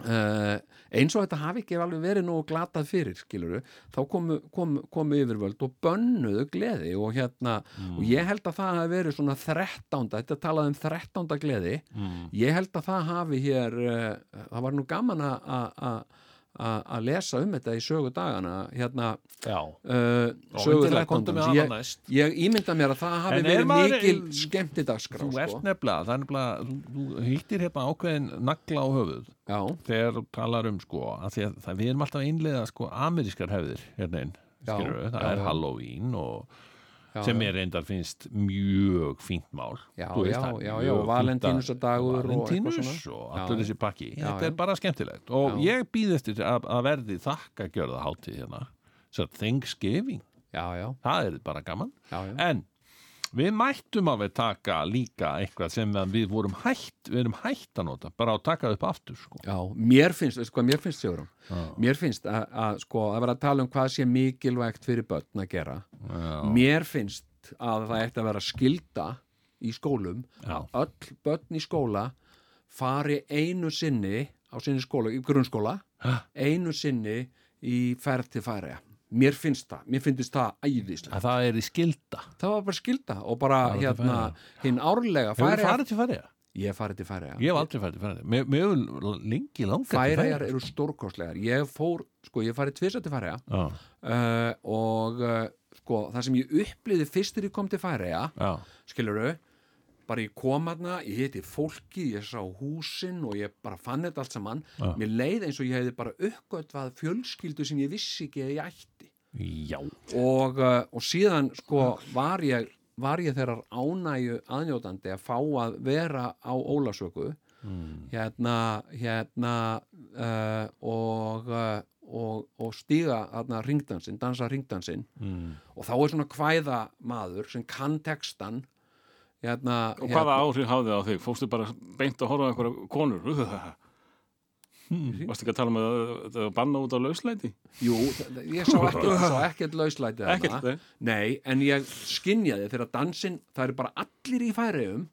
Speaker 2: Uh, eins og þetta hafi ekki alveg verið nógu glatað fyrir skiluru, þá komu, komu, komu yfirvöld og bönnuðu gleði og hérna,
Speaker 1: Mm,
Speaker 2: og ég held að það hafi verið svona þrettánda, þetta er talað um þrettánda gleði,
Speaker 1: Mm.
Speaker 2: ég held að það hafi hér, uh, það var nú gaman að- að að- að að lesa um þetta í sögu dagana hérna,
Speaker 1: Já,
Speaker 2: uh,
Speaker 1: og
Speaker 2: sögu
Speaker 1: undirlega komdu með
Speaker 2: þrettánda
Speaker 1: hana
Speaker 2: ég,
Speaker 1: næst
Speaker 2: ég ímynda mér að það hafi
Speaker 1: En er
Speaker 2: verið
Speaker 1: maður-
Speaker 2: mikil skemmtidagskrá
Speaker 1: Þú ert
Speaker 2: sko.
Speaker 1: nefnilega, það er nefnilega þú, þú hittir hérna ákveðin nagla á höfuð
Speaker 2: Já,
Speaker 1: þegar þú talar um sko að því að það, við erum alltaf að innleiða sko amerískar hefðir hérna inn,
Speaker 2: Já,
Speaker 1: skilur við, það
Speaker 2: já,
Speaker 1: er
Speaker 2: já.
Speaker 1: Halloween og
Speaker 2: já,
Speaker 1: sem
Speaker 2: já.
Speaker 1: er reyndar finnst mjög fínt mál
Speaker 2: Já,
Speaker 1: Þú
Speaker 2: já,
Speaker 1: það er
Speaker 2: já,
Speaker 1: mjög
Speaker 2: já, og
Speaker 1: fínt að-
Speaker 2: Valentínusardagur og eitthvað
Speaker 1: Valentínus
Speaker 2: svona.
Speaker 1: og
Speaker 2: Já,
Speaker 1: allur
Speaker 2: já.
Speaker 1: þessi pakki
Speaker 2: Já,
Speaker 1: þetta er
Speaker 2: já.
Speaker 1: bara skemmtilegt og
Speaker 2: Já.
Speaker 1: ég býð eftir að, að verði þakka gjörða hátíð hérna svo Thanksgiving,
Speaker 2: já, já,
Speaker 1: það er bara gaman
Speaker 2: já, já.
Speaker 1: en við mættum að við taka líka eitthvað sem að við vorum hætt við erum hætt að nota, bara að taka upp aftur sko.
Speaker 2: Já, mér finnst, veistu hvað mér finnst Sigurum? Mér finnst að, að sko, að vera að tala um hvað sé mikilvægt fyrir börn að gera.
Speaker 1: já,
Speaker 2: Mér finnst að það ætti að vera skilda í skólum,
Speaker 1: Já.
Speaker 2: að öll börn í skóla fari einu sinni á sinni skóla, í grunnskóla,
Speaker 1: Ha?
Speaker 2: einu sinni í ferð til færiða. Mér finnst það, mér finnst það æðislega.
Speaker 1: að það er í skilda
Speaker 2: Það var bara skilda og bara
Speaker 1: Farið til
Speaker 2: hérna,
Speaker 1: Færeyja.
Speaker 2: hinn árlega
Speaker 1: Hefur þú
Speaker 2: færiða.
Speaker 1: farið til færiða?
Speaker 2: Ég hef farið til færiða.
Speaker 1: Ég hef aldrei farið til færiða Mér mér hefur lengi langað til sko.
Speaker 2: Færiðar eru stórkostlegar. Ég fór, sko, ég hef farið tvisa til færiða
Speaker 1: Já,
Speaker 2: uh, og uh, sko, það sem ég upplýði fyrst þegar ég kom til Færeja,
Speaker 1: já,
Speaker 2: skilurðu bara ég kom hana, ég heiti fólki ég sá húsin og ég bara fann þetta allt saman,
Speaker 1: Já.
Speaker 2: mér leið eins og ég hefði bara uppgötvað fjölskyldu sem ég vissi ekki að ég ætti
Speaker 1: já.
Speaker 2: og, uh, og síðan sko var ég, var ég þeirrar ánægju aðnjótandi að fá að vera á Ólasöku hérna, hérna uh, og, uh, og, og stíga hérna ringdansinn, dansa ringdansinn
Speaker 1: Mm.
Speaker 2: og þá er svona kvæða maður sem kann textan hérna,
Speaker 3: Og hvaða áhrif hafði það á þig? Fórstu bara beint að horfa á einhverja konur? [laughs] Varstu ekki að tala með að þetta var banna út á lauslæti?
Speaker 2: hérna, Jú, þ- þ- ég sá ekkert, sá ekkert lauslætið þarna.
Speaker 3: Ekkert, nei.
Speaker 2: Nei, en ég skinjaði þegar dansinn, það eru bara allir í færiðum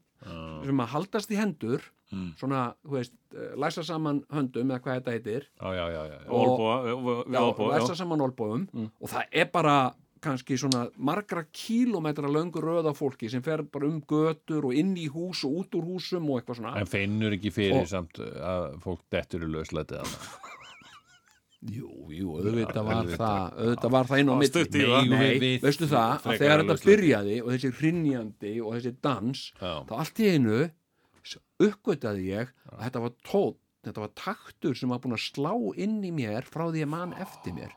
Speaker 2: sem að haldast í hendur
Speaker 3: Mm.
Speaker 2: svona, þú veist, eh, læsa saman höndum eða hvað þetta heitir
Speaker 1: Já, já, já, já, já.
Speaker 3: Olbúa, við
Speaker 2: Já,
Speaker 3: olbúa,
Speaker 2: læsa
Speaker 3: já. Mm.
Speaker 2: saman olbóum og það er bara kannski svona margra kílómetra löngu röða fólki sem fer bara um götur og inn í hús og út úr húsum og eitthvað svona
Speaker 1: En finnur ekki fyrir
Speaker 2: Og-
Speaker 1: samt að fólk dettur í lauslætið
Speaker 2: [laughs]
Speaker 1: hana.
Speaker 2: Jú, jú, auðvitað var
Speaker 1: auðvitað.
Speaker 2: það auðvitað var það inn á
Speaker 3: Það var
Speaker 2: milli
Speaker 3: stutt í það.
Speaker 2: Nei,
Speaker 1: Við- við-
Speaker 2: veistu það, að
Speaker 3: frekar
Speaker 2: þegar þetta
Speaker 3: lauslæti.
Speaker 2: byrjaði og þessi hrinnjandi og þessi dans
Speaker 1: Já.
Speaker 2: þá allt í einu s- uppgötaði ég að þetta var tótt þetta var taktur sem var búin að slá inn í mér frá því að mann eftir mér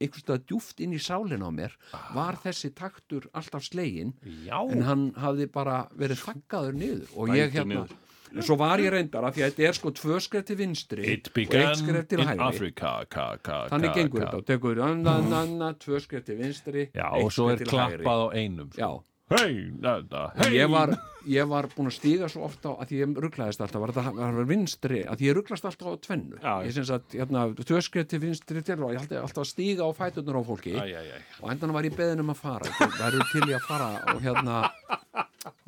Speaker 2: einhvers staðar djúft inn í sálinn á mér var þessi taktur alltaf slegin
Speaker 1: Já.
Speaker 2: en hann hafði bara verið þakkaður niður og ég
Speaker 3: Dæmdur
Speaker 2: hérna
Speaker 3: niður.
Speaker 2: En svo var ég reyndar af því að þetta er sko tvö skref til vinstri
Speaker 1: It
Speaker 2: og eitt
Speaker 1: began
Speaker 2: skref til
Speaker 1: in
Speaker 2: hægri
Speaker 1: Africa ka, ka,
Speaker 2: Þannig
Speaker 1: ka,
Speaker 2: gengur
Speaker 1: ka.
Speaker 2: þetta og tekur anna, anna, anna, tvö skref til vinstri
Speaker 1: Já,
Speaker 2: eitt
Speaker 1: og svo
Speaker 2: skref
Speaker 1: er
Speaker 2: til hægri.
Speaker 1: klappað á einum
Speaker 2: Já,
Speaker 1: Hei, na, na,
Speaker 2: og
Speaker 1: hei
Speaker 2: ég var, ég var búin að stíga svo oft á að því ég rugglaðist alltaf, var þetta var þetta vinstri að því ég rugglaðist alltaf á tvennu
Speaker 3: Já, já.
Speaker 2: ég syns að hérna, tvö skref til vinstri til og ég haldi alltaf að stíga á fæturnar á fólki
Speaker 3: Æ, æ, æ.
Speaker 2: og endan var ég beðin um að fara það eru til ég að fara og hérna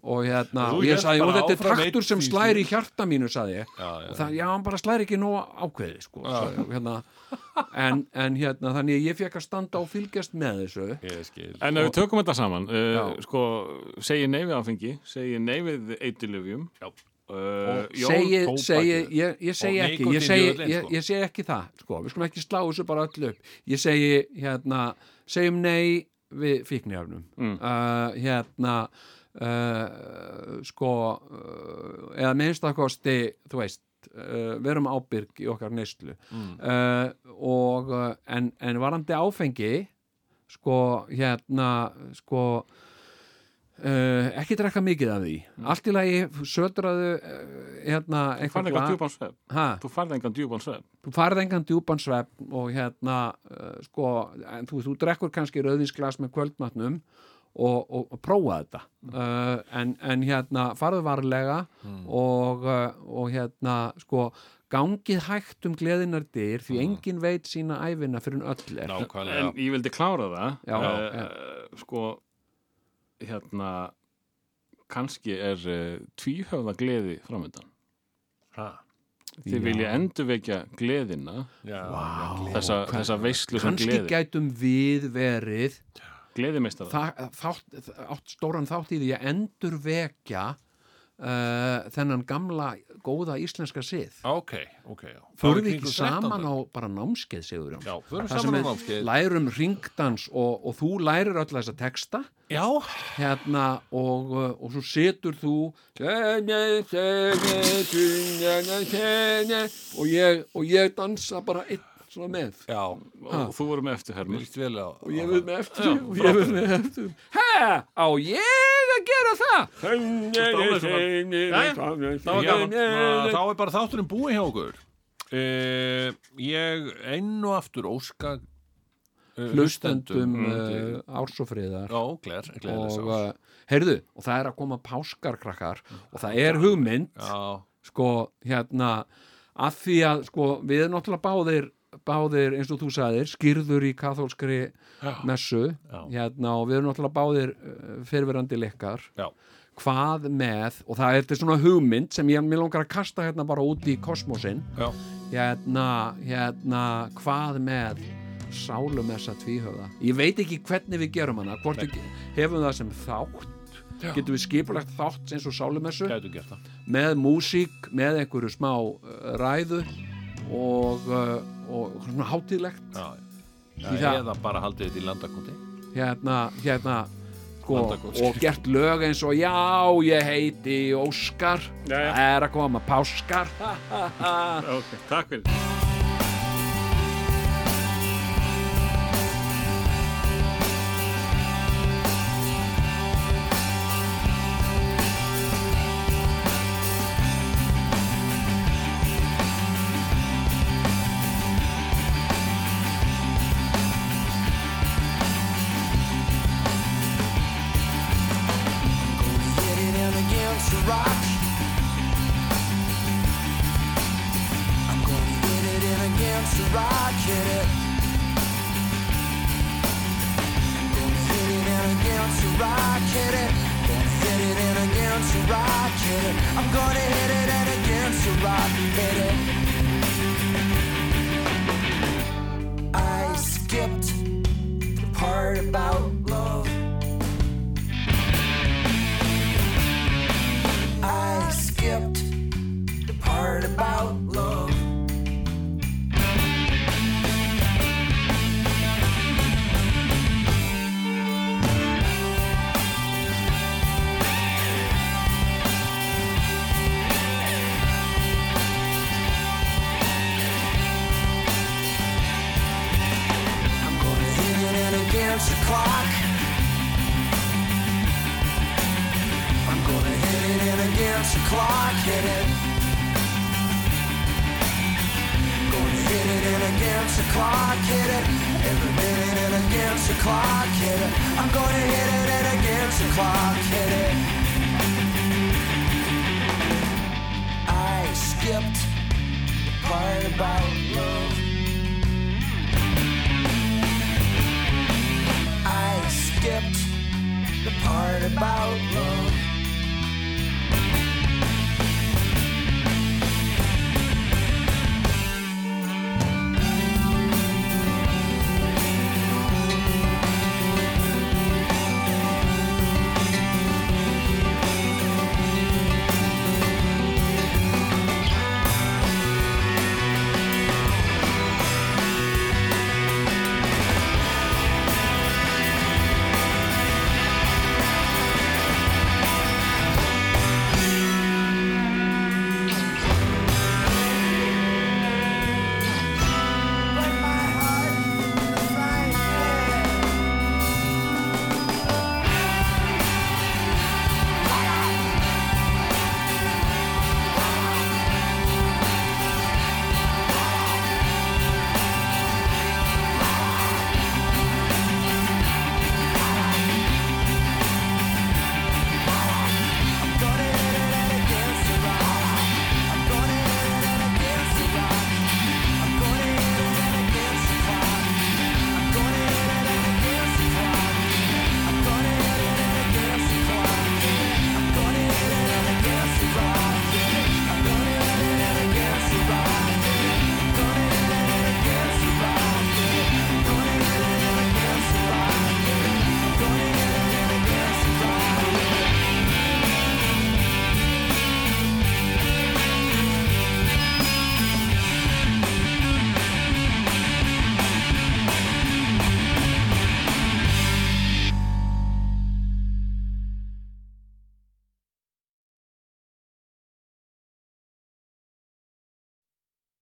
Speaker 2: og hérna,
Speaker 3: Og þú
Speaker 2: og ég
Speaker 3: hélst
Speaker 2: sagði, og
Speaker 3: bara
Speaker 2: þetta er
Speaker 3: áfram
Speaker 2: traktur
Speaker 3: einn
Speaker 2: sem
Speaker 3: í
Speaker 2: slæri í hjarta mínu, sagði ég
Speaker 1: Já, já.
Speaker 2: og það, já, hann bara slæri ekki nóg ákveði sko, sagði, ég, og hérna en, en hérna, þannig að ég fekk að standa og fylgjast með þessu
Speaker 1: Ég skil
Speaker 3: En ef við tökum þetta saman, uh,
Speaker 2: Já.
Speaker 3: sko, segi nei við áfengi, segi nei við eitilöfjum, uh,
Speaker 2: segi, segi, ég, ég segi
Speaker 1: Og
Speaker 2: ekki
Speaker 1: nikótín
Speaker 2: ég segi,
Speaker 1: djöfullinn,
Speaker 2: ég,
Speaker 1: sko.
Speaker 2: ég segi ekki það sko. við skulum ekki slá þessu bara öll upp ég segi hérna segjum nei við fíknjöfnum mm. hérna uh, sko uh, eða minnstakosti þú veist uh, verum ábyrg í okkar neyslu
Speaker 1: Mm.
Speaker 2: uh, og uh, en, en varandi áfengi sko hérna sko Uh, ekki drekka mikið af því allt í lagi sötraðu uh, hérna
Speaker 3: Mm. Þú farði engan
Speaker 2: glas-
Speaker 3: djúpan svefn,
Speaker 2: ha,
Speaker 3: þú farði engan djúpan svefn.
Speaker 2: þú farð engan djúpan svefn og hérna uh, sko, en þú, þú drekkur kannski rauðinsglas með kvöldmatnum og, og, og prófa þetta
Speaker 3: Mm.
Speaker 2: uh, en, en hérna farðu varlega og, uh, og hérna sko gangið hægt um gleðinar dyr því
Speaker 3: Mm.
Speaker 2: engin veit sína æfina fyrir en öll er
Speaker 1: Nákvæmlega
Speaker 3: En ég vildi klára það,
Speaker 2: Já,
Speaker 3: uh, sko, hérna, kannski er uh, tvíhöfða gleði framöndan.
Speaker 1: Ha,
Speaker 3: Þið vilja endurvekja gleðina,
Speaker 1: já, já,
Speaker 3: þessa, þessa veislu sem
Speaker 2: kannski
Speaker 3: gleði,
Speaker 2: gætum við verið
Speaker 3: gleðimeistara.
Speaker 2: þa- þátt, átt stóran þátt í því að endur vekja uh, þennan gamla góða íslenska sið
Speaker 1: Ok, ok já.
Speaker 2: Förum
Speaker 1: Það
Speaker 2: við
Speaker 1: er
Speaker 2: ekki
Speaker 1: kringum
Speaker 2: saman
Speaker 1: 13.
Speaker 2: á bara námskeið, Sigurjón?
Speaker 1: Já, förum
Speaker 2: Það
Speaker 1: saman á
Speaker 2: sem við
Speaker 1: námskeið.
Speaker 2: Lærum ringdans og, og þú lærir öll þessa texta
Speaker 1: Já,
Speaker 2: hérna og, uh, og svo setur þú og ég, og ég dansa bara einn svona með
Speaker 1: já,
Speaker 3: og þú voru með eftirhermur.
Speaker 1: líst vel á
Speaker 2: og ég vil með eftir og ég vil með eftir Hæ, á ég að gera það?
Speaker 1: Það var gaman. Ná, Ah, Þá er bara þátturinn búið hjá okkur uh, Ég enn og aftur óska eh,
Speaker 2: Hlustendum
Speaker 1: hlustendum, eh,
Speaker 2: uh, árs og friðar
Speaker 1: Já, gler, gler
Speaker 2: og uh, heyrðu, og það er að koma páskar krakkar og það er hugmynd
Speaker 1: Já,
Speaker 2: sko, hérna að því að, sko, við erum náttúrulega báðir báðir, eins og þú sagðir, skýrður í kathólskri messu hérna, og við erum náttúrulega báðir uh, fyrirverandi leikar
Speaker 1: já,
Speaker 2: hvað með, og það er þetta svona hugmynd sem ég mér langar að kasta hérna bara út í kosmosinn,
Speaker 1: já
Speaker 2: hérna, hérna, hvað með sálumessa tvíhöfða ég veit ekki hvernig við gerum hana hvort við hefum það sem þátt getum við skipulegt þátt eins og sálumessu
Speaker 1: Gætu gert það
Speaker 2: með músík, með einhverju smá uh, ræðu og, uh, og svona hátíðlegt
Speaker 1: Já, já,
Speaker 2: Því það-
Speaker 1: eða bara haldið þetta í landakonti
Speaker 2: hérna, hérna sko,
Speaker 1: Landakóts.
Speaker 2: og gert lög eins og já, ég heiti Óskar
Speaker 3: Jæja.
Speaker 2: það er að koma Páskar
Speaker 3: Ok, takk fyrir.
Speaker 9: Getting in against the rock. I'm gonna hit it in against the rock, hit it. I'm gonna hit it in against the rock, hit it. Gonna hit it in against the rock, hit it. I'm gonna hit it in against the rock, hit it. I skipped the part about love. I skipped the part about love. I'm gonna against the clock. I'm gonna hit it in against the clock, hit it. Gonna hit it in against the clock, hit it. Every minute in against the clock, hit it. I'm gonna hit it in against the clock, hit it. I skipped the part about love. I skipped the part about love.